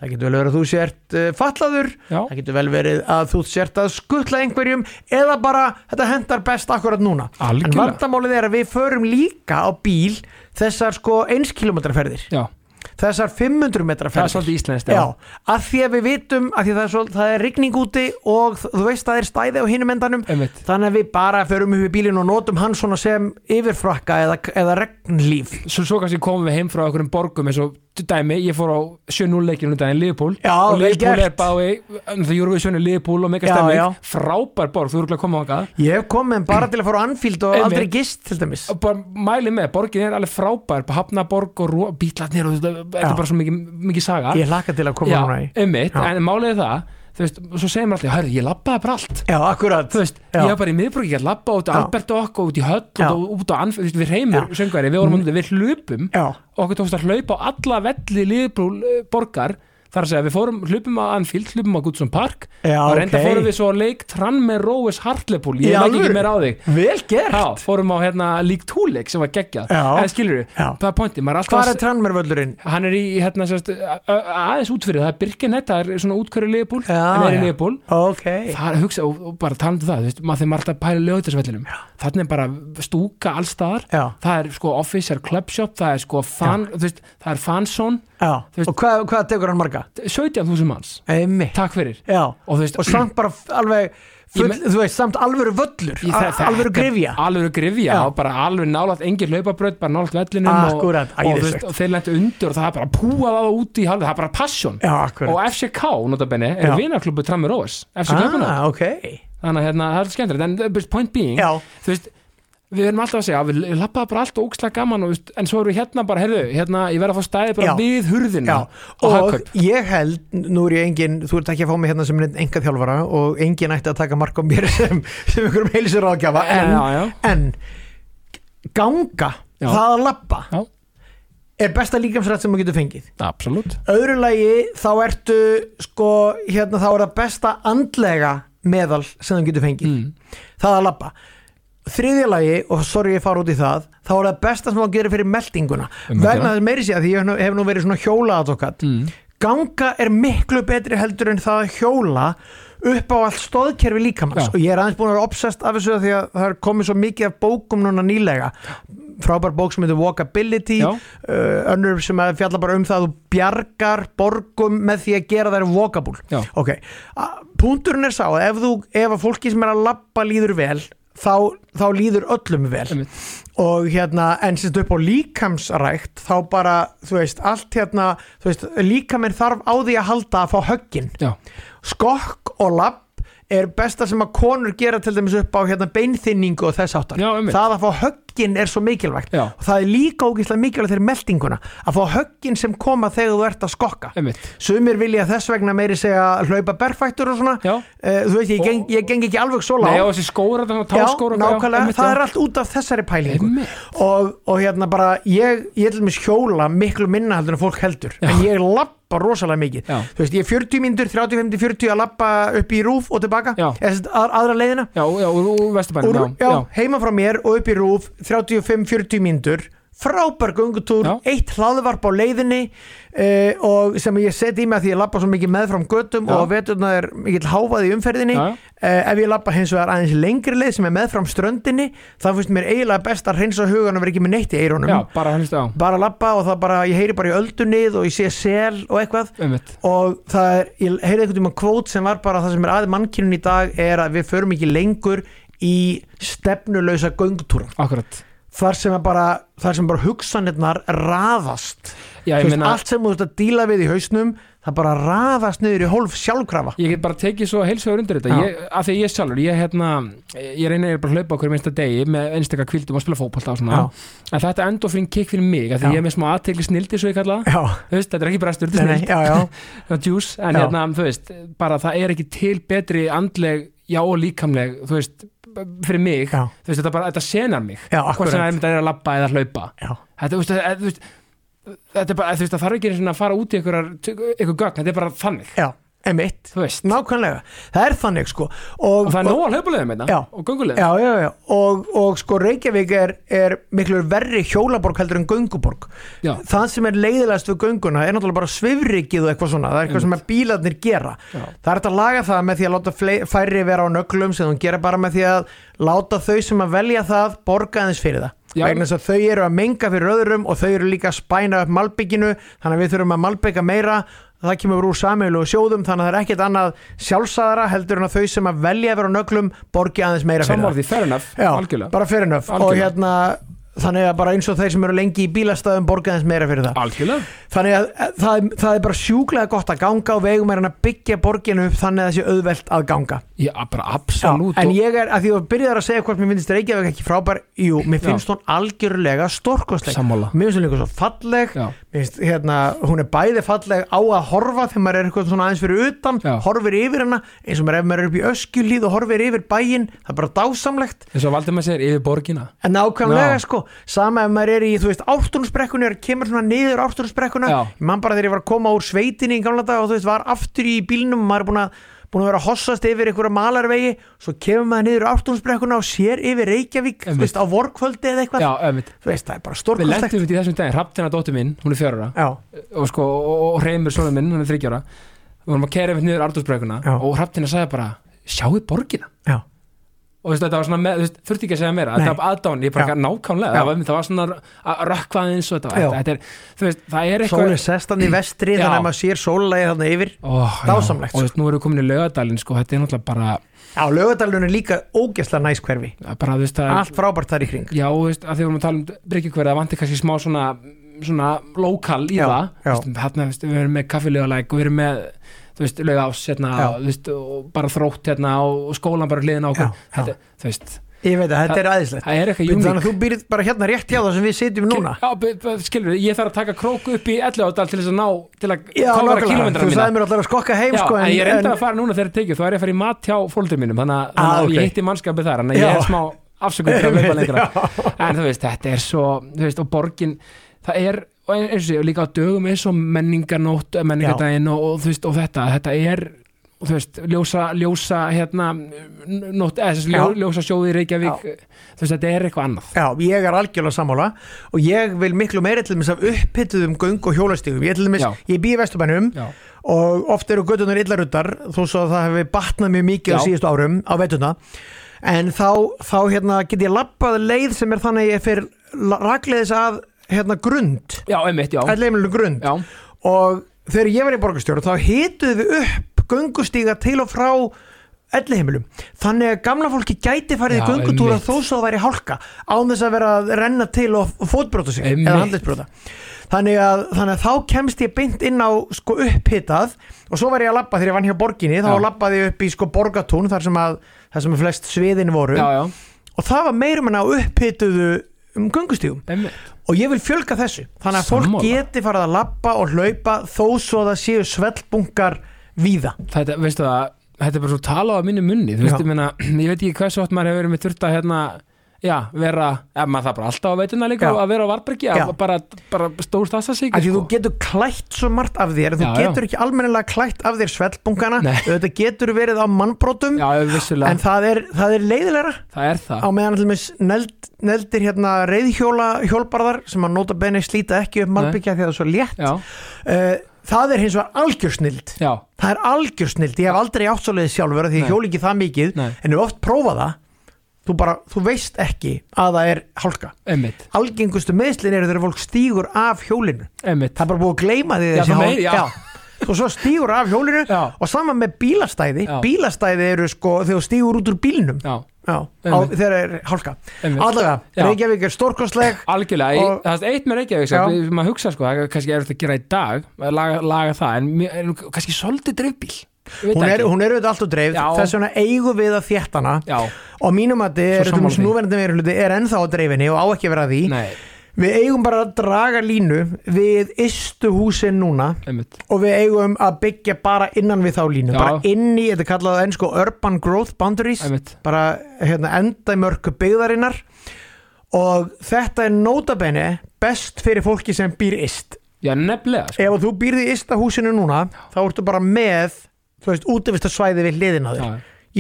S2: það getur vel verið að þú sért uh, fallaður
S1: Já.
S2: það getur vel verið að þú sért að skuttla einhverjum eða bara þetta hendar best akkurat núna
S1: Algjörlega.
S2: en vandamálið er að við förum líka á bíl þessar sko 1 km ferðir
S1: já,
S2: þessar 500 metra
S1: það er
S2: ferðir
S1: svolítið íslenskt
S2: Já, að því að við vitum að því að það er, svol, það er rigning úti og þ- þú veist að það er stæði á hinum endanum
S1: Einmitt.
S2: þannig að við bara förum upp í bílinn og notum hann svona sem yfirfrakka eða, eða regnlíf
S1: svo, svo kannski komum við heim frá okkur um borgum eins og til dæmi, ég fór á 7-0 leikinu um daginn Liverpool
S2: Já,
S1: og
S2: vel
S1: Liverpool
S2: gert.
S1: er bái, um, það júru við sjönu Liverpool og mega
S2: Já, já.
S1: stemming, frábær borg þú eru ekki að koma á það
S2: Ég hef komið bara til að fara á Anfield og
S1: Einmitt.
S2: aldrei gist til dæmis
S1: bara mæli með, borgin er alveg frábær bara hafnaborg og ró- bílarnir og þetta þetta
S2: Já.
S1: er bara svo mikið, mikið saga
S2: Ég hlakka til að koma
S1: já,
S2: núna í
S1: einmitt,
S2: Já.
S1: en málið er það þú veist, og svo segir mér alltaf, hörðu, ég labbaði bara allt
S2: Já, akkurat
S1: þú veist,
S2: Já.
S1: ég var bara í miðbrúki, ég labba út á
S2: Já.
S1: Albert okk og út í höll
S2: Já.
S1: og út á- út á anfið, þú veist, við reymur
S2: Já. Mm.
S1: söngveri, við vorum hundið, við hlupum
S2: Já,
S1: og okkur tókst að hlaupa á alla velli liðbrúl borgar, þar að segja, við fórum hlupum á Anfield, hlupum á Goodson Park
S2: Já,
S1: og reynda
S2: ok.
S1: fórum við svo að leik Trann með Róes Hartlepool,
S2: Í
S1: ég legg
S2: alvöru?
S1: ekki meira á þig
S2: vel gert
S1: Já, fórum á hérna League 2 leik sem var geggjað
S2: Já.
S1: en skilur við,
S2: Já.
S1: það er pointi maður er alltaf
S2: Hvað er trannmervöldurinn?
S1: hann er í hérna sérst, a- a- aðeins útfyrir, það er Birkenhead það er svona útkverju leifbúl,
S2: Já,
S1: hann er í
S2: já.
S1: leifbúl
S2: Ok
S1: það er hugsa og, og bara tala um það, þú veist, maður þeim alltaf að pæla lögutasvellinum, þannig er bara stúka allstaðar,
S2: Já,
S1: það er sko officer club shop, það er sko fan, þú veist, það er fansón,
S2: já
S1: Þú veist-
S2: Og hvað, hvað tekur hann marga?
S1: 17.000 manns
S2: Einmitt
S1: takk fyrir,
S2: Já
S1: og þú veist
S2: Og samt bara f- alveg
S1: Ég
S2: full,
S1: me-
S2: Þú veist, samt alvöru völlur
S1: í þe-
S2: a- Alvöru grifja
S1: alvöru grifja
S2: Já.
S1: og bara alveg nálaðt engin hlaupabraut, bara nálaðt vellinum
S2: Akkúrat,
S1: og, og, þú
S2: æðislegt.
S1: veist, og þeir lentu undir og það er bara púað á það úti í halvið, það er bara passion
S2: Já, akkurat
S1: og FCK, notabene,
S2: Já.
S1: er vinarklubbu Trammur Óvers, FCK ah.
S2: ah, ok
S1: þannig að hérna, það er skemmtilegt, en uh, but point being
S2: Já,
S1: þú veist, við erum alltaf að segja við lappaðum bara allt og ókslega gaman og, þú veist, en svo erum við hérna bara, heyrðu, hérna, ég verð að fá stæði bara
S2: Já.
S1: við hurðina
S2: já
S1: og, og
S2: Og ég held, nú er ég engin Þú ert ekki að fá mig hérna sem enga þjálfara Og engin ætti að taka mark á mér [laughs] sem, sem einhverjum heilsur ágjafa En,
S1: já, já,
S2: en ganga,
S1: Já.
S2: það að lappa
S1: já,
S2: Er besta líkamsrætt sem maður getur fengið
S1: absolutt
S2: Öðru lagi, þá ertu Sko, hérna, þá er það besta andlega meðal sem það getur fengið
S1: mm.
S2: Það að lappa þriðja lagi, og sorry ég fara út í það þá er það besta sem þú gerir fyrir meldinguna
S1: Um
S2: vegna
S1: þetta.
S2: þess meiri sé að því ég hef nú- hef nú verið svona hjólaadvokat
S1: Mm.
S2: ganga er miklu betri heldur en það að hjóla upp á allt stóðkerfi líkamanns
S1: Já.
S2: og ég er aðeins búin að vera obsessed af þessu af því að það er komið svo mikið af bókum núna nýlega frábær bók sem heitir Walkability
S1: Já.
S2: uh, önnur sem að fjalla bara um það að þú bjargar borgum með því að gera þær walkable
S1: Já.
S2: ok, A- punkturinn er sá að ef, þú, ef að fólki sem er að labba líður vel þá, þá líður öllum vel
S1: Einmitt.
S2: og hérna en sem upp á líkamsrækt þá bara, þú veist, allt hérna þú veist, líkaminn þarf á því að halda að fá höggin,
S1: já,
S2: skokk og lapp er besta sem að konur gera til dæmis upp á hérna beinþynningu og þess áttar,
S1: Já, einmitt.
S2: það að fá höggin er svo mikilvægt
S1: Já.
S2: og það er líka ógeðslega mikilvægt fyrir meldinguna, að fá höggin sem koma þegar þú ert að skokka
S1: einmitt
S2: Sumir vilja þess vegna meiri segja hlaupa berfættur og svona
S1: Já.
S2: Eh, Þú veit, ég geng, ég geng ekki alveg svo
S1: Nei,
S2: lág
S1: og þessi skóra, þannig að
S2: Já,
S1: táskóra
S2: nákvæmlega, það er allt út af þessari pælingu
S1: Einmitt.
S2: og, og hérna bara ég, ég til mér hjóla miklu minna heldur en fólk heldur en ég lappa rosalega mikið
S1: Já.
S2: þú veist, ég er 40 mínútur, 35-40 að lappa upp í rúf og tilbaka
S1: Já.
S2: eða sem sagt að, aðra leiðina
S1: Já, já, úr, úr vesturbænum,
S2: Úr, já,
S1: já,
S2: heima frá mér og upp í rúf 35-40 mínútur frábær göngutúr,
S1: Já.
S2: eitt hlaðvarp á leiðinni uh, og sem ég set í mig að því ég lappa svo mikið meðfram göttum
S1: Já.
S2: og á veturna er mikill háfað í umferðinni
S1: Já,
S2: uh,
S1: já.
S2: ef ég lappa hins vegar aðeins lengri leið sem er meðfram ströndinni þá finnst mér eiginlega best að hreinsa hugan og vera ekki með neitt í
S1: já, já,
S2: eirunum
S1: bara hlust á
S2: bara lappa og það bara, ég heyri bara í öldunnið og ég sé sel og eitthvað
S1: einmitt,
S2: og það er, ég heyrði einhvern tímann kvót sem var bara það sem er aðið mannkynun í dag er að við förum ekki lengur í stefnulausa göngutúra
S1: akkurat
S2: þar sem er bara, þar sem bara hugsanirnar raðast
S1: Já,
S2: Þú
S1: ég
S2: veist,
S1: meina,
S2: allt sem þú ert að díla við í hausnum það bara raðast niður í hólf sjálfkrafa
S1: ég get bara tekið svo heilsuður undir þetta
S2: Já.
S1: ég, af því að ég sjálfur, ég hérna ég reyna bara að hlaupa okkur minnsta degi með einstakar kvildum og spila fótbolta og svona
S2: Já.
S1: en þetta endofrín kikk fyrir mig, af því
S2: Já.
S1: ég er með smá aðtegli snildi svo ég kalla það
S2: já,
S1: Þú veist, þetta er ekki brestur, þetta er
S2: nei, nei,
S1: snild,
S2: já, já,
S1: það er djús en
S2: Já.
S1: hérna, þú veist, bara það er ekki til betri andleg, já og líkamleg þú veist, b- fyrir mig
S2: [laughs] já,
S1: þú veist, þetta bara, þetta senar mig
S2: já,
S1: hvort sem
S2: akkurat
S1: það er að labba eða hlaupa
S2: já,
S1: þetta, þú veist, þetta, þú veist, þetta er bara, þú veist, það þarf ekki einu sinni að fara út í einhverjar, einhver gögn, þetta er bara þannig
S2: já, emitt,
S1: þú veist
S2: nákvæmlega það er þannig sko
S1: og það er nóg að hlaupulegðum þetta
S2: Já.
S1: og gungulegðum
S2: Já, já, já, og, og sko Reykjavík er, er miklu verri hjólaborg heldur en gönguborg
S1: Já.
S2: það sem er leiðilegast við gönguna er náttúrulega bara svifrikið og eitthvað svona það er eitthvað sem að bílarnir gera
S1: Já.
S2: það er hægt að laga það með því að láta fle- færri vera á nöglum sem þú gera bara með því að láta þau sem að velja það borga aðeins fyrir það
S1: Já.
S2: vegna þess að þau eru að menga fyrir öðrum og þau eru líka að spæna upp malbygginu þannig að við þurfum að malbygga meira það kemur úr sameilu sjóðum þannig að það er ekkert annað sjálfsæðara heldur en að þau sem að velja að vera á nöglum borgi aðeins meira fyrir það
S1: samvarði, fair enough,
S2: Já,
S1: algjörlega
S2: bara fyrir nöf og
S1: Algjörlega.
S2: hérna þannig að bara eins og þeir sem eru lengi í bílastæðum borga aðeins meira fyrir það
S1: algjörlega,
S2: þannig að e, það, er- það er bara sjúklega gott að ganga á vegum er hann að byggja borginu upp þannig að það sé auðvelt að ganga
S1: já, bara absolutt
S2: en
S1: og-
S2: ég er, að því þú byrjar að segja hvort mér finnst Reykjavík ekki frábær, jú, mér
S1: Já.
S2: finnst hún algjörlega stórkostleg,
S1: Sammála.
S2: mér finnst hún líka svo falleg
S1: Já.
S2: mér finnst, hérna, hún er bæði falleg á að horfa þegar maður er eitthvað svona aðeins fyrir utan,
S1: Já.
S2: horfir yfir hana eins og maður ef maður er upp í öskjulíð og horfir yfir bæinn, það er bara dásamlegt
S1: eins og Valdimar segir yfir borgina
S2: En nákvæmlega
S1: Já.
S2: sko, sama ef maður er í, þú veist, ártunnsbrekkunni, er kemur svona niður ártunnsbrekkuna,
S1: Já.
S2: ég man bara þegar ég var að koma úr sveitinni í gamla dag og þú veist, var aftur í bílnum, maður er búin að, búin að vera að hossast yfir einhverja malarvegi, svo kemur maður niður ártunnsbrekkuna og sér yfir Reykjavík, þú
S1: Einmitt.
S2: veist, á vorkvöldi eða eitthvað,
S1: já, ömmit,
S2: þú veist, það er bara
S1: við
S2: stórkostlegt.
S1: lentum við í þessum daginn hraftina dóttu mín, hún er fjörra
S2: Já,
S1: og sko, og, og reymur svona minn, hann er þryggjára við vorum að kæra yfir niður Ardósbrekuna
S2: Já.
S1: og hraftina sagði bara, sjáu borgina
S2: já,
S1: og þú veist, þetta var svona, með, þú veist, þurfti ekki að segja meira
S2: Nei.
S1: þetta var aðdán, ég bara
S2: Já.
S1: ekki nákvæmlega
S2: Já.
S1: það var, það var svona að rökkva aðeins og þetta,
S2: Já.
S1: þetta, þetta er, þú veist, það er eitthvað
S2: sólinn sest hann í vestri
S1: Já.
S2: þannig að maður sér sólulegið þarna yfir.
S1: oh,
S2: Dásamlegt, sko.
S1: og þú veist, nú erum við komin í laugadalinn sko, þetta er náttúrulega bara,
S2: Já, lögadalun er líka ógeðslega næs hverfi,
S1: bara þú veist, að,
S2: allt frábært þar í kring.
S1: já, þú veist, að því vorum að tala um bryggjukverð, það vanti kannski smá svona svona lokal í
S2: Já,
S1: það
S2: já.
S1: Þú veist, þarna, þú veist, við erum með kaffilegalæk og við erum með þú veist, lög ás hérna,
S2: Já.
S1: og, þú veist, og bara þrótt hérna og, og skólan bara hliðin á okkur
S2: Já, já.
S1: þetta, þú veist,
S2: Ég veit að þetta er æðislegt.
S1: það er eitthvað
S2: Þannig að
S1: uník
S2: þú býrð bara hérna rétt hjá það sem við sitjum núna
S1: Já, b- b- skilur, ég þarf að taka krók upp í 11 ádal til þess að ná, til að
S2: Já,
S1: kofra
S2: nákvæmlega,
S1: kílómetra
S2: þú
S1: mína
S2: sagði mér alltaf að skokka heim
S1: Já,
S2: sko,
S1: en ég er enda að fara núna þegar tekið þú er ég að fara í mat hjá fóldur mínum þannig að- þannig
S2: Ah,
S1: að
S2: ok.
S1: ég hitti mannskapið þar þannig að
S2: Já.
S1: ég er smá afsökun fyrir að
S2: Einmitt,
S1: hlaupa lengra
S2: [laughs] já.
S1: en þú veist, þetta er svo þú veist, og borgin, það er og eins og ég, líka á dögum eins og menninganótt menningadaginn og, og þú veist, og þetta þetta er, og þú veist, ljósa ljósa, hérna n- nótt, eða þess ljó,
S2: Já.
S1: ljósa sjóði í Reykjavík þú veist, þetta er eitthvað annað
S2: Já, ég er algjörlega sammála og ég vil miklu meira til þess að upphittuðum göng og hjólastígum ég, til dæmis,
S1: Já.
S2: ég býi vesturbænum
S1: Já.
S2: og oft eru gödunar illaruddar þó svo að það hefur batnað mjög mikið á
S1: Já.
S2: síðustu árum á vettuna en þá, þá hérna, get ég lappað leið sem er þannig að ég fer rakleiðis að hérna, grund
S1: já, einmitt, já,
S2: ætleimilinu grund
S1: já,
S2: og þegar ég var í borgarstjóru þá hituðu við upp göngustíga til og frá elliheimilum þannig að gamla fólki gæti farið
S1: Já,
S2: í göngutúra
S1: einmitt.
S2: þó svo það væri hálka án þess að vera að renna til og fótbróta sig
S1: Einmitt.
S2: eða handlisbróta þannig að, þannig að þá kemst ég beint inn á sko upphitað og svo var ég að labba þegar ég vann hjá borginni þá
S1: Já.
S2: labbaði ég upp í sko borgatún þar sem að, þar sem að flest sviðin voru
S1: já, já,
S2: og það var meirum en á upphituðu um göngustígum
S1: einmitt
S2: og ég vil fjölga þessu þannig að fólk
S1: Sammála.
S2: geti farið að lappa og hlaupa þó svo það séu svellbunkar víða
S1: þetta, veistu það, þetta er bara svo talað á minni munni, þú veist,
S2: Já.
S1: ég meina ég veit ekki hversu oft maður hefur verið með þurft að hérna já, vera, ef maður það bara alltaf á veituna líka,
S2: Já.
S1: að vera á varbergi
S2: Já.
S1: að bara, bara stór sko. stassa sig
S2: af því þú getur klætt svo margt af þér en þú
S1: Já, já.
S2: getur ekki almennilega klætt af þér svellbunkana
S1: Nei.
S2: þetta getur verið á mannbrotum
S1: já, vissulega,
S2: en það er, það er leiðilegra
S1: það er það
S2: á meðan allmest neld, neldir hérna reyðhjóla hjólbarðar sem að nota beni slíta ekki upp malbyggja því að það er svo létt
S1: já,
S2: uh, það er hins vegar algjörsnild
S1: já,
S2: það er algjörsnild, ég hef aldrei átt svoleiðið sjálfur af því
S1: Nei.
S2: ég hjóli ekki það mikið
S1: Nei.
S2: en ef oft prófa það þú, bara, þú veist ekki að það er hálka
S1: emmitt,
S2: algengustu meðslin eru þegar fólk stígur af hjólinu
S1: emmitt
S2: það er bara búið að gleyma því
S1: Já,
S2: þessi
S1: þú
S2: hál-
S1: meir- já.
S2: og svo stígur af hjólinu
S1: Já.
S2: og sama með bílastæði
S1: Já.
S2: bílastæði eru sko þegar þú stígur út úr bílnum
S1: já,
S2: Já, á,
S1: Einmitt.
S2: þegar er hálka
S1: Einmitt.
S2: allavega,
S1: Já.
S2: Reykjavík er stórkostleg
S1: algjörlega,
S2: Og-
S1: og, það er eitt með Reykjavík
S2: Já.
S1: sem við- maður hugsa sko, það er kannski erfitt að gera í dag að laga, laga það, en, mér- en kannski svolítið dreifbíl, ég veit
S2: hún er,
S1: ekki
S2: hún er auðvitað allt og dreifð
S1: Já.
S2: þess vegna eigum við að þétta hana
S1: já,
S2: og mínum að
S1: Svo
S2: þetta um
S1: sammála því.
S2: núverandi meirhluti er ennþá á dreifinni og á ekki að vera að því
S1: nei,
S2: við eigum bara að draga línu við ystu húsin núna
S1: emmitt
S2: og við eigum að byggja bara innan við þá línu
S1: Já.
S2: bara inn í, þetta er kallað enn sko urban growth boundaries
S1: Einmitt.
S2: bara hérna, enda í mörku byggðarinnar og þetta er nótabenni best fyrir fólki sem býr yst
S1: já, nefnilega, sko.
S2: ef þú býrði í ysta húsinu núna þá ertu bara með þú veist, útivistarsvæði við hliðina á þér
S1: Já.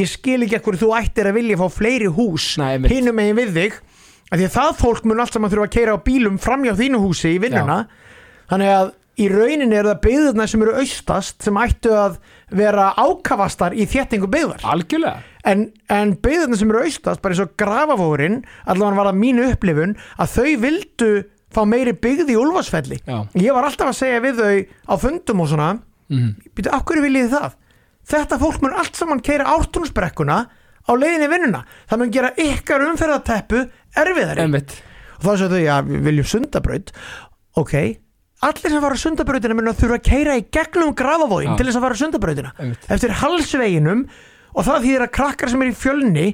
S2: ég skil ekki að hverju þú ættir að vilja fá fleiri hús
S1: Nei, einmitt.
S2: hinum megin við þig af því að það fólk mun allt saman þurfa að keira á bílum framjá þínu húsi í vinnuna þannig að í rauninni er það byggðurna sem eru austast sem ættu að vera ákafastar í þéttingu byggðar
S1: algjörlega
S2: en, en byggðurna sem eru austast bara eins og grafavórin, allavega var það mín upplifun að þau vildu fá meiri byggð í Úlfarsfelli
S1: Já.
S2: ég var alltaf að segja við þau á fundum og svona
S1: mm.
S2: býtu, af hverju viljið þið það? Þetta fólk mun allt saman keira ártúnsbrekkuna á leiðinni í vinnuna. Það mun gera ykkar umferðateppu erfiðari.
S1: einmitt
S2: Og þá sagði þau, já, við viljum sundabraut. Ok, allir sem fara á sundabrautina mun að þurfa að keira í gegnum grafavóin
S1: Já.
S2: til þess að fara á sundabrautina.
S1: Einmitt.
S2: Eftir halsveginum og það þýðir að krakkar sem er í fjölni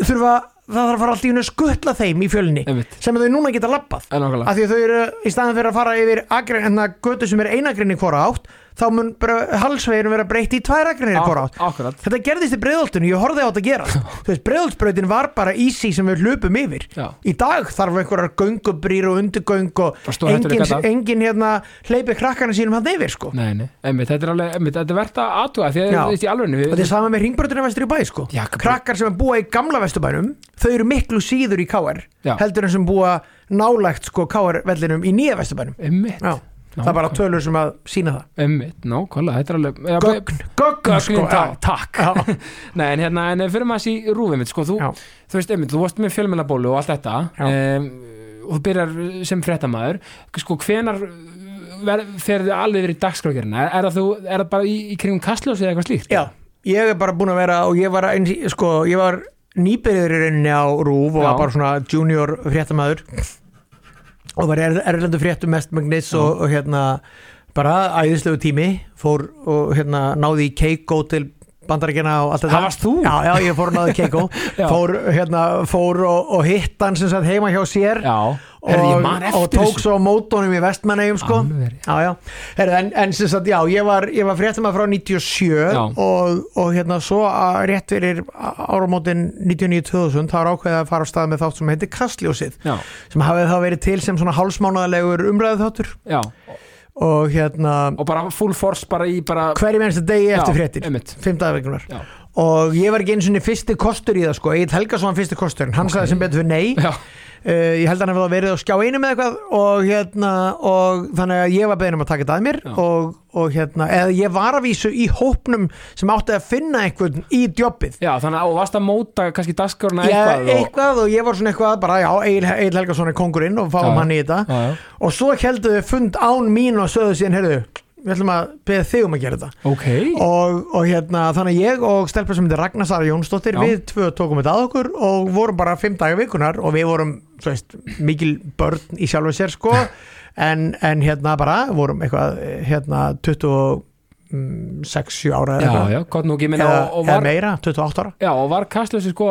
S2: þurfa, það þarf að fara alltaf í að skuttla þeim í fjölni
S1: Einmitt.
S2: sem þau núna geta labbað
S1: en okkarlega
S2: af því að þau eru í staðan fyrir að fara yfir agrin, hérna, götu sem er einagrinni hvora átt þá mun bara halsveginu vera breytt í tvær agrinni hvora átt
S1: akkurat
S2: þetta gerðist í breyðoltinu, ég horfði á þetta gera þú veist, breyðoltsbreytin var bara easy sem við hlupum yfir
S1: já
S2: í dag þarf einhverjar göngubrýr og undugöng og
S1: Bara stór hættuleg
S2: engin,
S1: gata.
S2: engin hérna hleypi krakkana sínum hann yfir sko
S1: nei, nei einmitt þetta er alveg einmitt þetta er verðt að aðtuga því að
S2: Já.
S1: þú veist í alveg
S2: og þetta er sama með ringbrötinu vestur í bæ sko
S1: Já, hvað-
S2: krakkar sem búa í gamla vesturbænum þau eru miklu síður í KR
S1: Já.
S2: heldur en sem búa nálægt sko KR vellinum í nýja vesturbænum
S1: einmitt
S2: Já, það er bara tölur sem að sína það
S1: einmitt nákvæmlega þetta er alveg já,
S2: Gögn, gögn,
S1: Gögnin,
S2: sko
S1: já,
S2: já.
S1: takk
S2: Já.
S1: [laughs] Nei, en hérna, en fyrir maður þessi rúfið mitt, sko, þú,
S2: Já.
S1: þú veist, einmitt, þú varst með fjölmjölabólu og allt þetta
S2: Já.
S1: um, og þú byrjar sem fréttamaður, sko, hvenar ver, fer þið alveg verið í dagskrákjörna? Er, er það þú, er það bara í, í kringum kastljósið eða eitthvað slíkt?
S2: Já, ég er bara búin að vera og ég var, eins, sko, ég var nýbyrður í rauninni á RÚV og
S1: Já.
S2: var bara svona junior fréttamaður og var er, erlendu fréttum mest magnis og, og hérna bara æðislegu tími fór og hérna náði í Keiko til bandarækina og allt þetta
S1: Það varst þú?
S2: Já, já, ég fór og náði í Keiko
S1: [laughs] Já.
S2: fór, hérna, fór og, og hitt hann sem sagt heima hjá sér
S1: Já,
S2: og, og tók svo mótónum í vestmannegjum sko.
S1: Alveg,
S2: já, já. Heru, en, en sem sagt, já, ég var, ég var fréttamaður frá 97
S1: Já.
S2: og, og hérna svo að rétt fyrir áramótin 99-2000 þá er ákveðið að fara á stað með þátt sem heitir Kastljósið
S1: Já,
S2: sem hafið þá verið til sem svona hálsmánaðalegur umræðu þáttur
S1: já,
S2: og hérna
S1: og bara full force bara í bara
S2: hverjum ennstu degi eftir fréttir
S1: einmitt,
S2: fimmtaðavegnunar
S1: já,
S2: og ég var ekki eins og niður fyrsti kostur í það sko, Egil Helgason var fyrsti kosturinn hann sagði sem betur fyrir nei
S1: já,
S2: Uh, ég held að hann hefði verið á skjá einu með eitthvað og hérna og þannig að ég var beðin um að taka þetta að mér
S1: Já.
S2: og, og hérna, eða ég var að vísu í hópnum sem átti að finna einhvern í djópið
S1: já, þannig að og varst að móta kannski dagskrána
S2: eitthvað,
S1: eitthvað og,
S2: eitthvað og ég var svona eitthvað bara já, Egil, Egil Helgason er kongurinn og
S1: Já.
S2: fáum hann í þetta
S1: já, já,
S2: og svo heldur við fund án mín og sögðu síðan, heyrðu, við ætlum að beða þig um að gera þetta
S1: ok,
S2: og, og hérna, þannig að ég og stelpa sem heitir Ragnar Sara Jónsdóttir,
S1: Já.
S2: við tvö tókum þetta að okkur og vorum bara fimm daga vikunar og við vorum, þú veist, mikil börn í sjálfu sér
S1: [laughs]
S2: sko en, en hérna bara, vorum eitthvað hérna 26 7 ára
S1: já, já, gott nú ekki minna
S2: eða,
S1: og, og
S2: eða
S1: var
S2: meira, 28 ára
S1: Já, og var kastljósi sko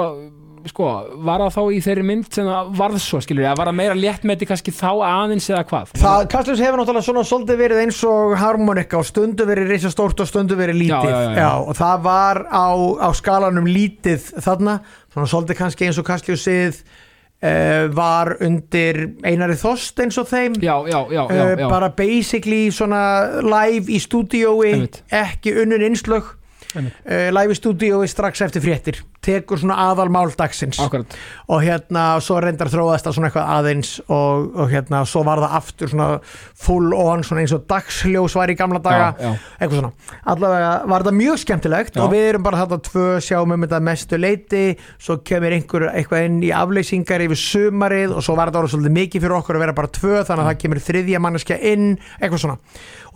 S1: sko, var það þá í þeirri mynd sem það varð svo, skilur ég, að var það meira létt með þetta kannski þá aðeins eða hvað
S2: Það, Kastljós hefur náttúrulega svona svolítið verið eins og harmonika og stundu verið reisa stórt og stundu verið lítið
S1: Já, já, já, já.
S2: og það var á, á skalanum lítið þarna, svona svolítið kannski eins og Kastljósið uh, var undir Einari Þost eins og þeim
S1: Já, já, já, já,
S2: Eh,
S1: já.
S2: bara basically svona live í stúdíói
S1: Einmitt.
S2: ekki unnun innslög
S1: Einmitt.
S2: Uh, live í stúdíói strax eftir fréttir tekur svona aðal mál dagsins
S1: Akkurat,
S2: og hérna svo reyndar þróaðist það svona eitthvað aðeins og, og hérna svo var það aftur svona full on svona eins og dagsljós var í gamla daga
S1: Já, já.
S2: eitthvað svona allavega var þetta mjög skemmtilegt
S1: Já.
S2: og við erum bara þetta tvö sjáum um þetta mestu leiti svo kemur einhver eitthvað inn í afleysingar yfir sumarið og svo var þetta orðið svolítið mikið fyrir okkur að vera bara tvö þannig að það kemur þriðja manneskja inn eitthvað svona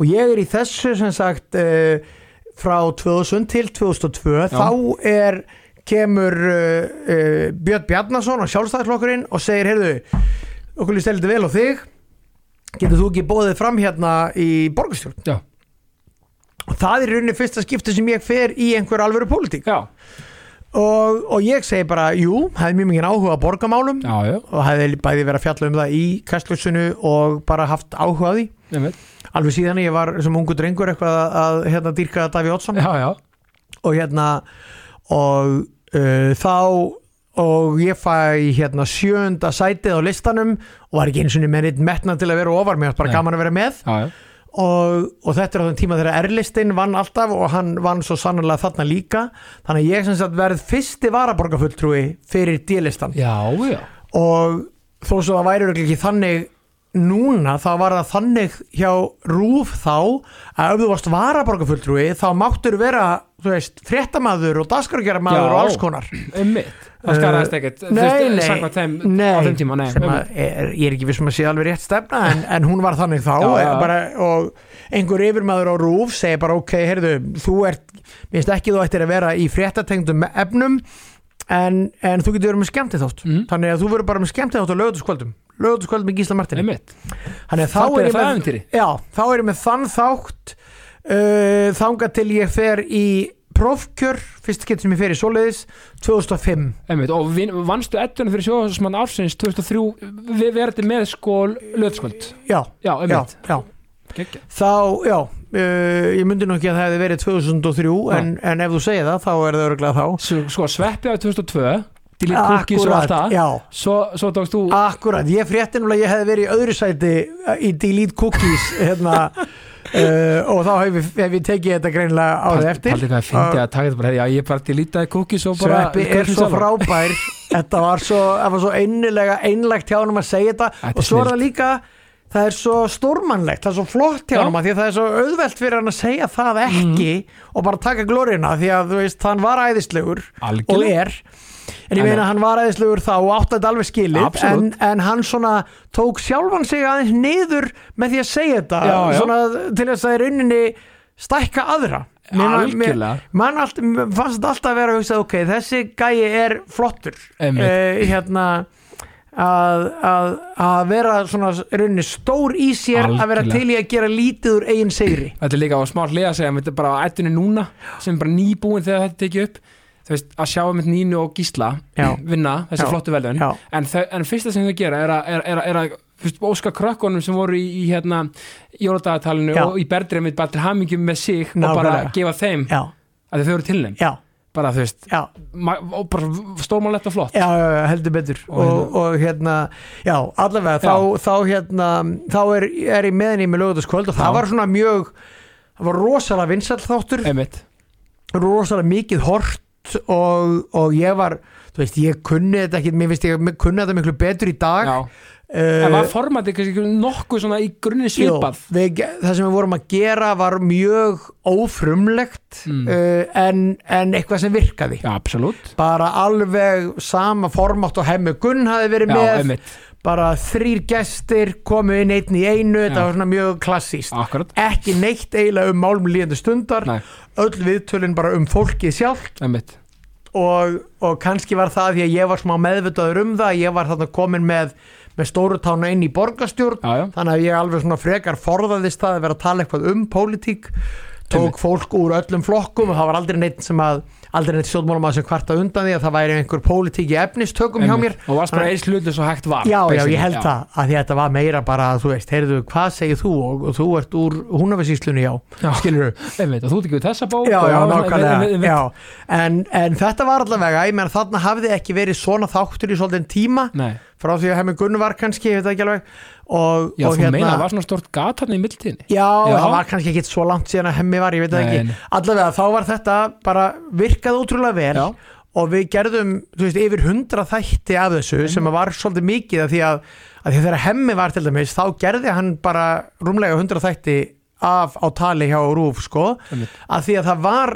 S2: og ég er í þessu sem sagt uh, frá 2000 til 2002
S1: Já.
S2: þá er kemur uh, uh, Björn Bjarnason og sjálfstæðarflokkurinn og segir, heyrðu okkur líst heldur vel á þig getur þú ekki bóðið fram hérna í borgarstjórn
S1: já,
S2: og það er í rauninni fyrsta skipti sem ég fer í einhver alvöru pólitík
S1: já,
S2: og, og ég segi bara, jú, hefði mjög mikið áhuga á borgarmálum
S1: já, já,
S2: og hefði bæði verið að fjalla um það í kastljósinu og bara haft áhuga á því
S1: einmitt
S2: alveg síðan ég var sem ungu drengur eitthvað að, að hérna dýrka Daví Oddsson
S1: Já, já,
S2: og hérna og uh, þá og ég fæ hérna sjönda sætið á listanum og var ekki eins og niður með neitt metna til að vera ofar mér, fannst bara
S1: Nei.
S2: gaman að vera með
S1: já, já,
S2: og, og þetta er á þeim tíma þegar Erlistein vann alltaf og hann vann svo sannlega þarna líka þannig að ég sem sagt verð fyrsti varaborgarfulltrúi fyrir D-listan
S1: já, já,
S2: og þó svo það væri örugglega ekki þannig núna þá var það þannig hjá Rúf þá að ef þú varst varaborgarfulltrúi þá máttur vera, þú veist, fréttamaður og
S1: Já.
S2: dagskargeramaður og alls konar
S1: einmitt það skaraðist ekkert, þú
S2: Eh,
S1: veist, samkvæmt þeim á þeim tíma, nei,
S2: sem að er, ég er ekki vissum að sé alveg rétt stefna en, en hún var þannig þá
S1: Já, já, já.
S2: Bara, og einhver yfirmaður á rúf segir bara ok, heyrðu, þú ert minnst ekki þú ættir að vera í fréttatengdum efnum en, en þú getur verið með skemmti þátt
S1: Mm.
S2: þannig að þú verður bara með skemmti þátt á lögutaskvöldum lögutaskvöldum með Gísla Martin
S1: einmitt,
S2: þannig að
S1: Þarna
S2: þá
S1: er
S2: er ég
S1: það
S2: með,
S1: ævintýri.
S2: já, þá er ég með þann þátt uh, þangað til ég fer í prófkjör, fyrst getur sem ég fer í svoleiðis 2005
S1: einmitt og vin, vannstu ettunum fyrir sjóðsmann ársins 2003, við verðum með sko löðskvöld,
S2: já,
S1: já,
S2: já,
S1: einmitt
S2: já
S1: Geggjað.
S2: þá, já uh, ég myndi nú ekki að það hefði verið 2003 en, en ef þú segir það, þá er það öruglega þá
S1: Svo- sko sveppi á 2002 til í kukkis og allt það
S2: já,
S1: svo, svo tókst þú
S2: akkurat ég frétti núna að ég hefði verið í öðru sæti uh, í Delete Cookies
S1: [laughs]
S2: hérna, uh, og þá hef, ég- hef ég tekið þetta greinlega árið eftir
S1: Haldið hvað ég fyndi að taka þetta bara, já ég bara til lítið kukkis og bara
S2: Sveppi er svo
S1: [laughs]
S2: frábær Þetta var svo, það var svo einnilega einlægt hjá hann að segja þetta
S1: Þetta er
S2: og svo er
S1: snilld.
S2: það líka, það er svo stórmannlegt það er svo flott hjá
S1: Já. Mhm.
S2: hann að því að það er svo auðvelt fyrir hann að segja það ekki og bara taka glóriðna því að þú veist, hann var æðislegur og
S1: Algjörlega.
S2: er En ég
S1: En-
S2: meina hann var æðislegur þá og átti þetta alveg skilið en,
S1: Absolutt.
S2: en hann svona tók sjálfan sig aðeins niður með því að segja þetta
S1: Já, já.
S2: Svona, til þess að í rauninni stækka aðra
S1: Algjörlega.
S2: Man allt, mér fannst þetta alltaf að vera að hugsa ok, þessi gæi er flottur
S1: Einmitt.
S2: hérna að, að, að vera svona í rauninni stór í sér að vera
S1: Algjörlega.
S2: til í að gera lítið úr eigin segri
S1: Þetta er líka á smá hlið að segja, þetta er bara á ættunni núna sem er bara nýbúin þegar þetta tekið upp þú veist, að sjá um þetta Nínu og Gísla
S2: Já.
S1: vinna þessi
S2: Já.
S1: flottu velun
S2: Já.
S1: en, þau- en fyrsta sem þau gera er að, er, er, er að fyrst, óska krökkunum sem voru í, í hérna, jóladagatalinu
S2: Já.
S1: og í berðremið bara til hamingjum með sig og bara
S2: Nákvæmlega.
S1: gefa þeim
S2: Já,
S1: að þau eru til þeim,
S2: já,
S1: bara þú veist
S2: já
S1: ma- og bara stórmálegt og flott
S2: já, já, já, heldur betur og, og, hérna, já, allavega
S1: Já.
S2: Þá, þá hérna, þá er, er ég meðin í með lögutaskvöld og það
S1: Já.
S2: var svona mjög það var rosalega vinsall þáttur
S1: einmitt,
S2: rosalega mikið hort og, og ég var þú veist, ég kunni þetta ekki, mér finnst ég kunni þetta miklu betur í dag
S1: já
S2: uh,
S1: en var formatið kannski nokkuð svona í grunni
S2: Jú,
S1: svipað
S2: við, ge- það sem við vorum að gera var mjög ófrumlegt
S1: Mm.
S2: uh, en, en eitthvað sem virkaði
S1: já, absolutt
S2: bara alveg sama formátt og hemmi Gunn hafi verið
S1: já,
S2: með
S1: einmitt,
S2: bara þrýr gestir komu inn einn í einu, þetta
S1: Já.
S2: var svona mjög klassíst
S1: akkurat
S2: ekki neitt eiginlega um málum líðandi stundar
S1: Nei.
S2: öll viðtölin bara um fólkið sjálft
S1: einmitt,
S2: og, og kannski var það því að ég var smá meðvitaður um það ég var þarna komin með, með stórutána inn í borgarstjórn
S1: já, já
S2: þannig að ég alveg svona frekar forðaðist það að vera að tala eitthvað um pólitík tók
S1: Einmitt.
S2: fólk úr öllum flokkum og það var aldrei neitt sem að aldrei neitt stjórnmálum að sem kvarta undan því að það væri einhver pólitík í efnistökum hjá
S1: Einmitt.
S2: mér
S1: og varst bara eins hlutu svo hægt var
S2: Já, já,
S1: basically.
S2: ég held það að því að þetta var meira bara að þú veist, heyrðu, hvað segir þú og, og þú ert úr húnafessíslunni, já,
S1: Já.
S2: skilur
S1: einmitt, og þú tekið þessa bók
S2: Já,
S1: og-
S2: já,
S1: einmitt,
S2: nákvæmlega
S1: einmitt.
S2: já. En, en þetta var allavega, ég menn þarna hafði ekki verið svona þáttur í svolítið tíma
S1: Nei,
S2: frá því að hef með Gunn var kannski, ég veit það ekki alveg og,
S1: já,
S2: og hérna-
S1: þú meina, það var svona stort gat hann í mildtíðinni
S2: Já,
S1: Já.
S2: það var kannski ekki svo langt síðan að hemmi var, ég veit það
S1: Nei, nei.
S2: ekki Allavega, þá var þetta bara virkað ótrúlega vel
S1: Já.
S2: og við gerðum, þú veist, yfir hundra þætti af þessu sem að var svolítið mikið af því að, að því að þegar hemmi var til dæmis þá gerði hann bara rúmlega hundra þætti af á tali hjá Rúf, sko
S1: Einmitt.
S2: að því að það var,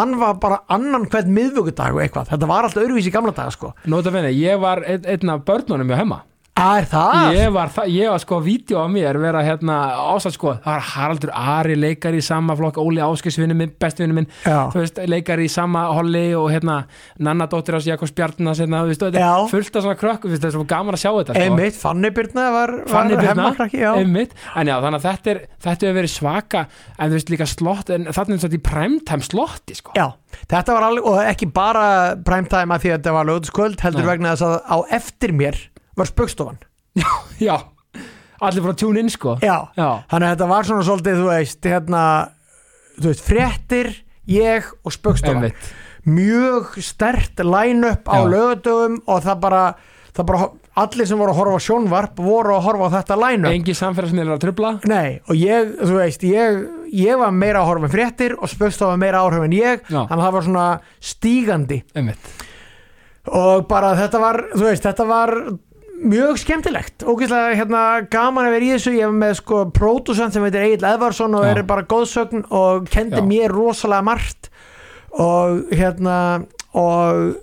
S2: hann var bara annan hvern miðvöggudag og eitthvað þetta var alltaf öruvísi í gamla daga, sko
S1: Nóta venni, ég var ein, einn af börnunum hjá hemma
S2: Er það?
S1: ég var, það- ég var sko vídeo á mér vera hérna ásatt sko það var Haraldur Ari leikar í sama flokk Óli Áskisvinni minn, bestvinni minn
S2: Já.
S1: þú veist, leikar í sama holli og hérna Nanna dóttir hans Jakobs Bjarnas hérna, þú veist, og þetta
S2: Já.
S1: er fullt af svona krökkum þú veist, það er svo gaman að sjá þetta sko.
S2: Einmitt, Fanny Birna var, var
S1: Fanny Birna,
S2: hemmakrakki, já
S1: einmitt en já, þannig að þetta, er, þetta hefur verið svaka en þú veist líka slott, en þarna er þetta í primetime slotti sko,
S2: Já, þetta var alveg, og ekki bara primetime að því að þetta var lögutaskvöld heldur
S1: Nei.
S2: vegna þess að á eftir mér var spöggstofan.
S1: já allir frá tune in sko
S2: Já.
S1: já,
S2: Þannig að þetta var svona svolítið, þú veist, hérna, þú veist, fréttir, ég og spöggstofan.
S1: einmitt
S2: Mjög stert line-up á
S1: Já.
S2: lögutöfum og það bara, það bara, allir sem voru að horfa á sjónvarp voru að horfa á þetta læna
S1: Engi samfélagsmiðlar að trubla
S2: Nei, og ég, þú veist, ég, ég var meira áhörf en fréttir og spöst var meira áhörf en ég,
S1: Já.
S2: þannig að það var svona stígandi
S1: Einmitt.
S2: og bara þetta var, þú veist, þetta var mjög skemmtilegt, ógeðslega hérna, gaman að vera í þessu, ég var með sko pródusent sem heitir Egil Eðvarsson og
S1: Já.
S2: er bara góðsögn og kendi
S1: Já.
S2: mér rosalega margt og hérna og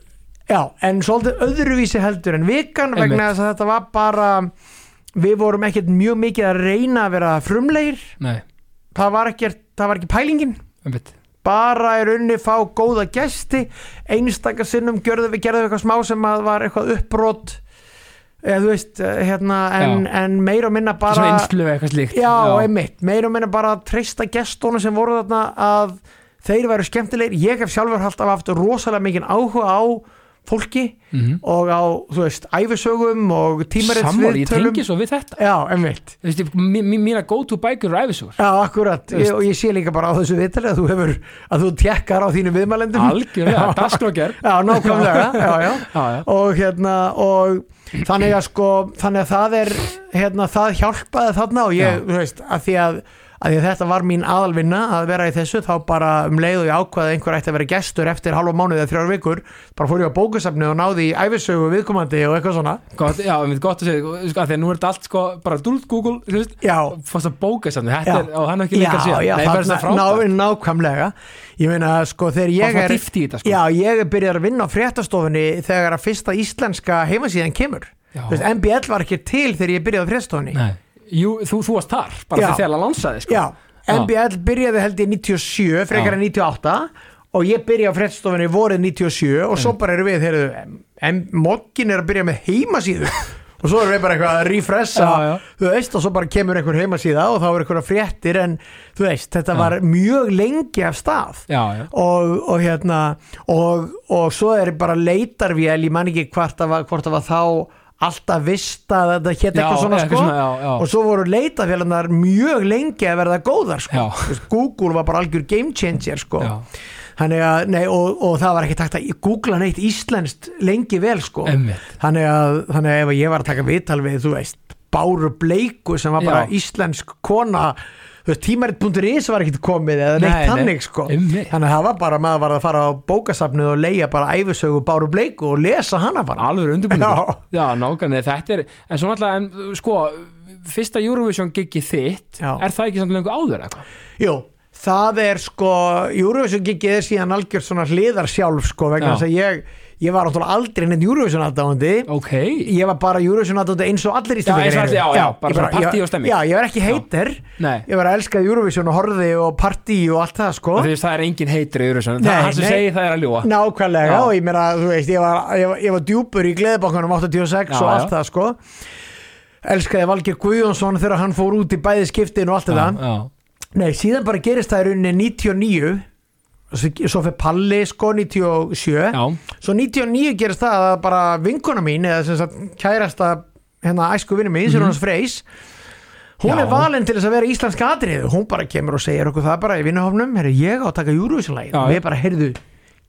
S2: já, en svolítið öðruvísi heldur en vikan vegna
S1: Einmitt.
S2: þess að þetta var bara við vorum ekkert mjög mikið að reyna að vera frumlegir
S1: Nei,
S2: það var, ekkert, það var ekki pælingin
S1: einmitt
S2: bara er unni fá góða gesti einstaka sinnum gerðum við, gerðum við eitthvað smá sem að var eitthvað uppbrot eða þú veist eh, hérna, en, en meira og minna
S1: Svona
S2: bara
S1: einslu eða eitthvað slíkt
S2: já, einmitt, meira og minna bara að treysta gestónu sem voru þarna að þeir væru skemmtilegir, ég hef sjálfur alltaf haft rosalega mikinn áhuga á fólki
S1: Mhm.
S2: og á, þú veist, æfisögum og
S1: Sammála, ég
S2: tímaritsviðtölum
S1: tengi svo við þetta
S2: já, einmitt
S1: Þú veist, mí- mí- Mína go-to bækur og æfisugur
S2: Já, akkurat,
S1: veist.
S2: ég, og ég sé líka bara á þessu vitali að þú hefur, að þú tekkar á þínum viðmælendum
S1: Algjörlega, dagskrákjör
S2: Já, nákvæmlega, já, já
S1: Já, já,
S2: og hérna og þannig að sko þannig að það er hérna það hjálpaði þarna og ég,
S1: Já.
S2: þú veist, að því að að því að þetta var mín aðalvinna að vera í þessu þá bara um leið og ég ákvaði að einhver ætti að vera gestur eftir halva mánuði eða þrjár vikur bara fór ég á bókusafni og náði í æfisögu viðkomandi og eitthvað svona
S1: gott, já, einmitt, gott að segja sko, Þegar nú er þetta allt sko, bara dúlt Google Þú veist,
S2: Já,
S1: fórst að bóka samt Þetta er,
S2: Já.
S1: og hann er ekki lengar síðan
S2: já,
S1: Nei, bara svona
S2: þarna-
S1: frábært
S2: ná, nákvæmlega ég meina sko
S1: Bara
S2: þegar ég
S1: svona
S2: er
S1: dýft í þetta sko
S2: já, ég er byrjað að vinna á fréttastofunni þegar að fyrsta íslenska heimasíðan kemur
S1: Já.
S2: Þú veist, MBL var ekki til þegar ég byrjaði á fréttastofunni
S1: Nei. Jú, þú, þú varst þar, bara
S2: Já.
S1: þegar þegar að lansaði sko
S2: já, MBL byrjaði held ég 97 frekar
S1: Já.
S2: en 98 og ég byrjaði á fréttastofunni vorið 97 og
S1: Mm.
S2: svo bara erum við þegar en mokkin er að byrja með
S1: [laughs]
S2: heimasíðu og svo erum við bara eitthvað að refressa
S1: Já, já.
S2: þú veist og svo bara kemur einhver heimasíða og þá er einhverja fréttir en þú veist þetta var mjög lengi af stað
S1: Já, já,
S2: og, og hérna og, og svo er bara leitarvél ég man ekki hvort það var, hvort það var þá alltaf vista að þetta hétt
S1: Já,
S2: eitthvað svona
S1: eitthvað
S2: sko
S1: svona, já, já.
S2: og svo voru leitarvélunar mjög lengi að verða góðar sko
S1: Já.
S2: Þú veist, Google var bara algjör game changer sko
S1: Já.
S2: Þannig að, nei, og, og það var ekki takt að googla neitt íslenskt lengi vel sko
S1: Einmitt.
S2: þannig að, þannig að ef ég var að taka viðtal við, þú veist, Báru Bleiku sem var bara
S1: Já.
S2: íslensk kona þú veist, tímarit.is var ekkit komið eða neitt
S1: Nei, nei,
S2: þannig sko
S1: einmitt.
S2: þannig að það var bara, maður var að fara á bókasafnið og leia bara æfisögu Báru Bleiku og lesa hana bara
S1: alveg undirbúinu
S2: Já.
S1: Já, nákvæmlega, þetta er En svo náttúrulega, en, sko Fyrsta Eurovision gigi þitt
S2: Já.
S1: Er það ekki samt lengur áður eitthvað?
S2: Jú, það er sko Eurovision gigið er síðan algjör svona hliðar sjálf sko,
S1: Já.
S2: vegna þess að ég ég var náttúrulega aldrei neitt Eurovision aðdáandi
S1: Ok,
S2: ég var bara Eurovision aðdóndi eins og allir Íslandingar
S1: eins og allir, já,
S2: eru.
S1: já, bara
S2: ég
S1: svona partí
S2: ég-
S1: og stemming.
S2: Já, ég var ekki heitir
S1: Nei.
S2: Ég var að elska Eurovision og horði og partí og allt það sko
S1: þú veist, það er engin heitri Eurovision Það
S2: Nei,
S1: er hann sem
S2: nei.
S1: segir það er að ljúa
S2: Nákvæmlega
S1: Já.
S2: og ég meina, þú veist, ég var, ég var, ég var djúpur í gleðibankanum 86
S1: Já,
S2: og allt
S1: já.
S2: það sko Elskaði Valgeir Guðjónsson þegar hann fór út í bæði skiptin og allt þetta
S1: já,
S2: Nei, síðan bara gerist það í rauninni 99 Svo svo fyrir Palli sko 97
S1: já,
S2: Svo 99 gerist það að bara vinkona mín eða sem sagt kærasta hérna æsku vinnu mín, Sirunars Freys hún
S1: Mhm. Já.
S2: er valinn til þess að vera íslenska atrið hún bara kemur og segir okkur það bara í vinnuhofnum herri ég á að taka júruvíslægin
S1: Já,
S2: og
S1: já.
S2: við bara heyrðu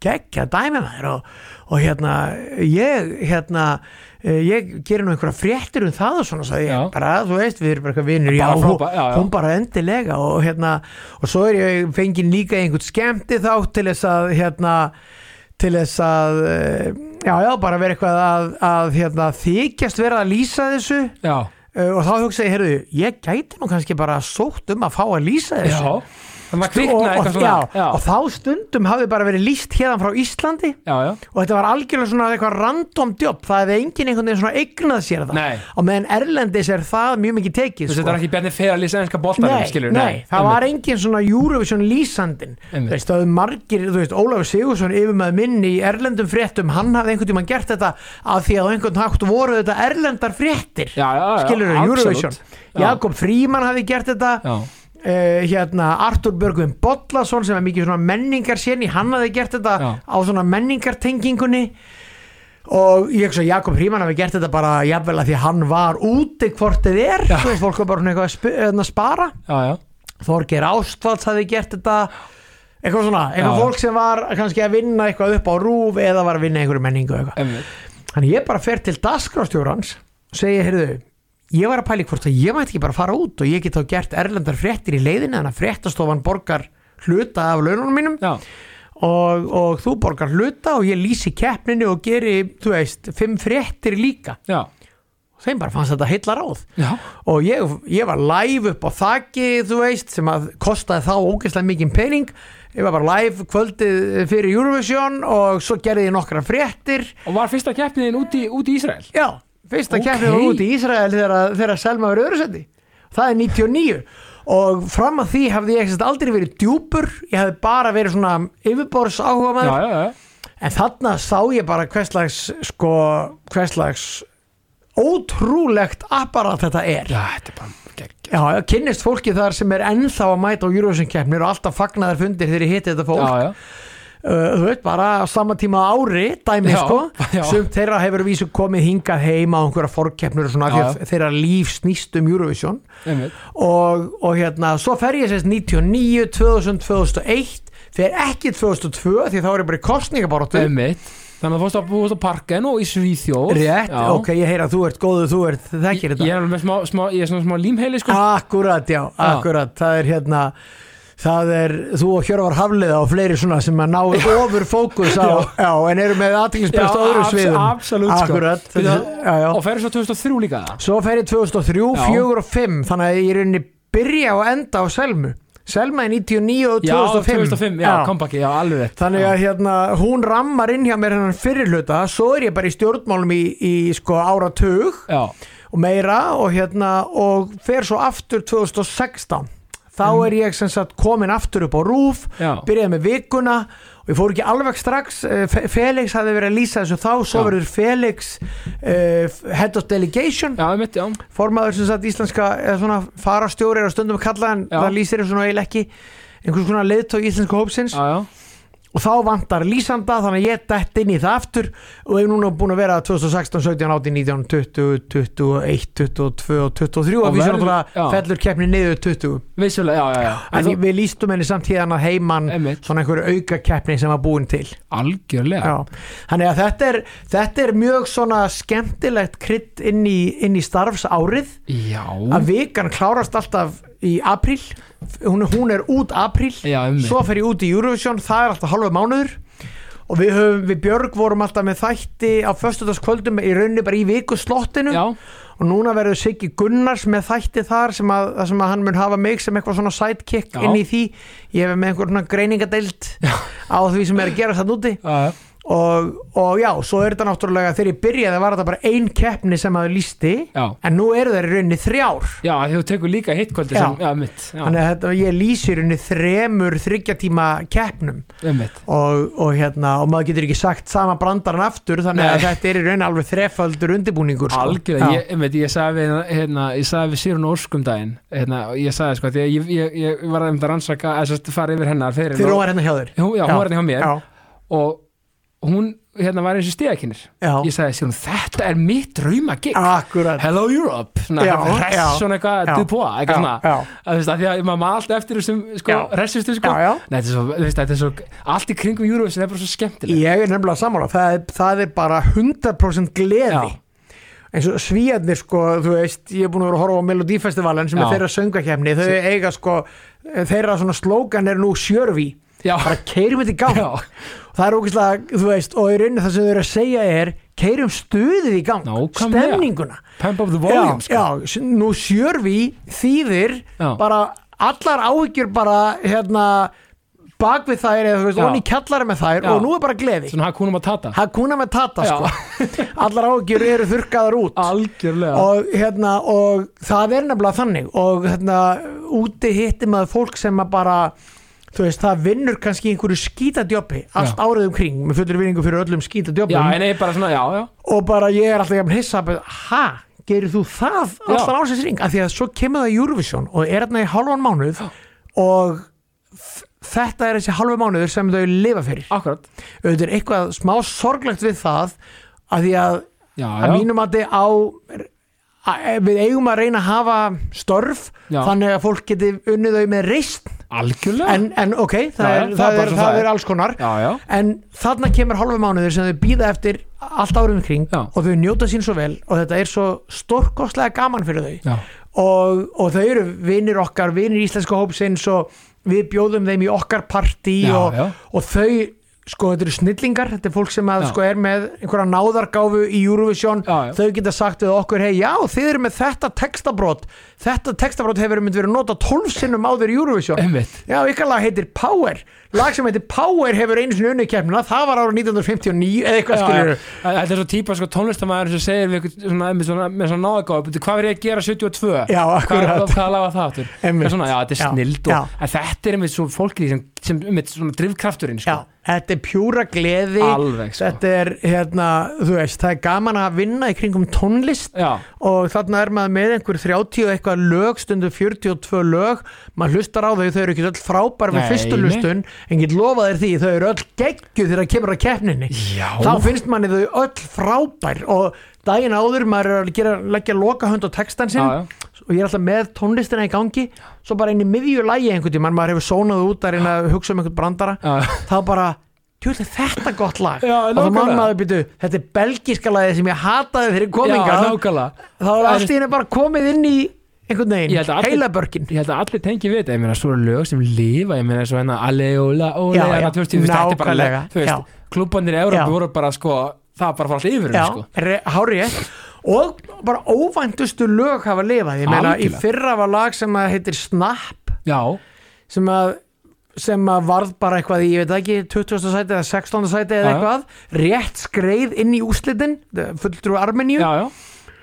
S2: geggja dæmi maður og, og hérna ég hérna eh, ég gerir nú einhverja fréttir um það og svona sagði
S1: Já.
S2: ég bara þú veist við erum bara eitthvað vinnur já,
S1: Bara
S2: hún-
S1: frábær, já, já.
S2: hún bara endilega og hérna og svo er ég fengið líka í einhvern skemmti þá til þess að hérna til þess að eh, já já bara vera eitthvað að, að hérna, þykjast vera að lýsa þessu
S1: já,
S2: eh, og þá hugsa ég, heyrðu, ég gæti nú kannski bara sótt um að fá að lýsa
S1: já
S2: þessu
S1: Það var
S2: og,
S1: kviknað
S2: Sko, og,
S1: eitthvað
S2: já,
S1: svona
S2: og þá stundum hafði bara verið lýst hérna frá Íslandi
S1: já, já,
S2: og þetta var algjörlega svona eitthvað random jobb, það hefði enginn einhvern veginn svona eignað sér það
S1: Nei.
S2: og meðan Erlendis er það mjög mikið
S1: þú
S2: tekið sko.
S1: veist, þetta er ekki bjarni fyrir að lýsa ennska boltanum,
S2: nei,
S1: skilur
S2: nei, það var engin svona Eurovision lýsandin
S1: Einmitt.
S2: veist, það er margir, þú veist, Ólafur Sigursson yfir með minn í erlendum fréttum hann hafði einhvern tímann gert þetta af því að á einhvern hátt voru þetta erlendar fréttir
S1: Já, já, já,
S2: skilur
S1: absolutt.
S2: Eurovision
S1: Já.
S2: Jakob Fríman hafði gert þetta
S1: Já,
S2: Uh, hérna Artur Björgvin Bollason sem er mikið svona menningarséni hann hafði gert þetta
S1: Já.
S2: á svona menningartengingunni og ég hugsa að Jakob Hríman hafi gert þetta bara jafnvel að því að hann var úti hvort þið er, þú veist fólk var bara svona eitthvað að sp- hérna, spara
S1: já, já
S2: Þorgeir Ástvalds hafi gert þetta eitthvað svona, eitthvað
S1: Já.
S2: fólk sem var kannski að vinna eitthvað upp á rúf eða var að vinna í einhverju menningu og eitthvað.
S1: Einmitt.
S2: Þannig ég bara fer til dagskrástjórans og segi, heyrðu, ég var að pæli hvort að ég mætti ekki bara fara út og ég get þá gert erlendar fréttir í leiðinu þannig að fréttastofan borgar hluta af laununum mínum
S1: já,
S2: og, og þú borgar hluta og ég lýsi keppninu og geri, þú veist, fimm fréttir líka.
S1: já,
S2: Þeim bara fannst þetta heilla ráð
S1: já,
S2: og ég, ég var live upp á þakki þú veist, sem að kostaði þá ógeðslega mikið pening ég var bara live kvöldið fyrir Eurovision og svo gerði ég nokkra fréttir
S1: og var fyrsta keppniðin út í, út í Ísrael
S2: já, fyrsta
S1: Ókei.
S2: okay. keppnið var út í Ísrael þegar, að- þegar að Selma verið öðursendi það er 99 og fram að því hafði ég ekkert aldrei verið djúpur ég hafði bara verið svona yfirborðs áhuga
S1: já, já, já,
S2: en þarna sá ég bara hverslags sko, hverslags ótrúlegt apparat þetta er
S1: já, þetta er bara gegn
S2: Já, já, kynnist fólki þar sem er ennþá að mæta á Eurovision keppnir og alltaf fagnaðar fundir þegar ég hitti þetta fólk
S1: já, já,
S2: uh, Þú veit, bara á sama tíma á ári dæmi,
S1: Já, já.
S2: sko Sumt þeirra hefur að vísu komið hingað heima á einhverja fórkeppnur og svona
S1: Já,
S2: já,
S1: já.
S2: þeirra líf snýst um Eurovision
S1: einmitt
S2: og, og hérna, svo fer ég sérst 99, 2000, 2001 fer ekki 2002 því þá er ég bara í kostningabaróttu
S1: einmitt, þannig að þú fórst á- þú fórst á parken og í Svíþjóð
S2: Rétt,
S1: já.
S2: ok, ég heyra að þú ert góðu, þú ert þekkir þetta
S1: Ég er alveg með smá, smá, ég er svona smá límheili sko
S2: Akkurat, já, akkurat Það er hérna Það er, þú og Hjörvar Hafliða og fleiri svona sem að ná ofur fókus á, já. en eru með aðtækisbrest á öðru
S1: abs-
S2: sviðum
S1: Absolutt sko
S2: Akkurat,
S1: Við það-
S2: já, já.
S1: Og ferður svo 2003 líka það
S2: Svo fer ég 2003,
S1: Já.
S2: 4 og 5 þannig að ég er inni byrja og enda á Selmu Selma er 99 og
S1: Já,
S2: 2005
S1: 2005, já, kompaki, já, alveg rétt
S2: Þannig að hérna, hún rammar inn hjá mér hennan fyrirluta, svo er ég bara í stjórnmálum í, í sko áratug
S1: Já,
S2: og meira og hérna og fer svo aftur 2016 þá er ég sem sagt komin aftur upp á rúf
S1: Mhm. Já.
S2: byrjaði með vikuna og ég fór ekki alveg strax eh, Fe- Felix hafði verið að lýsa þessu þá svo
S1: Já.
S2: verður Felix uh, head of delegation
S1: já, einmitt, já
S2: formaður sem sagt íslenska eða svona farastjóri er á stundum að kalla en
S1: Já.
S2: það lýsir þessu nú eiginlega ekki einhvers konar leiðtók íslenska hópsins
S1: Já, já,
S2: og þá vantar lýsanda þannig að ég dætt inn í það aftur og hef núna búin að vera 2016, 17, 18, 19, 20, 21, 22 og 23 og,
S1: Og
S2: og
S1: verður-
S2: við svo náttúrulega
S1: já.
S2: fellur keppni niður 20
S1: vissulega, já, já, já
S2: en
S1: En þú,
S2: við lýstum henni samt hérna að heiman
S1: Einmitt.
S2: svona einhverju auka keppni sem var búin til
S1: algjörlega
S2: Já. þannig að þetta er, þetta er mjög svona skemmtilegt krydd inn í, inn í starfsárið
S1: Já,
S2: að vikan klárast alltaf í apríl hún, hún er út apríl
S1: já, einmitt
S2: svo fer ég út í Eurovision, það er alltaf halva mánuður og við, höfum, við Björg vorum alltaf með þætti á föstudagskvöldum í rauninni bara í vikuslottinu
S1: Já,
S2: og núna verður Siggi Gunnars með þætti þar sem að, þar sem að hann mun hafa mig sem eitthvað svona sidekick
S1: Já.
S2: inn í því ég hef með einhver svona greiningadeild á því sem er að gera það úti
S1: já, já
S2: og, og já, svo er þetta náttúrulega þegar ég byrjaði var þetta bara ein keppni sem að lísti
S1: Já,
S2: en nú eru þeir í rauninni þrjár
S1: já, af því þú tekur líka hittkvöldi
S2: Já.
S1: sem, já, einmitt Já,
S2: þannig að þetta, ég lýsi í rauninni þremur þryggja tíma keppnum
S1: einmitt
S2: og, og hérna og maður getur ekki sagt sama brandaran aftur þannig að
S1: Nei.
S2: þetta er í raun alveg þrefaldur undirbúningur sko.
S1: Algjörlega,
S2: Já.
S1: ég, einmitt, ég sagði við, hérna, ég sagði við Sýrun Órskum daginn hérna, og ég sagði sko, því að ég, ég, ég var einmitt að rannsaka að þess að fara yfir hennar fyrir
S2: þegar hún var hérna hjá þér
S1: hún, já, hún var hérna hjá mér
S2: já,
S1: og hún hérna var eins og stíðakinnir
S2: já.
S1: ég sagði Sýrun, þetta er mitt raumagig
S2: akkurat
S1: Hello Europe svona,
S2: Já,
S1: hress,
S2: já.
S1: svona eitthvað,
S2: Já.
S1: Dupois eitthvað svona,
S2: já,
S1: að þú veist, að því að maður maður allt eftir þessum, sko,
S2: Já.
S1: ressistu,
S2: já,
S1: sko
S2: já.
S1: Nei, þetta er svo, þú veist, þetta er svo allt í kringum Eurovision er bara svo skemmtilegt
S2: ég er nefnilega sammála það er, það er bara 100% gleði
S1: Já.
S2: eins og svíjarnir sko, þú veist ég er búin að vera að horfa á Melodífestivalen sem
S1: Já.
S2: er þeirra söngakefni, þau eiga sko þeirra svona slókan er nú sjörvi
S1: Já,
S2: bara keirum þetta í gang
S1: Já.
S2: það er ógeðslega, þú veist, og í rauninni það sem þau eru að segja er keirum stuðið í gang,
S1: Nákvæmlega.
S2: stemninguna
S1: pump up the
S2: já,
S1: volume, sko
S2: já, s- nú sjörfi þýðir
S1: Já.
S2: bara allar áhyggjur bara hérna bak við þær eða þú veist,
S1: Já.
S2: onni kjallari með þær
S1: Já.
S2: og nú er bara gleði
S1: Svona Hakuna Matata
S2: Hakuna með tata
S1: Já.
S2: sko [laughs] allar áhyggjur eru þurrkaðar út
S1: Algjörlega
S2: og hérna og það er nefnilega þannig og hérna úti hittir maður fólk sem að bara þú veist það vinnur kannski í einhverju skítadjópi allt
S1: Já.
S2: árið um kring með fullur vinningu fyrir öllum
S1: Já,
S2: skítadjópum
S1: en ég bara svona, já, já
S2: og bara ég er alltaf jafn hissa bara, ha, gerir þú það
S1: Já.
S2: alltaf ársins ring, af því að svo kemur það í Eurovision og er þarna í halvan mánuð og þ- þetta er þessi halvan mánuður sem þau lifa fyrir
S1: Akkurat
S2: auðvitað er eitthvað smá sorglegt við það af því að
S1: Já, já,
S2: að mínum að þið á að- við eigum að reyna að hafa störf
S1: Já.
S2: þannig að fólk geti unnið þau með reist
S1: algjörlega
S2: en, en ok, það,
S1: Já, já, það
S2: er,
S1: er
S2: það,
S1: bara
S2: er,
S1: svo
S2: það
S1: það
S2: er
S1: er.
S2: alls konar
S1: já, já,
S2: en þarna kemur hálfu mánuður sem þau býða eftir allt árum kring
S1: Já.
S2: og þau njóta sín svo vel og þetta er svo stórkostlega gaman fyrir þau
S1: já,
S2: og, og þau eru vinir okkar, vinir íslenska hópsins og við bjóðum þeim í okkar partí
S1: Já,
S2: og,
S1: já.
S2: og þau sko þetta eru snillingar, þetta er fólk sem að,
S1: Já.
S2: sko, er með einhverja náðargáfu í Eurovision
S1: Já, já.
S2: þau geta sagt við okkur hei já þið eru með þetta textabrót þetta textabrót hefur mynd verið nota 12 sinnum áður
S1: [laughs]
S2: í Eurovision
S1: einmitt
S2: já ykkar lag heitir Power lag sem heitir Power hefur einu sinni unni keppnina það var ára 1959 eða eitthvað
S1: Já,
S2: skilur
S1: já. Þetta er svo típa sko, tónlistamæður sem segir við ykkur svona, með svona, með svona náðagáð hvað verður ég að gera 72?
S2: Já,
S1: hvað,
S2: akkurat.
S1: hvað laga það áttur?
S2: Einmitt.
S1: Svona, já, þetta er
S2: Já,
S1: snild
S2: já.
S1: og, en þetta er einmitt svo fólkið sem, sem einmitt svona drifkrafturinn sko.
S2: Já, þetta er pjúra gleði
S1: Alveg, sko.
S2: Þetta er, hérna, þú veist, það er gaman að vinna í kringum tónlist
S1: Já.
S2: og þarna er maður með einhver 30 og eitthvað lög, stundu 42 lög maður hlustar á þau, þau eru ekki öll frábær við
S1: Nei,
S2: fyrstu
S1: nei.
S2: hlustun, en get lofað þér því þau eru öll geggju þegar kemur að keppninni
S1: Já.
S2: þá finnst manni þau öll frábær og daginn áður maður er að gera, leggja loka hönd á textan sinn
S1: Já, já.
S2: og ég er alltaf með tónlistina í gangi svo bara inn í miðju lægi einhvern tímann maður hefur sónað út að reyna að hugsa um einhvern brandara
S1: Já.
S2: þá bara Tjóðlega þetta gott lag
S1: Já,
S2: og þá mann
S1: nákvæmlega.
S2: maður býtu, þetta er belgíska lagið sem ég hataði þeirri
S1: Já,
S2: komingar
S1: nákvæmlega
S2: þá er allt í
S1: En-
S2: henni bara komið inn í einhvern veginn,
S1: Ég held að allir-
S2: heila börkin
S1: Ég held að allir tengi við þetta, ég meina, svo eru lög sem lifa, ég meina, svo hérna, Aleola, Ole,
S2: Já,
S1: hérna,
S2: já,
S1: þú veist, ég veist, þetta er bara, lög,
S2: nákvæmlega,
S1: þú veist, klubbandir í Európa
S2: Já.
S1: voru bara, sko, það bara fór allt yfir,
S2: já,
S1: um, sko.
S2: re- hárið og bara óvæntustu lög hafa lifað, ég meina í
S1: Algjörlega.
S2: fyrra var lag sem að heitir Snap
S1: Já,
S2: sem að sem að varð bara eitthvað í, ég veit ekki 20. sæti eða 16. sæti eða
S1: Já, já.
S2: eitthvað rétt skreið inn í úslitin fulltrú Armeníu
S1: já, já.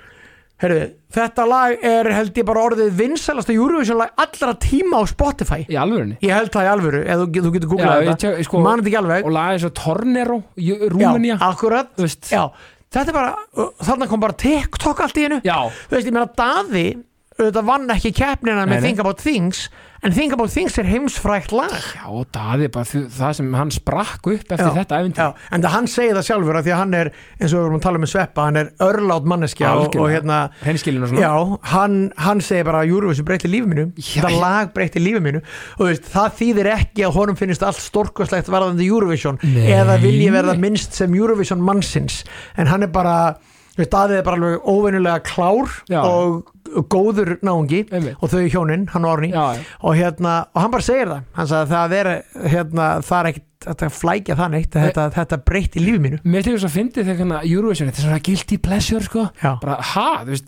S2: Heyrðu, þetta lag er held ég bara orðið vinsalasta Eurovision lag allra tíma á Spotify
S1: Í alvörunni.
S2: Ég held það í alvöru, eða þú, get- þú getur
S1: Já,
S2: googlað
S1: ég
S2: þetta
S1: tjek- sko-
S2: Man þetta ekki alveg
S1: Og lagið svo Tornero, Ju-
S2: Já,
S1: Rúmenía.
S2: akkurat
S1: Þú veist.
S2: Já, þetta er bara, uh, þarna kom bara TikTok allt í hennu
S1: Já.
S2: Þú veist, ég meina Daði auðvitað vann ekki keppnina
S1: Nei, nei.
S2: með Think About Things en Think About Things er heimsfrækt lag
S1: Já, og Daði bara því, það sem hann sprakk upp eftir þetta æfintýr.
S2: já, en það hann segir það sjálfur af því að hann er, eins og við vorum að tala um með Sveppa hann er örlátt manneskja og, og hérna
S1: Hreinskilinn og svona.
S2: já, hann, hann segir bara að Júruvísu breyti lífi mínu
S1: Já.
S2: það lag breyti lífi mínu og þú veist, það þýðir ekki að honum finnist allt stórkoslegt varðandi Júruvísjón
S1: Nei.
S2: eða vilji verða minnst sem Júruvísjón mannsins en hann er bara þú veist, aðeins er bara alveg óvenjulega klár
S1: Já.
S2: og góður náungi
S1: Einmitt.
S2: og þau hjónin, hann og Árný
S1: Já, já.
S2: og hérna, og hann bara segir það hann sagði að það er, hérna, það er ekkit þetta flækja það neitt, þetta, þetta breytti lífi mínu
S1: Mér tegur svo að fyndi þegar hérna Eurovision, þetta er svona guilty pleasure, sko.
S2: Já.
S1: Bara, ha, þú veist,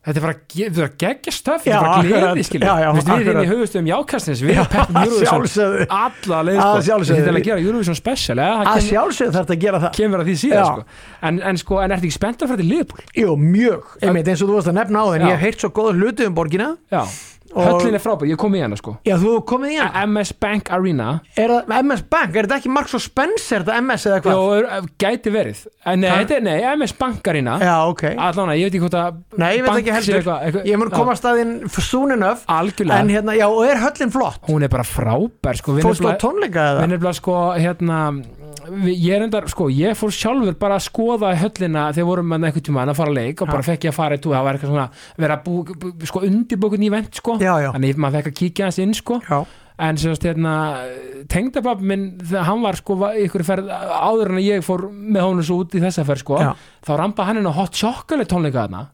S1: þetta er bara, ge- þetta er geggja stöf, þetta
S2: Já,
S1: er bara gleði,
S2: akkurat.
S1: skilja.
S2: Já, já,
S1: Þú veist, við erum
S2: akkurat.
S1: í höfustöðum jákastins, við erum peppum
S2: að
S1: Eurovision.
S2: sjálfsögðu.
S1: Alla leið, sko.
S2: Að sjálfsögðu.
S1: Þetta er að gera Eurovision special, eða?
S2: að
S1: Það kem,
S2: sjálfsögðu þarf þetta að gera það
S1: kemur að því
S2: Já.
S1: síðan, sko. En, en sko, en ertu ekki spennt að fara til Liverpool?
S2: Jú, mjög, einmitt eins og þú varst að nefna á þinn
S1: Já.
S2: ég hef heyrt svo góða hluti um borgina
S1: Já.
S2: Og-
S1: Höllin er frábær, ég kom í hana, sko.
S2: Já, þú hefur komið í hann
S1: MS Bank Arena.
S2: Er það MS Bank, er þetta ekki Marks og Spencer þetta MS eða hvað?
S1: Jó, er- gæti verið En Nei,
S2: Hvað?
S1: þetta er, nei, MS bankarina
S2: Já, ok
S1: Allána, ég veit ekki hvort að
S2: Nei, ég veit
S1: bank
S2: ekki
S1: sé
S2: heldur
S1: eitthvað- eitthvað-
S2: Ég mun
S1: Já,
S2: koma að staðinn soon enough
S1: Algjörlega,
S2: En hérna, já, og er höllin flott?
S1: hún er bara frábær sko, Við
S2: Fórstu á
S1: nefnilega-
S2: tónleika
S1: við
S2: eða?
S1: nefnilega sko, hérna við- Ég er endar, sko, ég fór sjálfur bara að skoða höllina þegar vorum með einhvern tímann að fara að leik og bara fekk ég að fara í túr, það var eitthvað svona vera að bú, bú, sko, undirbúkun í vent sko.
S2: Já, já.
S1: þannig maður fekk að kíkja hans inn sko.
S2: Já,
S1: en sérst hérna tengdabab minn, þegar hann var sko var- í ykkur ferð, áður en að ég fór með honum svo út í þessa ferð sko
S2: Já.
S1: þá ramba hann inn á hot chocolate tónleika þarna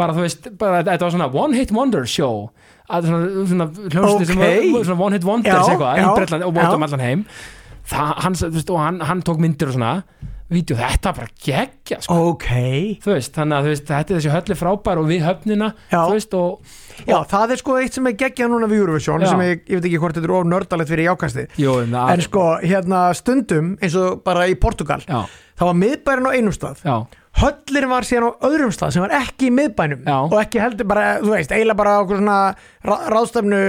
S1: bara þú veist, bara þetta var svona one hit wonder show að svona, svona hljómsið sem
S2: Ókei.
S1: var svona one hit wonders
S2: Já,
S1: eitthvað í
S2: já,
S1: Bretland og bóttum
S2: já.
S1: allan heim það, hann, þú veist, og hann, hann tók myndir og svona vídeo, þetta bara geggja sko.
S2: ok
S1: þú veist, þannig að þú veist, þetta er þessi höllu frábær og við höfnina,
S2: Já.
S1: þú veist og,
S2: Já, það er sko eitt sem er geggja núna við Eurovision
S1: Já.
S2: sem ég, ég veit ekki hvort þetta er ónördalegt fyrir jákastið
S1: jú, na,
S2: En sko, hérna stundum eins og bara í Portugal
S1: já,
S2: þá var miðbærin á einum stað
S1: já,
S2: Höllin var síðan á öðrum stað sem var ekki í miðbænum
S1: Já.
S2: og ekki heldur bara, þú veist, eiginlega bara á okkur svona rá- ráðstefnu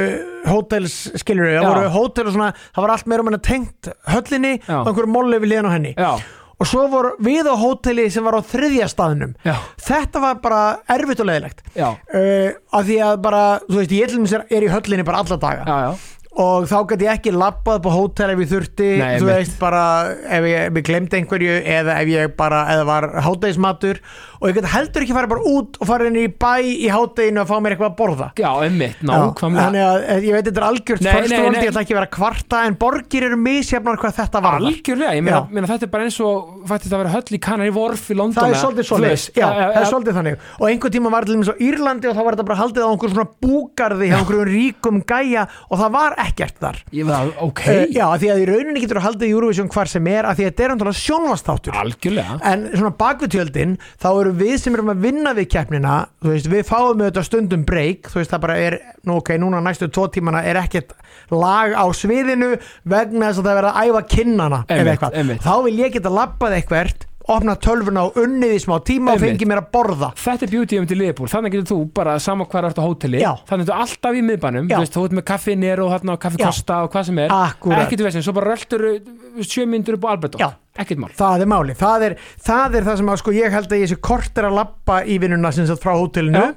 S2: hótels skilur við, það
S1: Já.
S2: voru hótel og svona það var allt meira um henni tengt höllinni
S1: Já.
S2: og einhverju molli við liðan á henni
S1: já,
S2: og svo voru við á hóteli sem var á þriðja staðnum
S1: Já.
S2: þetta var bara erfitt og leðilegt
S1: já
S2: uh, að því að bara, þú veist, ég til dæmis er, er í höllinni bara alla daga
S1: já, já,
S2: og þá gæti ég ekki labbað upp á hótel ef ég þurfti,
S1: Nei,
S2: þú
S1: einmitt.
S2: veist bara ef ég, ef ég glemdi einhverju eða ef ég bara, eða var hátægismatur og ég gæti heldur ekki fara bara út og fara inn í bæ í hátæginu að fá mér eitthvað að borða
S1: já, einmitt,
S2: Já,
S1: nákvæmlega
S2: þannig að eh, ég veit þetta er algjört
S1: Nei, nei,
S2: fölstofandi,
S1: nei.
S2: ég ætla ekki að vera að kvarta en borgir eru misjafnar hvað þetta var
S1: algjörlega, ég meina,
S2: Já.
S1: meina þetta er bara eins og fætti þetta að vera höll í Canary Wharf í London
S2: það er
S1: eða,
S2: svolítið
S1: þú
S2: svolítið,
S1: veist, eh,
S2: já,
S1: eða-
S2: það er
S1: eða-
S2: svolítið þannig og einhvern tíma var til þess að Írlandi og þá var þetta bara haldið á einhver svona búgarði hjá einhverjum ríkum gæja og það var ekkert þar
S1: ég meina, ok,
S2: hey. Eh, já, af því að í rauninni getur að haldið Eurovision hvar sem er, af því að þetta er andalega sjónvastáttur
S1: algjörlega
S2: en svona bakviðtjöldin þá eru við sem erum að vinna við keppnina þú veist, við fáum auðvitað stundum break þú veist, það bara er, nú ok, núna næstu tvo tímana er ekkert lag á sviðinu vegna þess að það er verið að æfa kinnana ef
S1: Einmitt,
S2: eitthvað.
S1: einmitt.
S2: þá vil ég geta labbað eitthvert opna tölvuna og unnið í smá tíma og
S1: Einmitt.
S2: fengi mér að borða
S1: Þetta er beauty um til liðbúl, þannig getur þú bara sama hvar ertu á hóteli,
S2: Já.
S1: þannig getur alltaf í miðbænum,
S2: Já.
S1: þú veist, þú ert með kaffi nero og kaffi kosta og hvað sem er
S2: Akkúrat.
S1: ekkert veist, svo bara röldur sjö myndur upp á Albertó,
S2: Já.
S1: ekkert mál
S2: það er máli, það er það, er það sem að sko ég held að ég sé kortir að labba í vinnuna sem sagt frá hótelinu
S1: Já.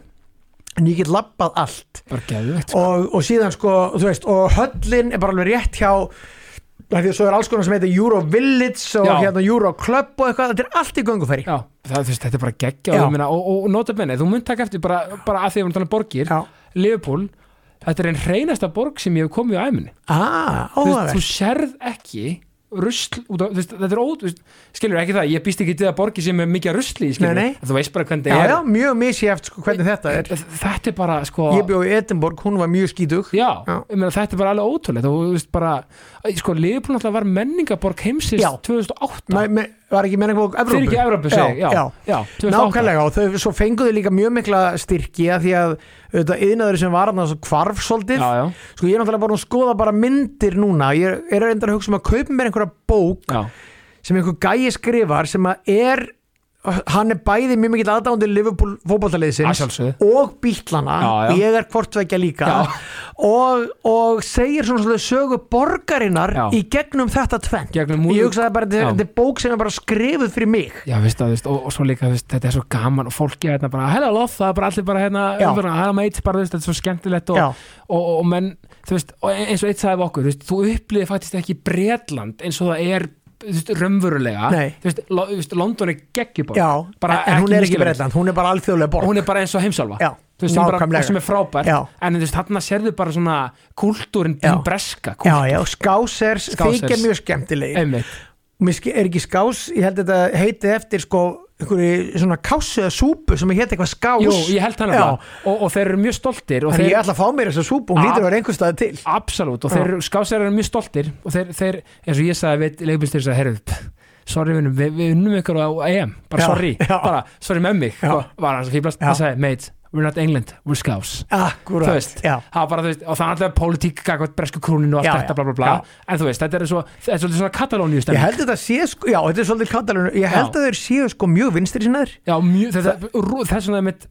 S2: en ég get labbað allt
S1: bara geðvegt,
S2: og, og síðan sko, þú veist og höllin er bara alveg rétt hjá af því að svo er alls konar sem heitir Euro Village og
S1: Já.
S2: hérna Euro Club og eitthvað þetta er allt í göngufæri
S1: já, það, þú veist, þetta er bara geggja og,
S2: Já.
S1: ég meina, og, og, og nota benni, þú munt taka eftir bara, bara að því að við erum talað um borgir,
S2: Já.
S1: liðbúl þetta er einn hreinasta borg sem ég hef komið á æminni,
S2: ah,
S1: þú, veist, þú
S2: áhugavert
S1: sérð ekki rusl út á, þú veist, þetta er ót skilur ekki það, ég býst ekki til að borgi sem er mikið af rusli, skilur,
S2: Nei, nei.
S1: þú veist bara hvernig
S2: já,
S1: er
S2: já, mjög misjæft sko, hvernig þetta er
S1: þetta er bara sko
S2: ég bjó í Edinborg, hún var mjög skítug
S1: Já,
S2: Já.
S1: ég meina þetta er bara alveg ótrúlegt og þú veist bara, sko, Liverpool náttúrulega var menningaborg heimsins
S2: Já.
S1: 2008
S2: Me, me, var ekki menning fólk Evrópu
S1: fyrir ekki Evrópu segi, já, já, 2008
S2: Nákvæmlega og þau, svo fenguðu líka mjög mikla styrki að því að auðvitað yðnaður sem var þarna svo hvarf svolítið
S1: Já, já.
S2: sko ég er náttúrulega bara að skoða bara myndir núna ég er reyndar að hugsa um að kaupa mér einhverja bók
S1: Já,
S2: sem einhver gæi skrifar sem að er hann er bæði mjög mikill aðdándi Liverpool
S1: Að
S2: fótballaliðsins
S1: sjálfsögðu.
S2: og bítlana
S1: Já, já.
S2: og ég er hvortvekja líka
S1: Já.
S2: og, og segir svona svona sögu borgarinnar
S1: Já.
S2: í gegnum þetta tvennt
S1: Gegnum múl-
S2: ég hugsaði bara
S1: Já.
S2: þetta þetta er bók sem er bara skrifuð fyrir mig
S1: já veist það, veist, og, og svo líka, veist, þetta er svo gaman og fólki hérna bara, hello love, það er bara allir bara hérna,
S2: Já.
S1: bara, hello mate, bara, veist, þetta er svo skemmtilegt og,
S2: Já.
S1: og, og, og menn, þú veist, og e, eins og eitt sagði við okkur, þú veist, þú upplýði faktist ekki Bretland eins og það er þú veist, raunverulega,
S2: Nei.
S1: þú veist, lo, þú veist, London er geggjuborg,
S2: Já,
S1: bara
S2: en hún er ekki
S1: misskiljanleg.
S2: Breitland, hún er bara alþjóðlega borg
S1: og hún er bara eins og heimsálfa
S2: Já,
S1: þú veist, sem, bara,
S2: nákvæmlega.
S1: sem er frábært
S2: Já.
S1: en þú veist, þarna sérðu bara svona kúltúrin,
S2: Já.
S1: hinn breska kúl,
S2: Já, já, skásers,
S1: Skásers.
S2: þykja mjög skemmtileg
S1: einmitt,
S2: Mér ske- er ekki skás, ég held þetta heitið eftir sko einhverju svona kásu eða súpu sem heit eitthvað skás
S1: jú, ég held hann
S2: Já.
S1: og, og þeir eru mjög stoltir og
S2: En ég
S1: þeir,
S2: ætla að fá mér þessa súpu, hún
S1: Ah.
S2: lítur að vera einhver staði til
S1: absolutt, og þeir skásærar eru mjög stoltir og þeir, þeir eins og ég sagði við leikbjörnstur þess að herðu sorry vinnum, við, við unnum ykkur á EM bara
S2: Já,
S1: sorry,
S2: já.
S1: bara sorry með mig
S2: Já.
S1: og var hans að fýblast,
S2: Já.
S1: það sagði mate, we're not England, we're scouse
S2: Akkurat
S1: þú veist,
S2: já.
S1: það var bara, þú veist, og það er alltaf pólitík, gagvart bresku krúninu og
S2: Já,
S1: allt
S2: já,
S1: þetta, bla bla bla,
S2: já.
S1: en þú veist, þetta er svo, þetta er svolítið svona katalóníu
S2: Ég
S1: stemming
S2: held þetta sé sko, já, þetta er svolítið katalunum Ég held
S1: Já.
S2: að þeir séu sko mjög vinstri sinnaður
S1: Já, mjög, þetta, rú- þess vegna mitt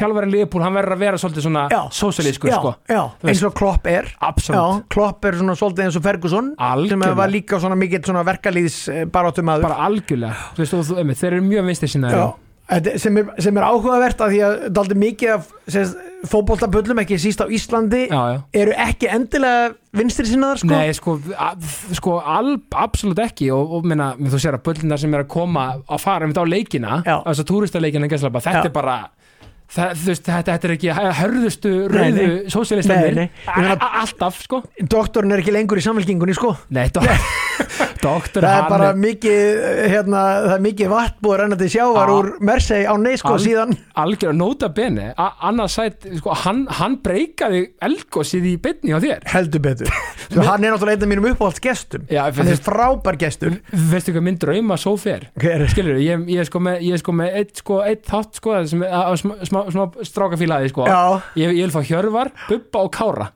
S1: þjálfari Leopold, hann verður að vera svolítið svona
S2: Já.
S1: sósialískur,
S2: já,
S1: sko
S2: já,
S1: Þú veist.
S2: eins og Klopp er
S1: Absolutt.
S2: já, Klopp er svona svolítið eins og Ferguson
S1: Algjörlega.
S2: sem var líka svona mikill svona verkalýðs barátumadur
S1: bara algjörlega, þú veist, og þú, einmitt, þeir eru mjög vinstir sinna
S2: Já, þetta- sem er, sem er áhugavert að því að daldi mikið af fótboltabullum ekki síst á Íslandi
S1: já, já.
S2: eru ekki endilega vinstri sinnaðar sko
S1: Nei, sko, a- sko al, absolutt ekki og, og minna, þú sér að böllina sem er að koma að fara einmitt á leikina
S2: Já.
S1: þess að túristaleikina gæslapa, þetta
S2: Já.
S1: er bara það, þú veist, þetta, þetta er ekki hörðustu
S2: Nei,
S1: rauðu
S2: nei. Nei,
S1: sósialistennir
S2: nei. Ég meina-
S1: alltaf, sko
S2: doktorinn er ekki lengur í samfélkingunni sko
S1: Nei, do [laughs] doktor
S2: það er
S1: hann
S2: bara mikið hérna, það er mikið vatn búið að renna til sjávar
S1: Ah.
S2: úr Mersey á nei sko
S1: Al-
S2: síðan
S1: algjör nota bene a- annars sætt, sko, hann, hann breykaði elgosið í bytni á þér
S2: heldur betur [laughs] Svo hann er náttúrulega einn af mínum uppáhalds gestum
S1: Já,
S2: hann er frábær gestur
S1: veistu hvað minn drauma svo fer
S2: Hver?
S1: skilur, ég, ég er sko með, ég er sko með eitt, sko, eitt þátt sko, sem, að, að, smá, smá, smá strákafílaði sko.
S2: Já.
S1: ég, ég vil fá Hjörvar, Bubba og Kára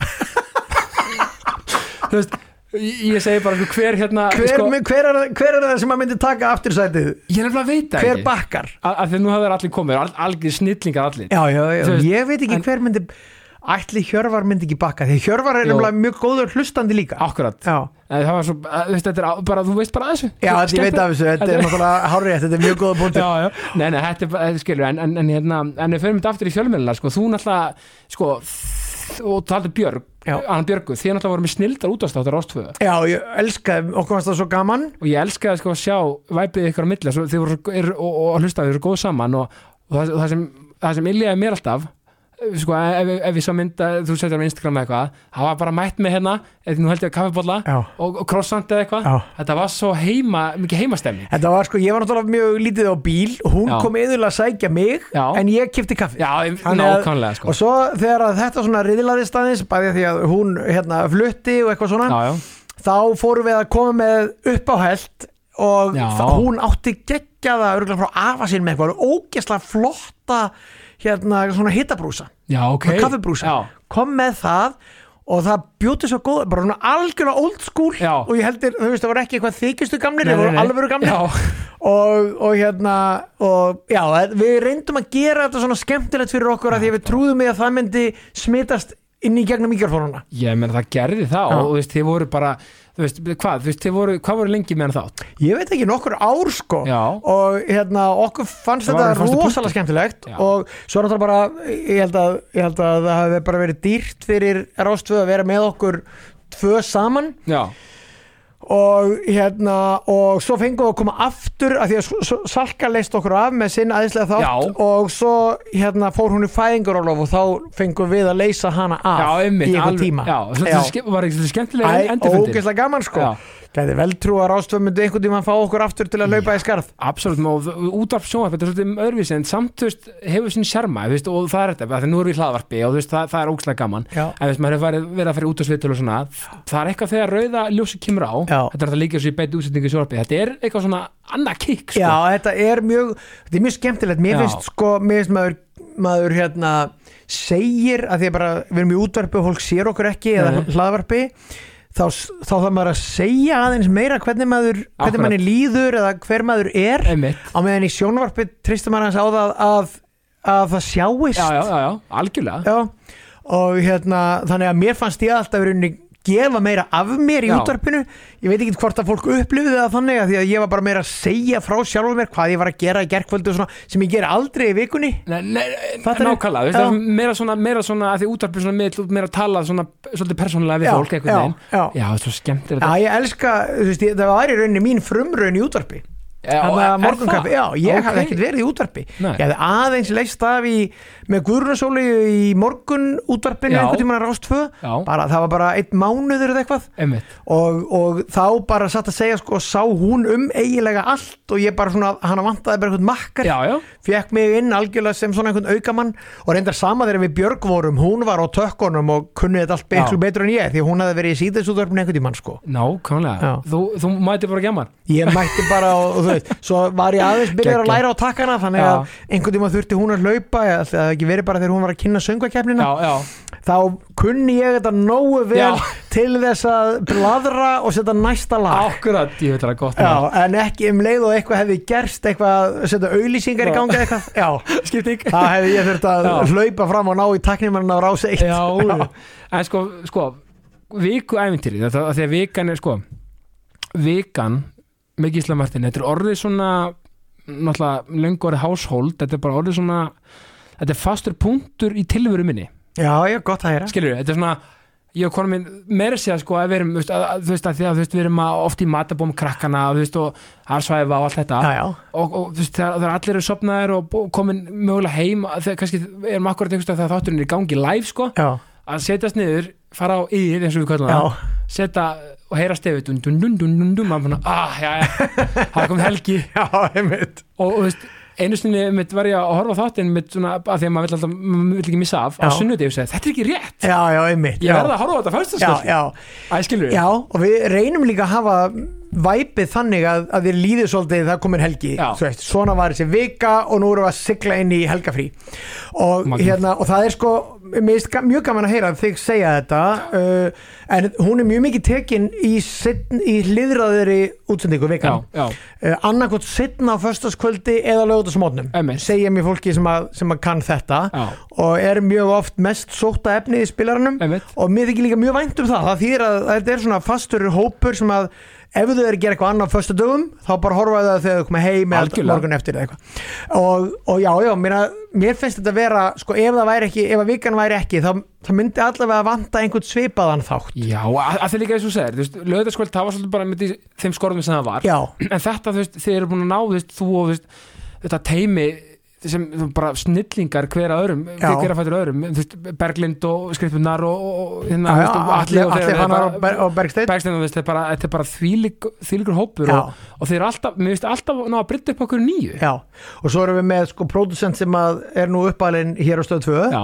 S1: þú veist ég ég segi bara sko, hver hérna
S2: hver,
S1: sko,
S2: hver, er, hver er það sem að myndi taka aftursætið
S1: ég er nefnilega að veita
S2: hver
S1: ekki
S2: bakkar
S1: að, að því nú hafði allir komið, al, algjör snillingar allir
S2: já, já, já.
S1: Þú veist,
S2: ég veit ekki
S1: en-
S2: hver myndi ætli Hjörvar myndi ekki bakka því Hjörvar er
S1: Jó.
S2: nefnilega mjög góður hlustandi líka
S1: akkurat
S2: já
S1: það var svo, að, þú veist, þetta er á- bara, þú veist bara að þessu
S2: Já, þetta ég veit af þessu, þetta er
S1: Þetta-
S2: náttúrulega hárið, þetta er mjög góða punktur.
S1: já, já. Nei, nei, þetta er bara, þetta skilur en, en, en, hérna, en við fyrir þetta aftur í fjölmjölina sko, þú náttúrulega sko, og taldi Björg,
S2: Já.
S1: hann Björgu því hann alltaf voru með snildar útastáttar ástvöðu
S2: Já, ég elskaði, okkur varst það svo gaman
S1: og ég elskaði sko að sjá væpið ykkur á milli svo, þið voru, er, og, og, og hlustaði, þið voru góð saman og, og það, það sem, það sem illiði mér alltaf eh, sko, ef, ef, ef ég svo mynda þú setjar á Instagram eða eitthvað, það var bara mætt með hérna, eða nú held ég að kaffibólla
S2: Já.
S1: og, og krossant eða eitthvað,
S2: Já.
S1: þetta var svo heima mikið heimastemning
S2: Þetta var sko, ég var náttúrulega mjög lítið á bíl Hún
S1: Já.
S2: kom yfirlega að sækja mig
S1: Já.
S2: En ég kipti kaffi
S1: Já, ég-
S2: Þannig að-
S1: nákvæmlega sko
S2: Og svo þegar að þetta svona riðlaðist aðeins Bæði því að hún hérna, flutti og eitthvað svona
S1: Já, já,
S2: Þá fórum við að koma með uppáhælt Og
S1: Já.
S2: þá- hún átti geggjaða Örgulega frá afa sín með eitthvað Ógesla flotta hérna, svona hittabrúsa
S1: já, ok
S2: hey. Kaffibrúsa
S1: Já,
S2: Kom með það Og það bjóti svo góð, bara hún algjörlega old school
S1: Já.
S2: og ég heldur, þú veist, það var ekki eitthvað þykistu gamlir,
S1: Nei,
S2: það
S1: nei,
S2: voru
S1: nei.
S2: alvöru gamlir
S1: Já, [laughs]
S2: og, og hérna og já, við reyndum að gera þetta svona skemmtilegt fyrir okkur að því að við trúðum í að það myndi smitast inn í gegnum mikrofónuna
S1: ég menn það gerði það
S2: Já.
S1: og þú veist, þið voru bara þú veist, hvað, þú veist, þið voru, hvað voru lengi meðan þátt?
S2: ég veit ekki nokkur ár sko
S1: Já.
S2: og hérna okkur fannst
S1: Það
S2: þetta
S1: var- fannst þetta
S2: rosalega
S1: punktur.
S2: skemmtilegt
S1: Já.
S2: og svo er náttúrulega bara ég held, að, ég held að það hafi bara verið dýrt fyrir Rástvöð að vera með okkur tvö saman
S1: Já,
S2: og hérna og svo fengum við að koma aftur af því að S- S- Salka leist okkur af með sinn æðislega þátt
S1: Já.
S2: og svo hérna fór hún í fæðingarólof og þá fengum við að leysa hana af
S1: já,
S2: í
S1: einmitt,
S2: eitthvað tíma
S1: Já,
S2: Já.
S1: þetta var ekki svolítið skemmtilega
S2: Æ,
S1: en- endurfundir
S2: ógeðslega gaman sko
S1: Já.
S2: gæði vel trú að rástöð myndi einhvern tíma að fá okkur aftur til að laupa í skarð
S1: Absolutt, og útarp sjónvarp þetta er svolítið öðruvísi, en samt þú veist, hefur sín sjarma, þú veist, og það er þetta, af því nú erum við í hlaðvarpi og þú veist, það, það er ógslag gaman
S2: Já.
S1: en þú veist, maður hefur farið- verið að fara út á sviðtölu og svona það er eitthvað þegar rauða ljósi kemur á
S2: Já.
S1: þetta er alltaf líka svo í beitt útsendingu í sjónvarpi þetta er eitthvað svona annað kikk sko.
S2: Já, þetta er mjög, þetta er mjög skemmtilegt
S1: Já.
S2: Mér finnst sko, mér finnst maður, maður hérna, segir að því að bara við erum í útvarpi og fólk sér okkur ekki eða
S1: Nei.
S2: hlaðvarpi þá, s- þá þarf maður að segja aðeins meira hvernig maður,
S1: Akkurat.
S2: hvernig manni líður eða hver maður er
S1: einmitt
S2: á meðan í sjónvarpi tristum maður aðeins á það að, að það sjáist
S1: Já, já, já, já, algjörlega
S2: Já. og hérna, þannig að mér fannst ég alltaf verið gefa meira af mér í
S1: Já.
S2: útvarpinu ég veit ekki hvort að fólk upplifði það þannig að því að ég var bara meira að segja frá sjálfur mér hvað ég var að gera í gerkvöldu og svona sem ég gera aldrei í vikunni
S1: Nei, nei,
S2: Fattar þú?
S1: nákvæmlega, þú veist,
S2: Já.
S1: það er meira svona, meira svona að því útarpið svona miðl, þú ert meira að tala svona, svolítið persónulega við
S2: Já,
S1: fólk einhvern
S2: já,
S1: veginn
S2: já.
S1: já, það er svo skemmt er
S2: Já,
S1: þetta
S2: ég elska, þú veist, ég, það var í rauninni mín frumraun í útvarpi
S1: Já,
S2: Þannig
S1: er
S2: að morgunkaffi, já,
S1: það?
S2: ég
S1: Ok.
S2: hafði ekkert verið í útvarpi
S1: Nei.
S2: Ég hafði aðeins leist af í, með Guðrunasóli í morgun útvarpinu
S1: Já.
S2: einhvern tímann að rást tvö
S1: Já.
S2: bara, það var bara einn mánuður eða eitthvað
S1: Einmitt,
S2: og, og þá bara satt að segja sko, sá hún um eiginlega allt og ég bara svona, hann vantaði bara einhvern makkar
S1: já, já,
S2: fekk mig inn algjörlega sem svona einhvern aukamann og reyndar sama þegar við Björg vorum hún var á tökkunum og kunni þetta allt
S1: Já.
S2: miklu betur en ég því að hún hafði verið í síðansútvarpinu einhvern tímann sko
S1: nákvæmlega
S2: Já.
S1: þú, þú mæti bara gemman
S2: ég mætti bara og, og þú veist svo var ég aðeins byrjar
S1: Geggjað.
S2: að læra á takkana
S1: Já.
S2: þannig að einhvern tímann þurfti hún að laupa eða það hafði ekki verið bara þegar hún var að kynna söngvakefnina
S1: Já, já,
S2: þá kunni ég þetta nógu vel
S1: Já.
S2: til þess að bladra og setja næsta lag
S1: akkurat, ég veit það er gott
S2: Já, en ekki um leið og eitthvað hefði gerst eitthvað, setja auðlýsingar í
S1: Já.
S2: gangi eða eitthvað, já
S1: skipting
S2: þá hefði ég þurft að
S1: Já.
S2: hlaupa fram og ná í taknimann á rása eitt
S1: já, en sko, sko viku æfintýri, þetta að því að vikan er sko, vikan með Gísla Martin, þetta er orðið svona náttúrulega löngu orðið household þetta er bara orðið svona þetta er fastur punktur í tilveru minni
S2: já, já, gott að heyra
S1: skilur þetta er svona ég og konum minn, meira séð sko að við erum, þú veist, að, að, þú veist, að því að þú veist, við erum að oft í matabóm krakkana, þú veist, og arsvæfa og allt þetta
S2: Já, já,
S1: og, og þú veist, þegar, þegar allir eru sopnaðir og bú- komin mögulega heim að þegar kannski erum akkurat einhvers veginn þegar þátturinn er í gangi live sko,
S2: já,
S1: að setjast niður fara á yðið eins og við kallum
S2: já,
S1: það setja og heyra stefið dun dun dun dun dun dun maður fann að, ah, já, já, það kom helgi
S2: já, einmitt
S1: og, og þú veist, einu sinni mitt var ég að horfa á þáttinn mitt svona, að því að maður vill alltaf, maður vill ekki missa af á
S2: Já.
S1: sunnudegi og segja, þetta er ekki rétt
S2: Já, já, einmitt
S1: ég
S2: já.
S1: verð að horfa á þetta
S2: já,
S1: fyrstaskvöld
S2: já,
S1: Æ, skilur við?
S2: já, og við reynum líka að hafa væpið þannig að, að þér líðið svolítið það komin helgi
S1: Já.
S2: Þú veist, svona var þessi vika og nú erum við að sigla inn í helgafrí og,
S1: Magnað.
S2: hérna, og það er sko mér finnst ga- mjög gaman að heyra þig segja þetta uh, en hún er mjög mikið tekin í, setn, í hliðraðri útsendingu
S1: Já,
S2: vikan
S1: já,
S2: uh, annarkot setna á föstaskvöldi eða lögutasmótnum
S1: Einmitt.
S2: segja mér fólki sem að, sem að kann þetta
S1: já,
S2: og er mjög oft mest sóta efnið í spilaranum
S1: einmitt
S2: og mér þykir líka mjög vænt um það það þýðir að þetta er svona fastur hópur sem að ef þau eru að gera eitthvað annað á föstu dögum þá bara horfaðu það þegar þau koma heim eða
S1: Algjörlega.
S2: morgun eftir eða eitthvað og, og já, já, mér, mér finnst þetta vera sko, ef það væri ekki, ef að vikan væri ekki þá, þá myndi allavega vanta einhvern svipaðan þátt
S1: Já, að að þið líka eins og þú segir, þú veist, lögðarskvöld það var svolítið bara með því- þeim skorðum sem það var
S2: já,
S1: en þetta, þú veist, þið eru búin að ná, þú veist, þú og þú veist, þetta teimi sem þú, bara snillingar hver að öðrum
S2: Já.
S1: hver að fættur öðrum, þú veist, Berglind og skrifpunar og, og- og hérna,
S2: já,
S1: og
S2: allir,
S1: og
S2: allir
S1: þeir-
S2: hannar
S1: bara-
S2: og, Ber- og Bergsteinn
S1: Bergsteinn, þú veist, þetta er bara, þetta er bara þvílík, þvílíkur hópur
S2: Já.
S1: og, og þeir eru alltaf, mér veist, alltaf ná að brytta upp okkur nýju
S2: já, og svo erum við með sko producent sem að er nú uppalinn hér á stöð 2
S1: Já,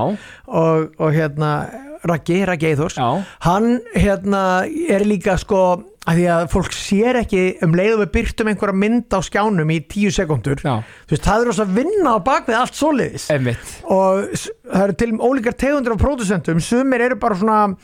S2: og, og hérna Raggi, Raggi Eithors
S1: já,
S2: hann hérna er líka sko að því að fólk sér ekki um leiðum við byrtum einhverja mynd á skjánum í tíu sekundur
S1: já, Eh.
S2: þú veist, það er rosa vinna á bakvið allt svoleiðis
S1: emmitt
S2: og s- það eru til ólíkar tegundir af pródusentum sumir eru bara svona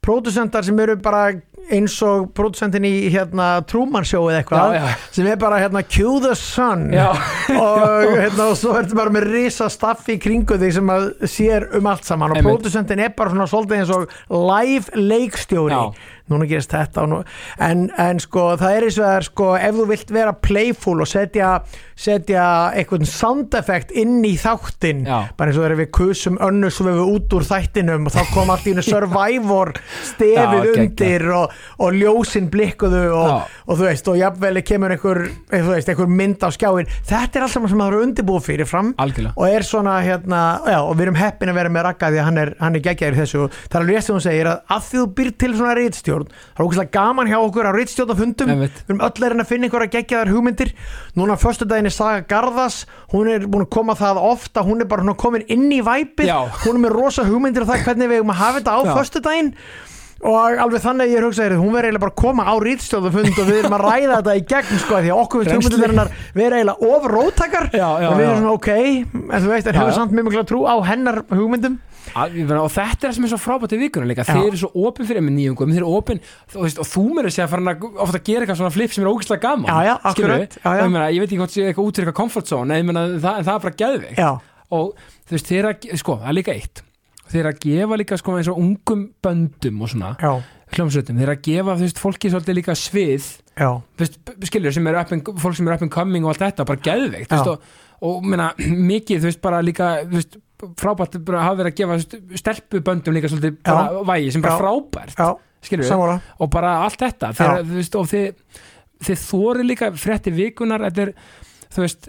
S2: pródusentar sem eru bara eins og pródusentin í hérna Truman Show eða eitthvað
S1: Já, já.
S2: sem er bara hérna Cue the Sun
S1: Já,
S2: og, hérna, og svo ertu bara með risa staffi í kringu þig sem að sér um allt saman og
S1: Einmitt.
S2: pródusentin er bara svona svolítið eins og live leikstjóri
S1: Já.
S2: núna gerist þetta og nú, en, en sko það er eins og það er sko ef þú vilt vera playful og setja, setja einhvern sound effect inn í þáttinn
S1: Já.
S2: bara eins og þegar við kusum önnu svo við út úr þættinum og þá kom allt
S1: [laughs]
S2: í einu survivor stefið
S1: Já, geggjað.
S2: undir og, og ljósin blikkuðu og,
S1: Já.
S2: og þú veist og jafnvel kemur einhver, eh, þú veist, einhver mynd á skjáin þetta er allt saman sem það eru undirbúið fyrir fram
S1: Algjörlega,
S2: og er svona hérna já, og við erum heppin að vera með Ragga því að hann er, hann er geggjaður í þessu og það er alveg rétt sem hún segir að að því þú býr til svona rítstjórn það er ógæslega gaman hjá okkur á rítstjórnafundum
S1: Einmitt.
S2: við erum öll að reyna að finna einhverja geggjaðar hugmyndir núna förstu daginn er Saga Garðas hún er búin að koma það oft að hún er bara svona komin inn í væpið
S1: Já.
S2: hún er með rosa hugmyndir og það hvernig við eigum að hafa þetta á
S1: Já.
S2: förstu daginn og alveg þannig að ég hugsa þér hún verður eiginlega bara að koma á rítstjóðafund og við erum að ræða þetta í gegn sko því að okkur við
S1: Rennsli.
S2: tjóðmyndunarinnar við erum eiginlega ofrótakar
S1: Já, já,
S2: og við
S1: já.
S2: erum svona ok en þú veist, en
S1: Já,
S2: hefur
S1: já.
S2: samt mjög mikla trú á hennar hugmyndum
S1: Al- ég meina, og þetta er það sem er svo frábært í vikunum líka
S2: Já.
S1: þeir eru svo opin fyrir með nýjungum, þeir eru opin þú veist, og þú meira segja farin að ofta gera eitthvað svona flip sem er ógeðslega gaman
S2: Já, já,
S1: skilurðu?
S2: akkurat, já, já.
S1: Og ég, meina, ég veit ekki hvort sé eitthvað út fyrir eitthvað comfort zone en, ég meina, það, en það er bara geðveik
S2: já,
S1: og þú veist, þeir eru að, ge- sko, það er líka eitt þeir eru að gefa líka sko eins og ungum böndum og svona,
S2: já,
S1: hljómsveitum þeir eru að gefa, þú veist, fólki svolítið líka svið
S2: já,
S1: þú veist, skilur, sem eru up and, fólk sem eru up and coming og allt þetta, bara geðveikt þú veist,
S2: Já.
S1: og, og meina, [clears throat] mikið, þú veist, bara líka þú veist, frábært bara hafa verið að gefa þú veist, stelpuböndum líka svolítið bara vægi sem bara
S2: Já.
S1: frábært,
S2: já,
S1: skilur
S2: samvála
S1: og bara allt þetta þegar, þú veist, og þið, þið þóri líka frétti vikunar, þetta er þú veist,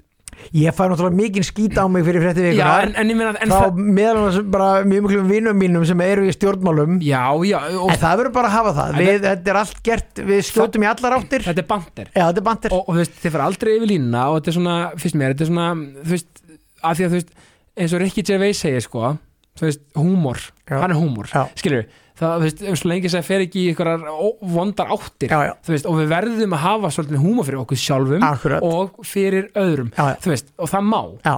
S2: ég fæ náttúrulega mikinn skýta á mig fyrir frétti
S1: já,
S2: vikunar
S1: en, en ég meina en
S2: frá
S1: það,
S2: meðal annars bara mjög miklum vinnum mínum sem eru í stjórnmálum
S1: já, já, og
S2: en það verður bara að hafa það
S1: En
S2: við, þetta er allt gert, við skjótum í allar áttir já,
S1: þetta er bandir
S2: þetta er bandir
S1: og, og þú veist, þið fara aldrei yfir línuna og þetta er svona, finnst mér, þetta er svona þú veist, að því að þú veist, eins og Ricky Gervais segir sko, þú veist, húmor
S2: Já.
S1: hann er húmor,
S2: Já.
S1: skilur við það, þú veist, um svo lengi sem það fer ekki í einhverjar ó- vondar áttir,
S2: Já, já.
S1: þú veist, og við verðum að hafa svolítið húmor fyrir okkur sjálfum
S2: Akkurat.
S1: og fyrir öðrum,
S2: Já, já.
S1: þú veist, og það má
S2: já,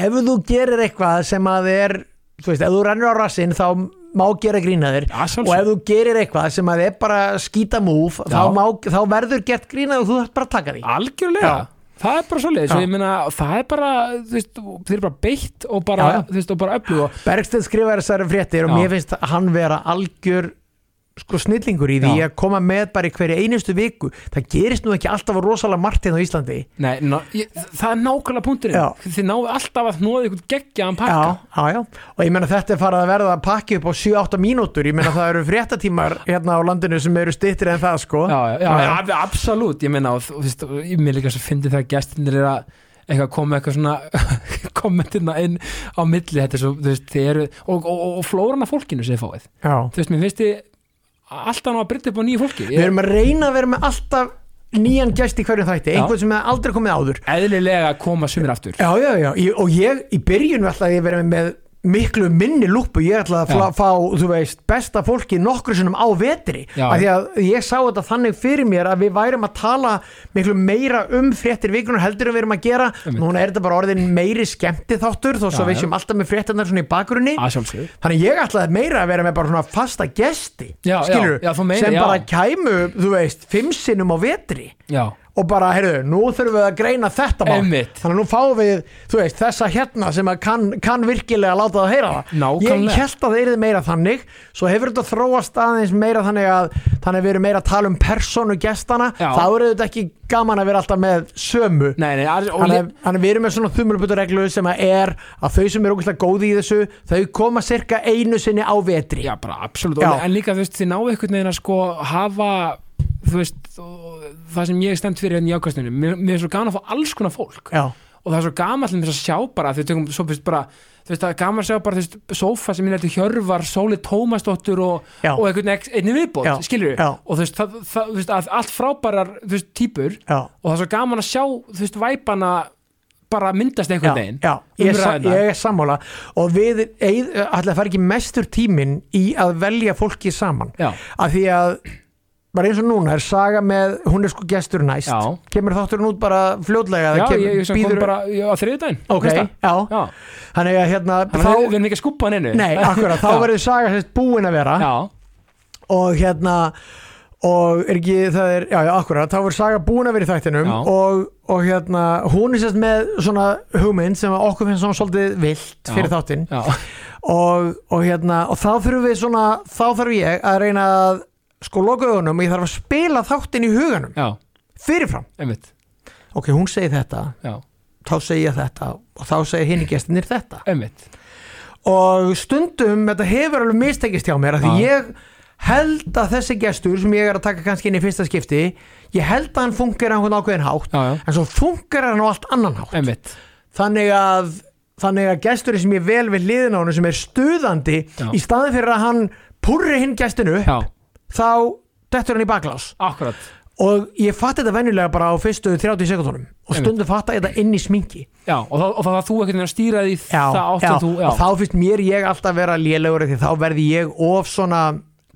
S2: ef þú gerir eitthvað sem að er þú veist, ef þú rennur á rassinn þá má gera grína þér
S1: Já,
S2: og ef þú gerir eitthvað sem að er bara skýta múf þá,
S1: Já.
S2: má, þá verður gert grínað og þú þarf bara að taka því
S1: algjörlega
S2: Já.
S1: Það er bara svolítið, svo
S2: Já.
S1: ég meina, það er bara, þú veist, þeir eru bara beitt og bara,
S2: Já, já.
S1: þú veist, og bara öflug og
S2: Bergstedt skrifaði þessari fréttir og
S1: Já.
S2: mér finnst að hann vera algjör sko snillingur í því
S1: Já.
S2: að koma með bara í hverju einustu viku það gerist nú ekki alltaf rosalega margt hérna á Íslandi
S1: Nei, ná, ég, það er nákvæmlega punkturinn
S2: Já.
S1: Þið náðu alltaf að hnoða ykkur geggjaðan pakka
S2: já, já, já. og ég meina þetta er farið að verða að pakki upp á 7-8 mínútur ég meina það eru fréttatímar hérna á landinu sem eru styttir en það sko
S1: Já, já, já,
S2: Já.
S1: já, já. absolút Ég meina, og, þú- þú veist, og ég mér líka svo fyndi þegar gestinir er að eitthvað koma eitthvað svona [laughs] kommentina inn á milli þetta er svo, þú veist, þið eru og, og, og flóran af fólkinu sem þið fáið
S2: Já.
S1: Þú veist, mér finnst þið alltaf ná að brytta upp á nýju fólki
S2: við
S1: ég,
S2: erum að reyna að vera með alltaf nýjan gæst í hverju þætti,
S1: Já.
S2: einhvern sem hefði aldrei komið áður
S1: Eðlilega koma sumir aftur
S2: Já, já, já, ég, og ég í byrjun ætlaði ég að vera með miklu minni lúpu, ég ætlaði að
S1: Já.
S2: fla, fá þú veist, besta fólki nokkru sinnum á vetri
S1: Já.
S2: af því að ég sá þetta þannig fyrir mér að við værum að tala miklu meira um fréttir vikunar heldur en við erum að gera
S1: Einmitt.
S2: núna er þetta bara orðin meiri skemmti þáttur þó svo
S1: Já,
S2: við
S1: já.
S2: séum alltaf með fréttirnar svona í bakgrunni
S1: að sjálfsögur
S2: þannig ég ætlaði meira að vera með bara svona fasta gesti
S1: Já, já,
S2: skilurðu,
S1: já, þú meinar,
S2: sem
S1: já.
S2: bara kæmu, þú veist, fimm sinnum á vetri
S1: Já,
S2: og bara, heyrðu, nú þurfum við að greina þetta mál
S1: Einmitt.
S2: þannig að nú fáum við, þú veist, þessa hérna sem að kann, kann virkilega láta það heyra það
S1: Nákvæmlega.
S2: ég held að það yrði meira þannig svo hefur þetta þróast aðeins meira þannig að þannig að við erum meira að tala um persónu gestana,
S1: Já.
S2: þá eru þetta ekki gaman að vera alltaf með sömu
S1: Nei, nei, að, og
S2: Þannig
S1: ég,
S2: að- þannig að við erum með svona þumulbuturreglu sem að er að þau sem eru ógæslega góði í þessu þau koma cirka einu sinni á vetri
S1: já, bara absolutt
S2: Já.
S1: en líka, þú veist, þið náðu einhvern veginn að sko hafa, þú veist og- það sem ég er stemt fyrir enn í ákvæmstinu mér, mér er svo gaman að fá alls konar fólk
S2: Já.
S1: og það er svo gaman til þess að sjá bara þau tökum, svo, þú veist, bara, þú veist, það er gaman að sjá bara, þú veist, sófa sem er til Hjörvar, Sóli Tómasdóttur og,
S2: Já.
S1: og einhvern ex- einni viðbót,
S2: Já.
S1: skilur við
S2: Já.
S1: og þú veist, það, það, þú veist, að allt frábærar þú veist, típur
S2: Já.
S1: og það er svo gaman að sjá þú veist, væpana bara myndast einhvern veginn
S2: já, já, ég, er sa-
S1: Umræðurnar.
S2: ég er sammála og við ætla að fara ekki mestur tíminn í að velja fólki saman
S1: Já.
S2: að því að bara eins og núna er saga með hún er sko gestur næst
S1: Já.
S2: kemur þátturinn út bara fljótlega
S1: Já,
S2: eða kemur,
S1: ég, ég sem kom
S2: býður-
S1: bara já, á þriðudaginn
S2: ok,
S1: næsta.
S2: já.
S1: Já.
S2: þannig að hérna
S1: Þannig að við, við erum ekki að skúpa hann einu
S2: nei, akkurat, þá
S1: [laughs] Já.
S2: verður saga sérst búin að vera
S1: Já,
S2: og hérna og er ekki, það er, já, já, akkurat þá voru Saga búin að vera í þættinum
S1: Já.
S2: og, og hérna, hún er sérst með svona hugmynd sem að okkur finnst svona svolítið vilt fyrir
S1: Já.
S2: þáttinn
S1: já,
S2: og, og hérna, og þá þurfum við svona þá þarf ég að reyna að sko loka augunum og ég þarf að spila þáttinn í huganum
S1: já,
S2: fyrirfram,
S1: einmitt
S2: ok, hún segir þetta
S1: Já,
S2: þá segir ég þetta og þá segir hinn í gestinir þetta
S1: einmitt
S2: og stundum þetta hefur alveg mistekist hjá mér af því
S1: Já.
S2: ég held að þessi gestur sem ég er að taka kannski inn í fyrsta skipti ég held að hann funkar á einhvern ákveðin hátt
S1: Já, já,
S2: en svo funkar hann á allt annan hátt
S1: einmitt
S2: þannig að, þannig að gesturinn sem ég vel við liðin á hann sem er stuðandi
S1: Já.
S2: í staðin fyrir að hann purri hinn gestinu
S1: Já,
S2: þá dettur hann í baklás
S1: akkurat
S2: og ég fatt þetta venjulega bara á fyrstu 30 sekundunum og
S1: Einmitt.
S2: stundum fatta ég þetta inn í sminki
S1: Já, og þá, og þá það þú ekkert að stýra því
S2: já,
S1: það átt
S2: já,
S1: að þú já.
S2: og þá finnst mér ég alltaf vera lélegur af því þá verði ég of svona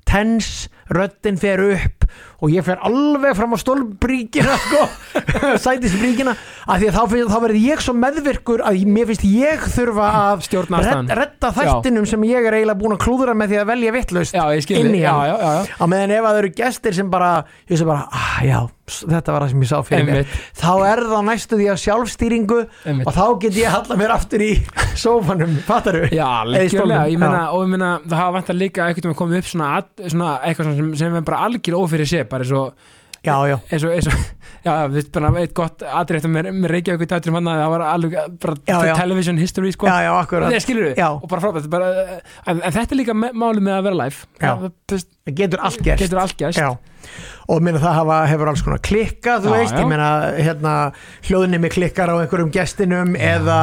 S2: tens, röddin fer upp og ég fer alveg fram á stólbríkina [laughs] sko, sætisbríkina af því að þá, finnst, þá verði ég svo meðvirkur að ég- mér finnst ég þurfa að
S1: Stjórna aðstæðan.
S2: redd- redda þættinum sem ég er eiginlega búin að klúðra með því að velja vittlaust
S1: já, ég skil
S2: inn
S1: þig.
S2: í
S1: Já,
S2: hann
S1: já, já, já
S2: á meðan ef að það eru gestir sem bara ég sé bara, ah, já, s- þetta var það sem ég sá fyrir
S1: Einmitt.
S2: mér þá er það næstu því að sjálfstýringu
S1: Einmitt.
S2: og þá get ég að halla mér aftur í [laughs] sófanum, fattar
S1: Já,
S2: Eða í stólnum,
S1: algjörlega, ég
S2: já.
S1: meina, og ég meina það hafa vantar líka eitthvað með að koma upp svona, at- svona eitthvað svona sem, sem er bara algjör ófyrir sé bara eins og
S2: já, já,
S1: eins og, eins og [laughs] já, við bara eitt gott atriðt með, með Reykjavík í dættur manna, það var alveg bara
S2: Já, já.
S1: television history, sko
S2: já, já, akkurat
S1: Nei, skilur við,
S2: Já.
S1: og bara frábært bara, eh, en, en þetta er líka me- málið með að vera live
S2: Já.
S1: það, það,
S2: það getur allt
S1: það
S2: gerst
S1: getur allt gæst
S2: Já, og minna það hafa, hefur alls konar klikka, þú
S1: Já,
S2: veist,
S1: já.
S2: ég meina hérna, hljóðnimi klikkar á einhverjum gestinum eða,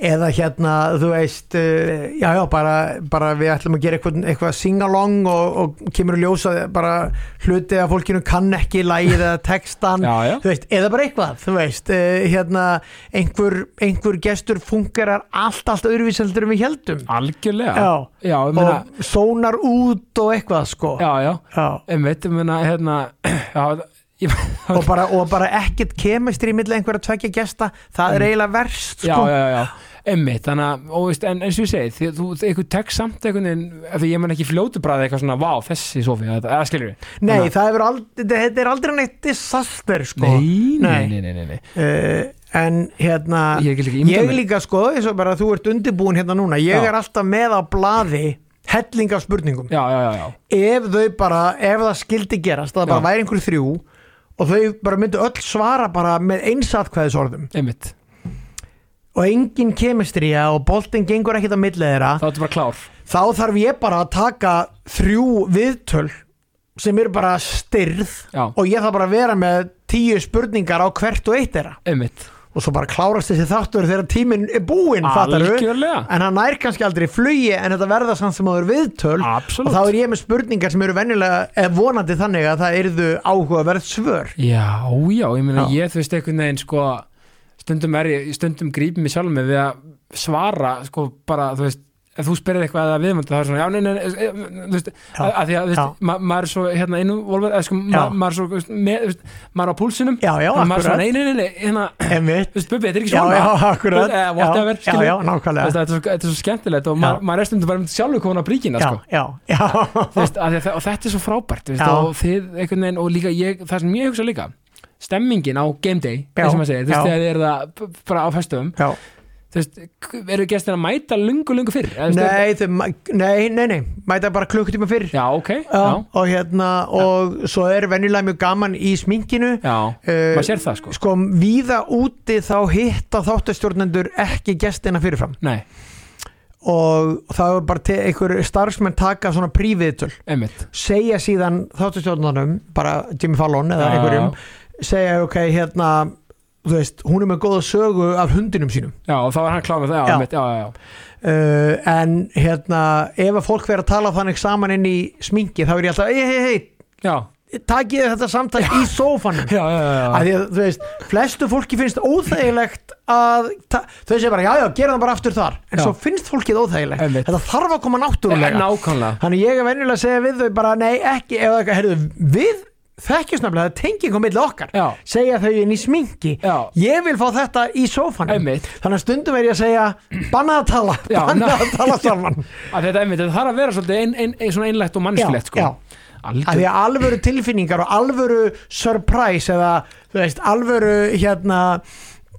S2: eða hérna, þú veist, uh, já, já, bara, bara við ætlum að gera eitthvað, eitthvað sing-along og, og kemur að ljósa bara hluti að fólkinu kann ekki lægið eða textan,
S1: Já, já.
S2: þú veist, eða bara eitthvað, þú veist, uh, hérna, einhver, einhver gestur fungerar allt, allt öðruvís heldur en við heldum.
S1: algjörlega
S2: Já.
S1: já ég meina,
S2: og sónar út og eitthvað sko
S1: já, já,
S2: Já.
S1: einmitt, ég meina, hérna [clears throat] já, ég,
S2: og bara, og bara ekkert kemistri í milli einhverja tvekja gesta, það er eiginlega
S1: Mm.
S2: verst
S1: já,
S2: sko.
S1: já, já, einmitt þannig að, og veist, en eins og ég segi því, þú, eitthvað tek samt einhvern veginn ef ég menn ekki fljótu bræði eitthvað svona, vá, þessi sofi, eða eða skilur við
S2: Nei,
S1: Þannig að-
S2: það hefur aldrei, þetta er aldrei neitt disaster sko
S1: nei, nei,
S2: Nei.
S1: nei, nei, nei, nei.
S2: uh, en hérna
S1: Ég get líka ímyndað
S2: ég
S1: mér.
S2: líka sko, eins og bara þú ert undirbúin hérna núna, ég
S1: Já.
S2: er alltaf með á blaði helling af spurningum
S1: já, já, já, já,
S2: ef þau bara, ef það skildi gerast að það bara
S1: Já.
S2: væri einhver þrjú og þau bara myndu öll svara bara með einsatkvæðisorðum
S1: einmitt
S2: og engin kemistri og boltinn gengur ekkert á milli þeirra
S1: þá ertu bara klár,
S2: þá þarf ég bara að taka þrjú viðtöl sem eru bara styrð
S1: já,
S2: og ég þarf bara að vera með tíu spurningar á hvert og eitt þeirra
S1: einmitt
S2: og svo bara klárast þessi þáttur þegar tíminn er búinn fattarðu?
S1: algjörlega,
S2: en hann nær kannski aldrei í flugi en þetta verða samt sem áður viðtöl og
S1: absolutt
S2: þá er ég með spurningar sem eru venjulega eða vonandi þannig að það erðu áhugaverð svör
S1: Já, já, ég meina
S2: Já.
S1: ég þú veist einhvern veginn sko stundum er ég, stundum grípum mig sjálf með við að svara sko bara þú veist ef þú spyrir eitthvað að viðmöndu það er svona já, nei, nei, nei, e, þú veist
S2: Já.
S1: að að því að, þú veist,
S2: Já.
S1: ma maður er svo hérna innum, volver, eða, sko, ma
S2: Já.
S1: maður er svo, þú veist, með, þú veist, maður er á púlsinum
S2: já, já,
S1: en maður er svona,
S2: akkurat
S1: nei, nei, nei, nei, hérna
S2: Einmitt.
S1: þú veist, bubbi, þetta er ekki
S2: já,
S1: svona Eh,
S2: já,
S1: Þú
S2: akkurat
S1: veist, eða whatever,
S2: já,
S1: skilur.
S2: já,
S1: Þú veist,
S2: nákvæmlega
S1: þetta, er svo, þetta er svo skemmtilegt og
S2: Já.
S1: maður, maður er stundum bara sjálfur komin á bríkina
S2: já,
S1: sko.
S2: já, já [laughs]
S1: Þú veist, af því að, þe- og þetta er svo frábært þú veist,
S2: Já.
S1: og, þið, einhvern veginn, og líka ég, það sem ég hugsa líka stemmingin á game day
S2: Já,
S1: eins og maður segir, þú veist,
S2: já.
S1: þegar þið eru það b- bara á festum,
S2: já.
S1: þú veist k- eru gestir að mæta lungu, lungu fyrr eða, þú veist,
S2: Nei, þau, mæ- nei, nei, nei, mæta bara klukkutíma fyrr
S1: já, ok, já,
S2: Já, og hérna og svo er venjulega mjög gaman í sminkinu
S1: já,
S2: Eh,
S1: maður sér það sko
S2: sko, víða úti þá hitta þáttastjórnendur ekki gestina fyrirfram
S1: nei,
S2: og það er bara te- einhver starfsmenn taka svona príviðtöl
S1: einmitt
S2: segja síðan þáttastjórnunum bara Jimmy Fallon eða
S1: Já.
S2: einhverjum segja ok, hérna þú veist, hún er með góða sögu af hundinum sínum
S1: já, og þá er hann klár með það, já,
S2: Já.
S1: einmitt, já, já, já.
S2: uh, en hérna ef að fólk verið að tala þannig saman inn í sminki þá er ég alltaf, hei, hei,
S1: Já,
S2: hei takið þetta samtæk í sófanum
S1: já, já, [laughs] já, já.
S2: að því að þú veist, flestu fólki finnst óþægilegt að ta- þau segir bara, já já, gera það bara aftur þar en
S1: Já.
S2: svo finnst fólkið óþægilegt,
S1: Einmitt.
S2: þetta þarf að koma
S1: Eh,
S2: náttúrulega
S1: nákvæmlega
S2: þannig ég er venjulega að segja við þau bara nei, ekki, ef það, heyrðu, við þekkjum snabla, það tengi kom milli okkar
S1: Já.
S2: segja þau inn í sminki
S1: Já.
S2: ég vil fá þetta í sófanum
S1: Einmitt.
S2: þannig að stundum er ég að segja bannað að tala,
S1: Já,
S2: bannað
S1: ná-
S2: að tala
S1: [laughs]
S2: saman
S1: að þetta einmitt, þetta þarf að vera svolítið ein, ein, ein, svona einlægt og mannskilegt sko.
S2: Já,
S1: Algjör,
S2: að því að alvöru tilfinningar og alvöru surprise eða þú veist, alvöru hérna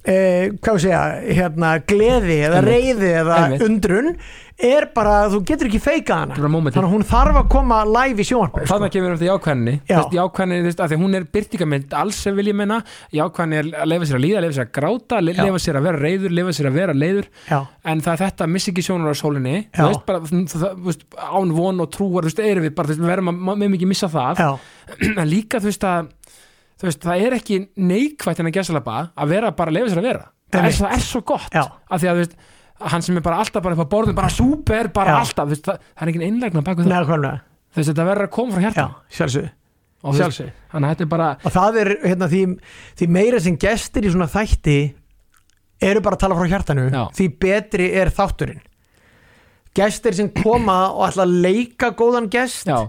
S2: eh, hvað við segja, hérna gleði eða
S1: Einmitt.
S2: reyði eða
S1: Einmitt.
S2: undrun er bara, þú getur ekki feikað hana
S1: Bara momentið.
S2: þannig að hún þarf að koma live í sko. sjónvarp
S1: þannig að kemur um þetta jákvæðinni
S2: Já.
S1: jákvæðinni, þú veist, af því að hún er byrtingamynd alls sem vil ég menna, jákvæðinni er að leifa sér að líða leifa sér að gráta, le-
S2: Já.
S1: leifa sér að vera reyður leifa sér að vera leiður,
S2: Já.
S1: en það er þetta missi ekki sjónur á sólinni
S2: Já.
S1: þú veist, bara, þú- það, þú veist, án von og trúar þú veist, erum við bara, þú veist, við verðum að má- megum ekki missa það
S2: Já,
S1: [clears throat] en líka, þú veist, að þú veist, það er ekki neikvætt en að gesalaba að vera bara að leifa sér að vera það er,
S2: Einmitt.
S1: það er svo gott
S2: Já.
S1: að því að, þú veist, hann sem er bara alltaf bara upp á borðum, bara súper, bara
S2: Já.
S1: alltaf þú veist, það, það er engin einlegna baku það
S2: neðkvæmlega
S1: þú veist, þetta verður að koma frá
S2: Já,
S1: hjarta og
S2: sjálfsög
S1: þú veist,
S2: Sjálfsögðu.
S1: þannig að þetta er bara
S2: og það er hérna því, því meira sem gestir í svona þætti eru bara að tala frá hjartanu
S1: Já.
S2: því betri er þátturinn gestir sem koma og ætla að leika góðan gest
S1: já,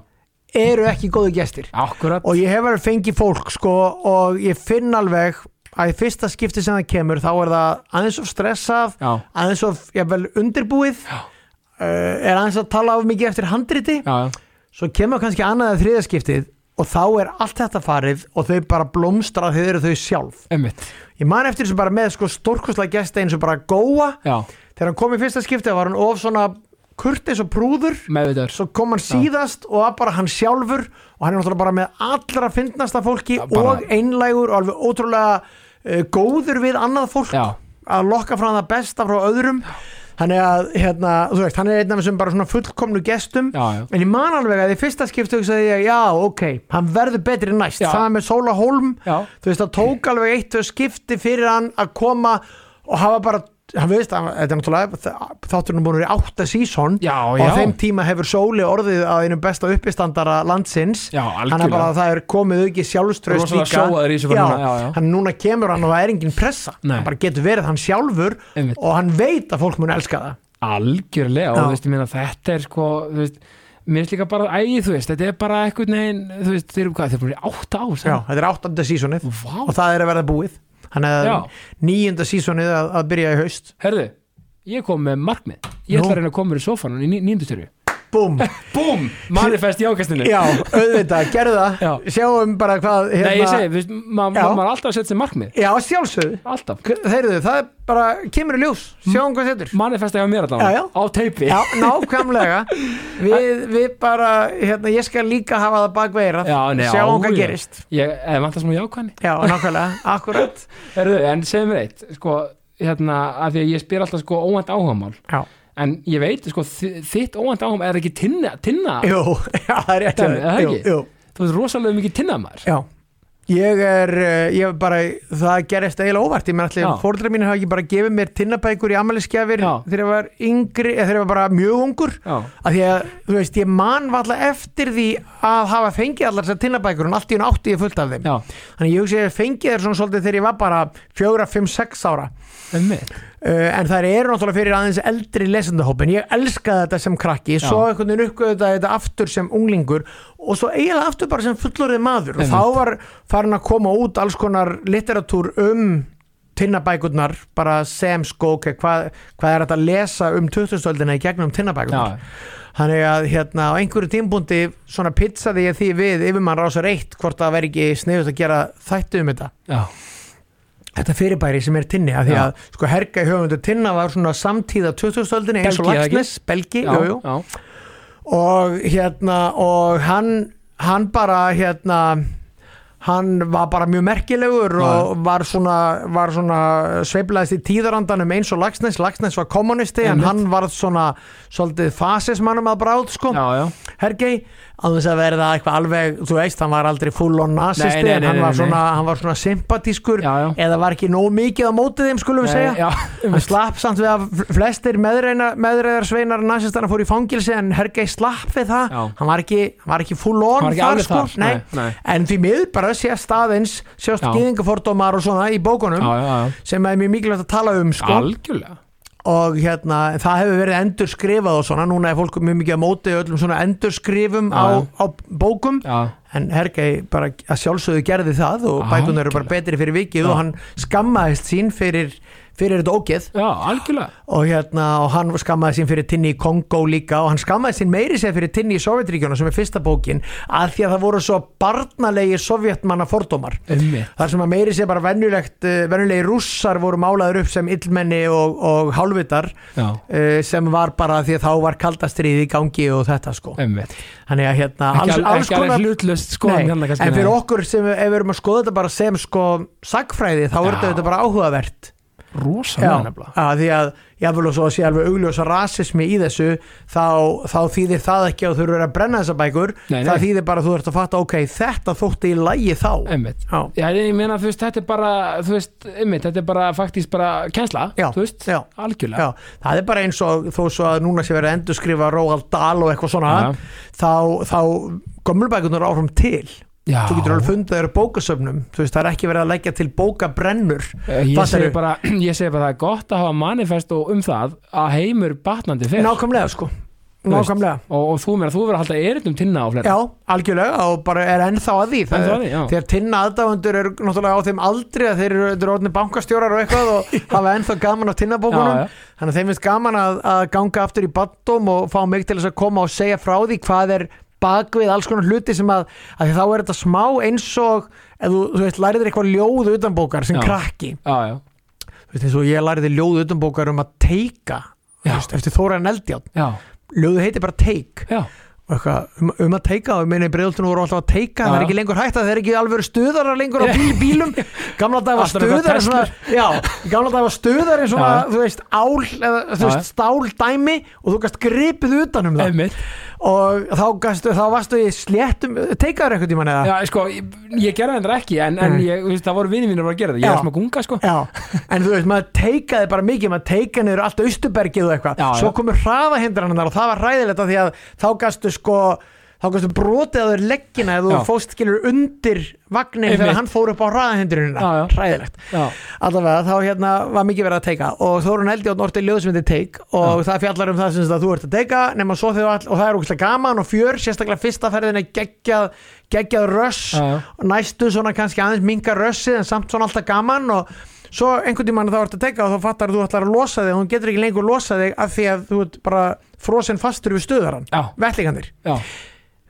S2: eru ekki góðu gestir
S1: akkurat,
S2: og ég hef alveg fengið fólk sko og ég finn alveg að í fyrsta skipti sem það kemur þá er það aðeins of stressað
S1: já,
S2: aðeins of jafnvel undirbúið uh, er aðeins að tala of mikið eftir handriti
S1: já, já,
S2: svo kemur kannski annað að þriða skiptið og þá er allt þetta farið og þau bara blómstra þau eru þau sjálf
S1: emmitt
S2: ég man eftir þessu bara með sko stórkoslega gesta eins og bara góa
S1: já,
S2: þegar hann kom í fyrsta skiptið var hann of svona kurtis og prúður
S1: meðvitaður,
S2: svo kom hann síðast og það bara hann sjálfur og hann er náttúrulega bara með allra fyndnasta fólki
S1: Já, bara-
S2: og einlægur og alveg ótrúlega uh, góður við annað fólk
S1: já,
S2: að lokka frá það besta frá öðrum þannig að hérna, þú veist, hann er einn af þessum bara svona fullkomnu gestum
S1: já, já
S2: en ég man alveg að í fyrsta skiptu hugsaði ég, já, ok, hann verður betri næst
S1: Já.
S2: það er með Sóla Holm
S1: Já.
S2: þú veist, það tók alveg eitt og skipti fyrir hann að koma og hafa bara hann veist, hann- þetta er náttúrulega þátturinn búin að vera í átta sísón
S1: Já,
S2: og
S1: já.
S2: á þeim tíma hefur Sóli orðið að einum besta uppistandara landsins
S1: Já, algjörlega.
S2: hann er bara að það er komið auki sjálfströst
S1: Rosalega sjóaður í þessu bara núna, já, já.
S2: hann núna kemur hann og það er engin pressa
S1: Nei.
S2: hann bara getur verið hann sjálfur
S1: Einmitt.
S2: og hann veit að fólk mun elska það
S1: algjörlega
S2: Já.
S1: og þú veist, ég meina þetta er sko, þú veist, mér er líka bara æg, þú veist, þetta er bara eitthvað negin þú veist, þeir eru hvað, þeir eru bara í átta ár
S2: já,
S1: sagði hann.
S2: þetta er áttanda sísonið
S1: Vá.
S2: og það er að verða búið hann er
S1: Já.
S2: níunda sísonið að, að byrja í haust
S1: herðu, ég kom með markmið ég
S2: Nú.
S1: ætla að reyna að koma mér í sófanum í ní- níundu styrju [laughs]
S2: búm,
S1: búm, manifest í ákastinu
S2: já, auðvitað, gerðu það
S1: Já.
S2: sjáum bara hvað hérna,
S1: nei, ég segi, þú veist, ma- ma-
S2: Já.
S1: maður er alltaf að setja sér markmið
S2: já, sjálfsögðu,
S1: alltaf,
S2: þeirðu, það er bara kemur í ljós, sjáum hvað setur
S1: manifesta hjá mér
S2: Já, já.
S1: allavega á teipi
S2: já,
S1: [laughs]
S2: nákvæmlega við, við bara, hérna, ég skal líka hafa það bakveira,
S1: Já, nei,
S2: sjáum
S1: já,
S2: hvað
S1: já.
S2: gerist
S1: ég, eða vantar smá jákvæðni
S2: já, nákvæmlega, akkurat
S1: Herðu, en segjum við eitt sko, hérna, af því að ég spyr alltaf sko óvænt áhugamál
S2: já,
S1: en ég veit, sko, þi- þitt óvænt áhugamál er ekki tinna, tinna
S2: jú, já, það er rétt hjá
S1: Dæmi, er
S2: þér.
S1: það
S2: jú,
S1: ekki?
S2: jú
S1: þú veist rosalega mikið tinna maður
S2: Já, ég er, eh, ég er bara, það gerist eiginlega óvart, ég menn allir
S1: Já.
S2: fóreldrar mínir hafa ekki bara gefið mér tinnabækur í amælisgjafir
S1: Já.
S2: þegar ég var yngri, eða þegar ég var bara mjög ungur
S1: Já.
S2: að því að, þú veist, ég man valla eftir því að hafa fengið allar þessar tinnabækur en allt í hún átti ég fullt af þeim
S1: já,
S2: þannig ég hugsi að ég fengið þér svona svolítið þegar ég var bara fjóra, fimm, sex ára
S1: einmitt
S2: Uh, en þær eru náttúrulega fyrir aðeins eldri lesendahópin ég elskaði þetta sem krakki
S1: Já.
S2: svo einhvern veginn uppgöðu þetta, þetta aftur sem unglingur og svo eiginlega aftur bara sem fullorðið maður og
S1: Einmitt.
S2: þá var farin að koma út alls konar litteratúr um tinnabækurnar bara sem skók hvað, hvað er þetta að lesa um 2000-öldina í gegnum tinnabækurnar þannig að hérna á einhverju tímbúndi svona pizzaði ég því við yfirmann rásar eitt hvort það væri ekki sniðut að gera þættu um þetta
S1: já,
S2: þetta fyrirbæri sem er tinni af því
S1: Já.
S2: að sko herga í höfundu tinna var svona samtíða 2000-öldinni eins og
S1: Belgi, eða ekki?
S2: Laxnes, Belgi
S1: já,
S2: jú, jú.
S1: já.
S2: og hérna og hann, hann bara hérna hann var bara mjög merkilegur og var svona, var svona sveiflaðist í tíðarandanum eins og Laxnes Laxnes var kommunisti en
S1: Einmitt.
S2: hann var svona svolítið fasismannum að bráð sko,
S1: já, já.
S2: Hergei að þess að verða eitthvað alveg, þú veist hann var aldrei full on nazisti
S1: Nei, nei,
S2: en
S1: nei,
S2: hann
S1: nei,
S2: var
S1: nei.
S2: svona, hann var svona sympatískur
S1: Já, já.
S2: eða var ekki nóg mikið á mótið þeim skulum
S1: Nei,
S2: við segja Um
S1: já,
S2: hann slapp samt við að fl- flestir meðreðar sveinar nazistana fór í fangilsi en Hergei slapp við það
S1: [laughs] Já.
S2: hann var, ekki, hann var ekki full on
S1: Hann var ekki
S2: þar
S1: alveg
S2: sko
S1: þar,
S2: nei.
S1: nei, nei.
S2: en því miður bara sést staðins sjást
S1: Já.
S2: gyðingafordómar og svona í bókunum
S1: já, já, já.
S2: sem er mjög mikilvægt að tala um sko
S1: algjörlega
S2: og hérna, það hefur verið endur skrifað og svona, núna er fólk mjög mikið að móti öllum svona endur skrifum
S1: Já,
S2: á,
S1: já.
S2: á bókum
S1: já,
S2: en Hergei bara að sjálfsögðu gerði það og
S1: Já,
S2: bækunar eru bara
S1: algjörlega.
S2: betri fyrir
S1: Já.
S2: vikið og hann skammaðist sín fyrir, fyrir þetta ógeð
S1: já, algjörlega
S2: og, hérna, og hann skammaði sín fyrir tinni í Kongó líka og hann skammaði sín meiri sér fyrir tinni í Sovjetríkjana sem er fyrsta bókin að því að það voru svo barnalegi sovjetmanna fordómar
S1: Einmitt.
S2: þar sem að meiri sér bara venjulegt eh, venjulegi rússar voru málaður upp sem illmenni og, og hálfvitar
S1: já,
S2: eh, sem var bara því að þá var kaldastrið í gangi og þetta sko
S1: einmitt
S2: þannig að hérna
S1: Um ekki,
S2: alls,
S1: alveg-
S2: alls
S1: ekki alveg
S2: konar
S1: hlutlust sko
S2: Nei, en fyrir okkur sem ef við erum að skoða þetta bara sem sko sagfræði þá er
S1: Já.
S2: þetta bara áhugavert
S1: rosalega
S2: Já,
S1: nefnilega
S2: að því að jáfnvel og svo að sé alveg augljósa rasismi í þessu þá, þá þýðir það ekki að þú eru að brenna þessa bækur
S1: Nei,
S2: það
S1: nei.
S2: þýðir bara að þú ert að fatta ok, þetta þótti í lægi þá
S1: einmitt
S2: Já,
S1: Já, ég meina, þú veist, þetta er bara, þú veist, einmitt, þetta er bara faktískt bara kænsla,
S2: Já,
S1: þú veist,
S2: já.
S1: algjörlega.
S2: já, það er bara eins og þó svo að núna sé verið að endurskrifa Róald Dahl og eitthvað svona
S1: Já.
S2: þá, þá gömulbækunar áfram til
S1: Já,
S2: þú getur alveg fundið þeirra bókasöfnum þú veist, það er ekki verið að leggja til bókabrennur
S1: Eh, Ég
S2: Fattarðu?
S1: segi, bara, [clears throat] ég segi bara það er gott að hafa manifest og um það að heimur batnandi fer
S2: nákvæmlega sko
S1: Þú veist.
S2: nákvæmlega
S1: og, og þú meira, þú verður að halda erindum tinna á fleira
S2: Já, algjörlega og bara er ennþá að því Það-
S1: Ennþá að því, já.
S2: Þegar tinna aðdáfundur eru náttúrulega á þeim aldri að þeir eru, þeir eru orðin bankastjórar og eitthvað
S1: [laughs]
S2: og hafa ennþá gaman á tinnabókunum
S1: Já, já.
S2: Þannig að þeim finnst gaman að, að ganga aftur í battum og fá mig til þess að koma og segja frá því hvað er bakvið alls konar hluti sem að, að þá er þetta smá eins og ef þú, þú veist, lærið þér eitthvað ljóð utan bókar sem
S1: Já.
S2: krakki
S1: já, já,
S2: Þú veist, eins og ég lærið ljóð utan bókar um að teika þú
S1: Já.
S2: veist, eftir Þóra Neldjátt
S1: já,
S2: Ljóðu heiti bara teik
S1: já,
S2: og eitthvað, um, um að teika og minni breyðultun voru alltaf að teika, það
S1: Já.
S2: er ekki lengur hægt að það er ekki alveg stuðarar
S1: [laughs]
S2: lengur á bíl, bílum gamla dag var
S1: Alltaf eitthvað
S2: stuðar en svona, já, gamla dag var stuðar en svona,
S1: Já.
S2: þú veist, ál eða, þú
S1: Já.
S2: veist, stál dæmi og þú gast gripið utan um það
S1: einmitt.
S2: og þá, gastu, þá varstu í sléttum teikaður eitthvað tímann eða
S1: Já, sko, ég, ég gerði þetta ekki, en, en
S2: Nei.
S1: ég, þú veist, það voru vinið mínir bara að gera þetta, ég
S2: Já.
S1: var smá gunga, sko.
S2: Já, [laughs] en þú veist, maður teikaði bara mikið, maður teikaði niður allt austurbergið og
S1: Já,
S2: eitthvað,
S1: já.
S2: svo komu hraðahindrannar og það var hræðilegt af því að þá gastu sko, þá gastu brotið að þau leggina ef þú
S1: Já.
S2: fóst skilur undir vagnin
S1: Einmitt.
S2: þegar hann fór upp á hraðahindrunina,
S1: Já, já.
S2: hræðilegt.
S1: Já,
S2: Allavega, þá hérna var mikið verið að teika og Þórun Eldjón orti ljóðsmyndi teik og það fjallar um það sem sagt að þú ert að teika nema svo þegar all, og það er ógeðslega gaman og fjör sérstaklega fyrsta ferðin er geggjað geggjað röss
S1: Já, já.
S2: og næstu svona kannski aðeins minga rössið en samt svona alltaf gaman og svo einhvern tímann þá ert að teika og þá fattar að þú ætlar að losa þig og hún getur ekki lengur losa þig af því að þú ert bara frosinn fastur við stuðaran
S1: já,
S2: vettlingandir
S1: já,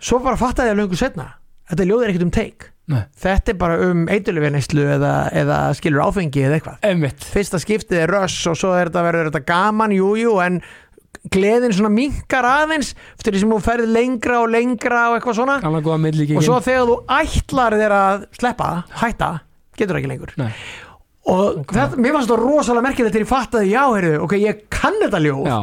S2: svo bara fattar þig að löngu setna þetta ljóð er ekkert um teik
S1: Nei.
S2: þetta er bara um eitulöfinæslu eða, eða skilur áfengi eða eitthvað
S1: einmitt.
S2: fyrsta skiptið er röss og svo er þetta verður þetta gaman, jújú, jú, en gleðin svona minkar aðeins eftir því sem þú ferði lengra og lengra og eitthvað svona
S1: Gamla góða millíkingin.
S2: og svo þegar þú ætlar þér að sleppa, hætta, getur ekki lengur
S1: Nei.
S2: og þetta, mér fannst þetta rosalega merkilegt þegar ég fattaði, já, heyrðu, ok, ég kann þetta ljóð
S1: Já,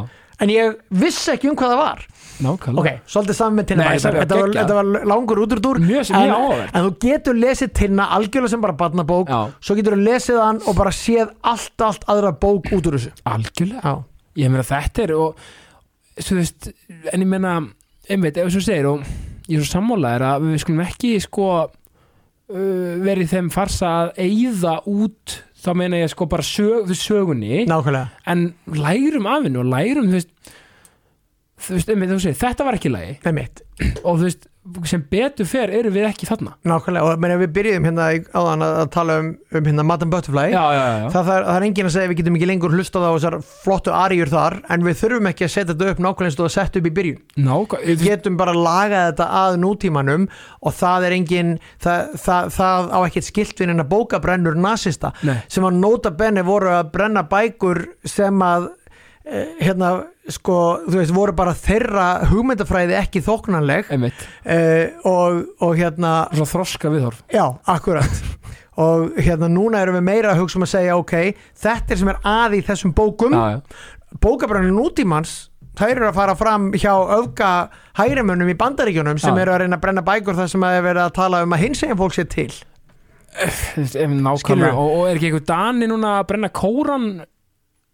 S2: en ég vissi ekki um hvað það var
S1: nákvæmlega.
S2: ok, svolítið saman með tinna
S1: Nei, þetta
S2: þetta,
S1: var
S2: þetta, var-
S1: geggjað.
S2: þetta var langur úturdúr
S1: Mjög- mjög
S2: en,
S1: áhugavert.
S2: en þú getur lesið tinna algjörlega sem bara barnabók
S1: Já.
S2: svo getur þú lesið hann og bara séð allt, allt aðra bók út úr þessu
S1: Algjörlega.
S2: já,
S1: Ég meina, þetta er, og, svo þú veist, en ég meina, einmitt, ef þú segir, og ég er svo sammálaðir að við skulum ekki, sko, uh, verið þeim farsa að eyða út, þá meina ég, sko, bara sög, sögunni.
S2: nákvæmlega
S1: en lærum af henni og lærum þú veist, þú veist, einmitt, þú segir, þetta var ekki lægi
S2: með mitt,
S1: og þú veist, sem betur fer eru við ekki þarna
S2: nákvæmlega, og meni, við byrjuðum hérna í- áðan að, að tala um, um hérna Madame Butterfly
S1: já, já, já, já.
S2: það, það, er, það er enginn að segja að við getum ekki lengur hlustað á þessar flottu aríur þar en við þurfum ekki að setja þetta upp nákvæmlega eins og það var sett upp í byrjun
S1: Ná, hva-
S2: við getum bara að laga þetta að nútímanum og það er engin það, það, það á ekkert skiltvinn en að bóka brennur nasista
S1: Nei.
S2: sem að nota benni voru að brenna bækur sem að eh, hérna sko þú veist voru bara þeirra hugmyndafræði ekki þóknanleg
S1: einmitt,
S2: eh, og, og hérna
S1: svo þroska viðhorf
S2: já akkurat og hérna núna erum við meira að hugsa um að segja ok þetta er sem er að í þessum bókum
S1: já, já.
S2: bókabrænir nútímans þær eru að fara fram hjá öfga hægrimönnum í bandaríkjunum sem
S1: Já.
S2: eru að reyna að brenna bækur þar sem að er verið að tala um að hins eginn fólk sé til
S1: Em, nákvæmlega,
S2: Skilurðu?
S1: og, og er ekki einhver dani núna að brenna kóran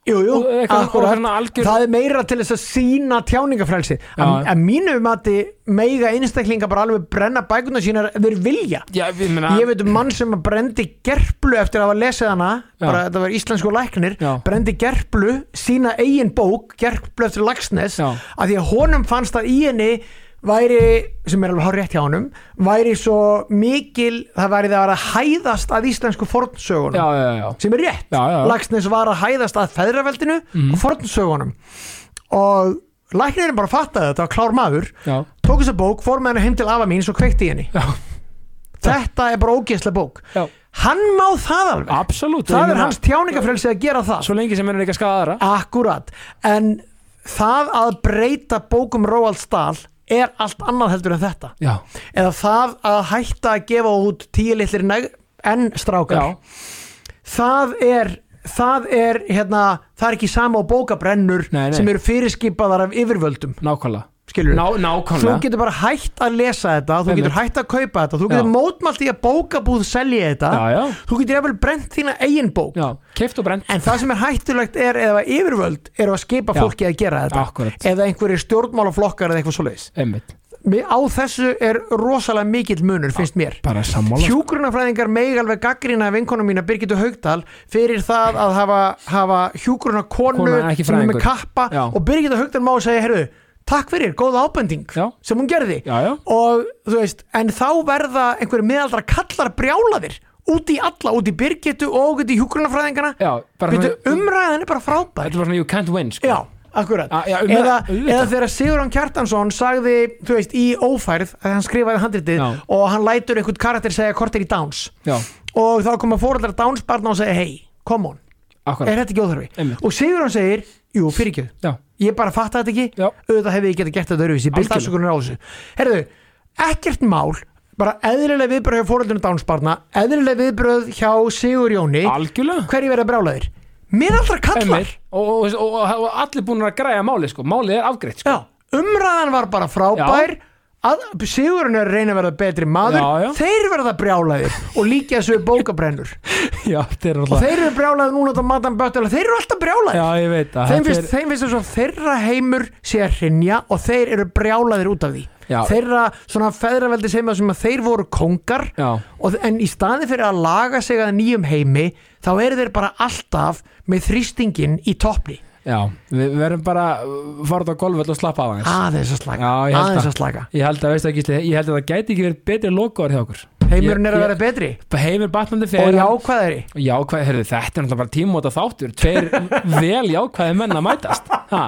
S2: Jú, jú,
S1: Og eitthvað- og
S2: akkurat,
S1: hérna algjör-
S2: það er meira til þess að sína tjáningafrelsi
S1: Já.
S2: að mínu mati meiga einstaklinga bara alveg brenna bækurnar sínar ef þeir vilja
S1: já, við meina,
S2: ég veit um mann sem að brendi gerplu eftir að hafa lesið hana
S1: Já.
S2: bara þetta var íslensku læknir
S1: Já.
S2: brendi gerplu, sína eigin bók gerplu eftir Laxnes
S1: Já.
S2: að því að honum fannst að í henni væri, sem er alveg hár rétt hjá honum væri svo mikil það væri það að hæðast að íslensku fornsögunum
S1: já, já, já,
S2: sem er rétt
S1: Já, já, Mhm. já.
S2: Laxnes var að hæðast að feðraveldinu og fornsögunum og læknirinn bara fattaði þetta, var klár maður
S1: já,
S2: tók þessa bók, fór með henni heim til afa mín svo kveikti í henni
S1: Já.
S2: þetta er bara ógeðslega bók
S1: já.
S2: hann má það alveg
S1: absolutt
S2: það er hans tjáningafrelsi að gera það
S1: svo lengi sem er ekki að skaða aðra
S2: akkurat, en það að breyta bókum Róald Stahl er allt annað heldur en þetta
S1: já,
S2: eða það að hætta að gefa út tíu litlir neg- enn strákar
S1: já,
S2: það er það er hérna, það er ekki sama á bókabrennur
S1: Nei, nei.
S2: sem eru fyrirskipaðar af yfirvöldum
S1: nákvæmlega
S2: skilur
S1: Ná,
S2: þú
S1: nákvæmlega
S2: getur bara hægt að lesa þetta þú
S1: Einmitt.
S2: getur hægt að kaupa þetta þú getur
S1: Já.
S2: mótmælt í að bókabúð selja þetta
S1: já, já,
S2: þú getur jafnvel brent þína eigin bók
S1: já, keift og brent
S2: en það sem er hættulegt er eða yfirvöld eru að skipa
S1: Já.
S2: fólki að gera þetta
S1: Akkúrat.
S2: eða einhverjir stjórnmálaflokkar eða eitthvað svoleiðis
S1: einmitt,
S2: Mér- á þessu er rosalega mikill munur finnst mér
S1: bara sammála
S2: Hjúgrunafræðingar megi alveg gaggrina vinkonum mína Birgitu Haugdal fyrir það að hafa, hafa hjúgrunakonu
S1: Kona, ekki
S2: sem er
S1: fræðingur.
S2: með kappa
S1: Já.
S2: og Birgitu Haugdal má segja, heyrðu, takk fyrir, góða ábending
S1: Já.
S2: sem hún gerði
S1: já, já,
S2: og þú veist, en þá verða einhverju miðaldra kallar brjálaðir út í alla, út í Birgitu og út í hjúgrunafræðingarna
S1: já, bara
S2: Veitu,
S1: svona-
S2: umræðan er bara frábær
S1: þetta var svona you can't win, sko
S2: um Já, akkurat
S1: Já, já, um-
S2: eða,
S1: auðvitað.
S2: eða þegar Sigurðan Kjartansson sagði, þú veist, í ófærð að hann skrifaði handritið
S1: Já.
S2: og hann lætur einhvern karakter segja hvort er í Downs
S1: já,
S2: og þá koma fóröldar Downs barna og segja hei, come on,
S1: akkurat,
S2: er þetta ekki óþarfi
S1: Einmitt.
S2: og Sigurðan segir, jú, fyrir ekki
S1: já,
S2: ég bara fatta þetta ekki,
S1: Já.
S2: auðvitað hefði ég getað gert þetta öruvísi, byrst
S1: Algjörlega.
S2: afsökunar á þessu Herðu, ekkert mál bara eðlilega viðbröð hjá fóröldinu Downs barna eðlilega viðbröð hjá Sigurjóni
S1: algjörlega
S2: hverju verða brálaðir? Miðaldra kallar
S1: einmitt, og, og, og, og allir búin að græja máli, sko málið er afgreitt, sko,
S2: Já, umræðan var bara frábær að, Sigurinn er að reyna að verða betri maður
S1: Já, já.
S2: þeir verða brjálæðir og líka þessu við bókabrennur
S1: [laughs] [laughs] já, þetta er
S2: og
S1: alltaf
S2: þeir eru brjálæðir núna þetta matan böttulega þeir eru alltaf brjálæðir
S1: já, ég veit það
S2: þeim
S1: Þetta
S2: finnst, þeim finnst þess að þeirra heimur sé að hrinja og þeir eru brjálæðir út af því
S1: Já.
S2: þeirra svona feðraveldis heima sem að þeir voru kongar
S1: Já.
S2: og, en í staði fyrir að laga sig að nýjum heimi þá eru þeir bara alltaf með þrýstingin í toppni
S1: Já, við við verðum bara uh, farið á golföll og slappa af aðeins
S2: aðeins að slaka
S1: Já, ég held
S2: aðeins
S1: það.
S2: að slaka
S1: Ég held að, veist það Gísli, ég held að það gæti ekki verið betri lokaður hjá okkur
S2: heimurinn er
S1: Ég-
S2: að verða betri
S1: ég- Heimur batnandi
S2: og
S1: fyrir
S2: jákvæðari
S1: Jákvæði, heyrðu, þetta er náttúrulega bara tímóta þáttur Tveir vel jákvæði menn að mætast ha,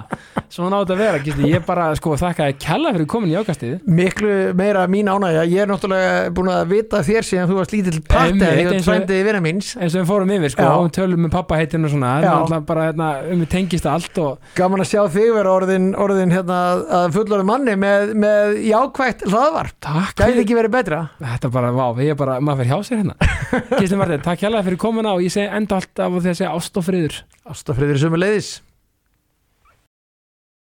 S1: Svona átt að vera, Gísli Ég bara, sko, þakka að kella fyrir komin í jákastið
S2: miklu meira mín ánægja ég er náttúrulega búin að vita þér síðan þú varst lítill
S1: Einmitt,
S2: partæði og
S1: eins og-
S2: frændið vina míns
S1: eins og við fórum yfir, sko,
S2: Já.
S1: og við tölum með pappa heitinu og svona,
S2: Já.
S1: en alltaf bara hérna, um við tengist allt og,
S2: gaman að sjá þig vera orðin, orðin hérna, að fullorðin manni með, með jákvætt hlaðvarp
S1: takk
S2: gæti
S1: fyrir,
S2: ekki verið betra
S1: þetta bara, vá, ég er bara maður fyrir hjá sér
S2: [laughs]
S1: hérna Gísli Martin, takk kella fyrir komuna og ég segi enda allt af því að segja ást og friður
S2: ástafriður sömu leiðis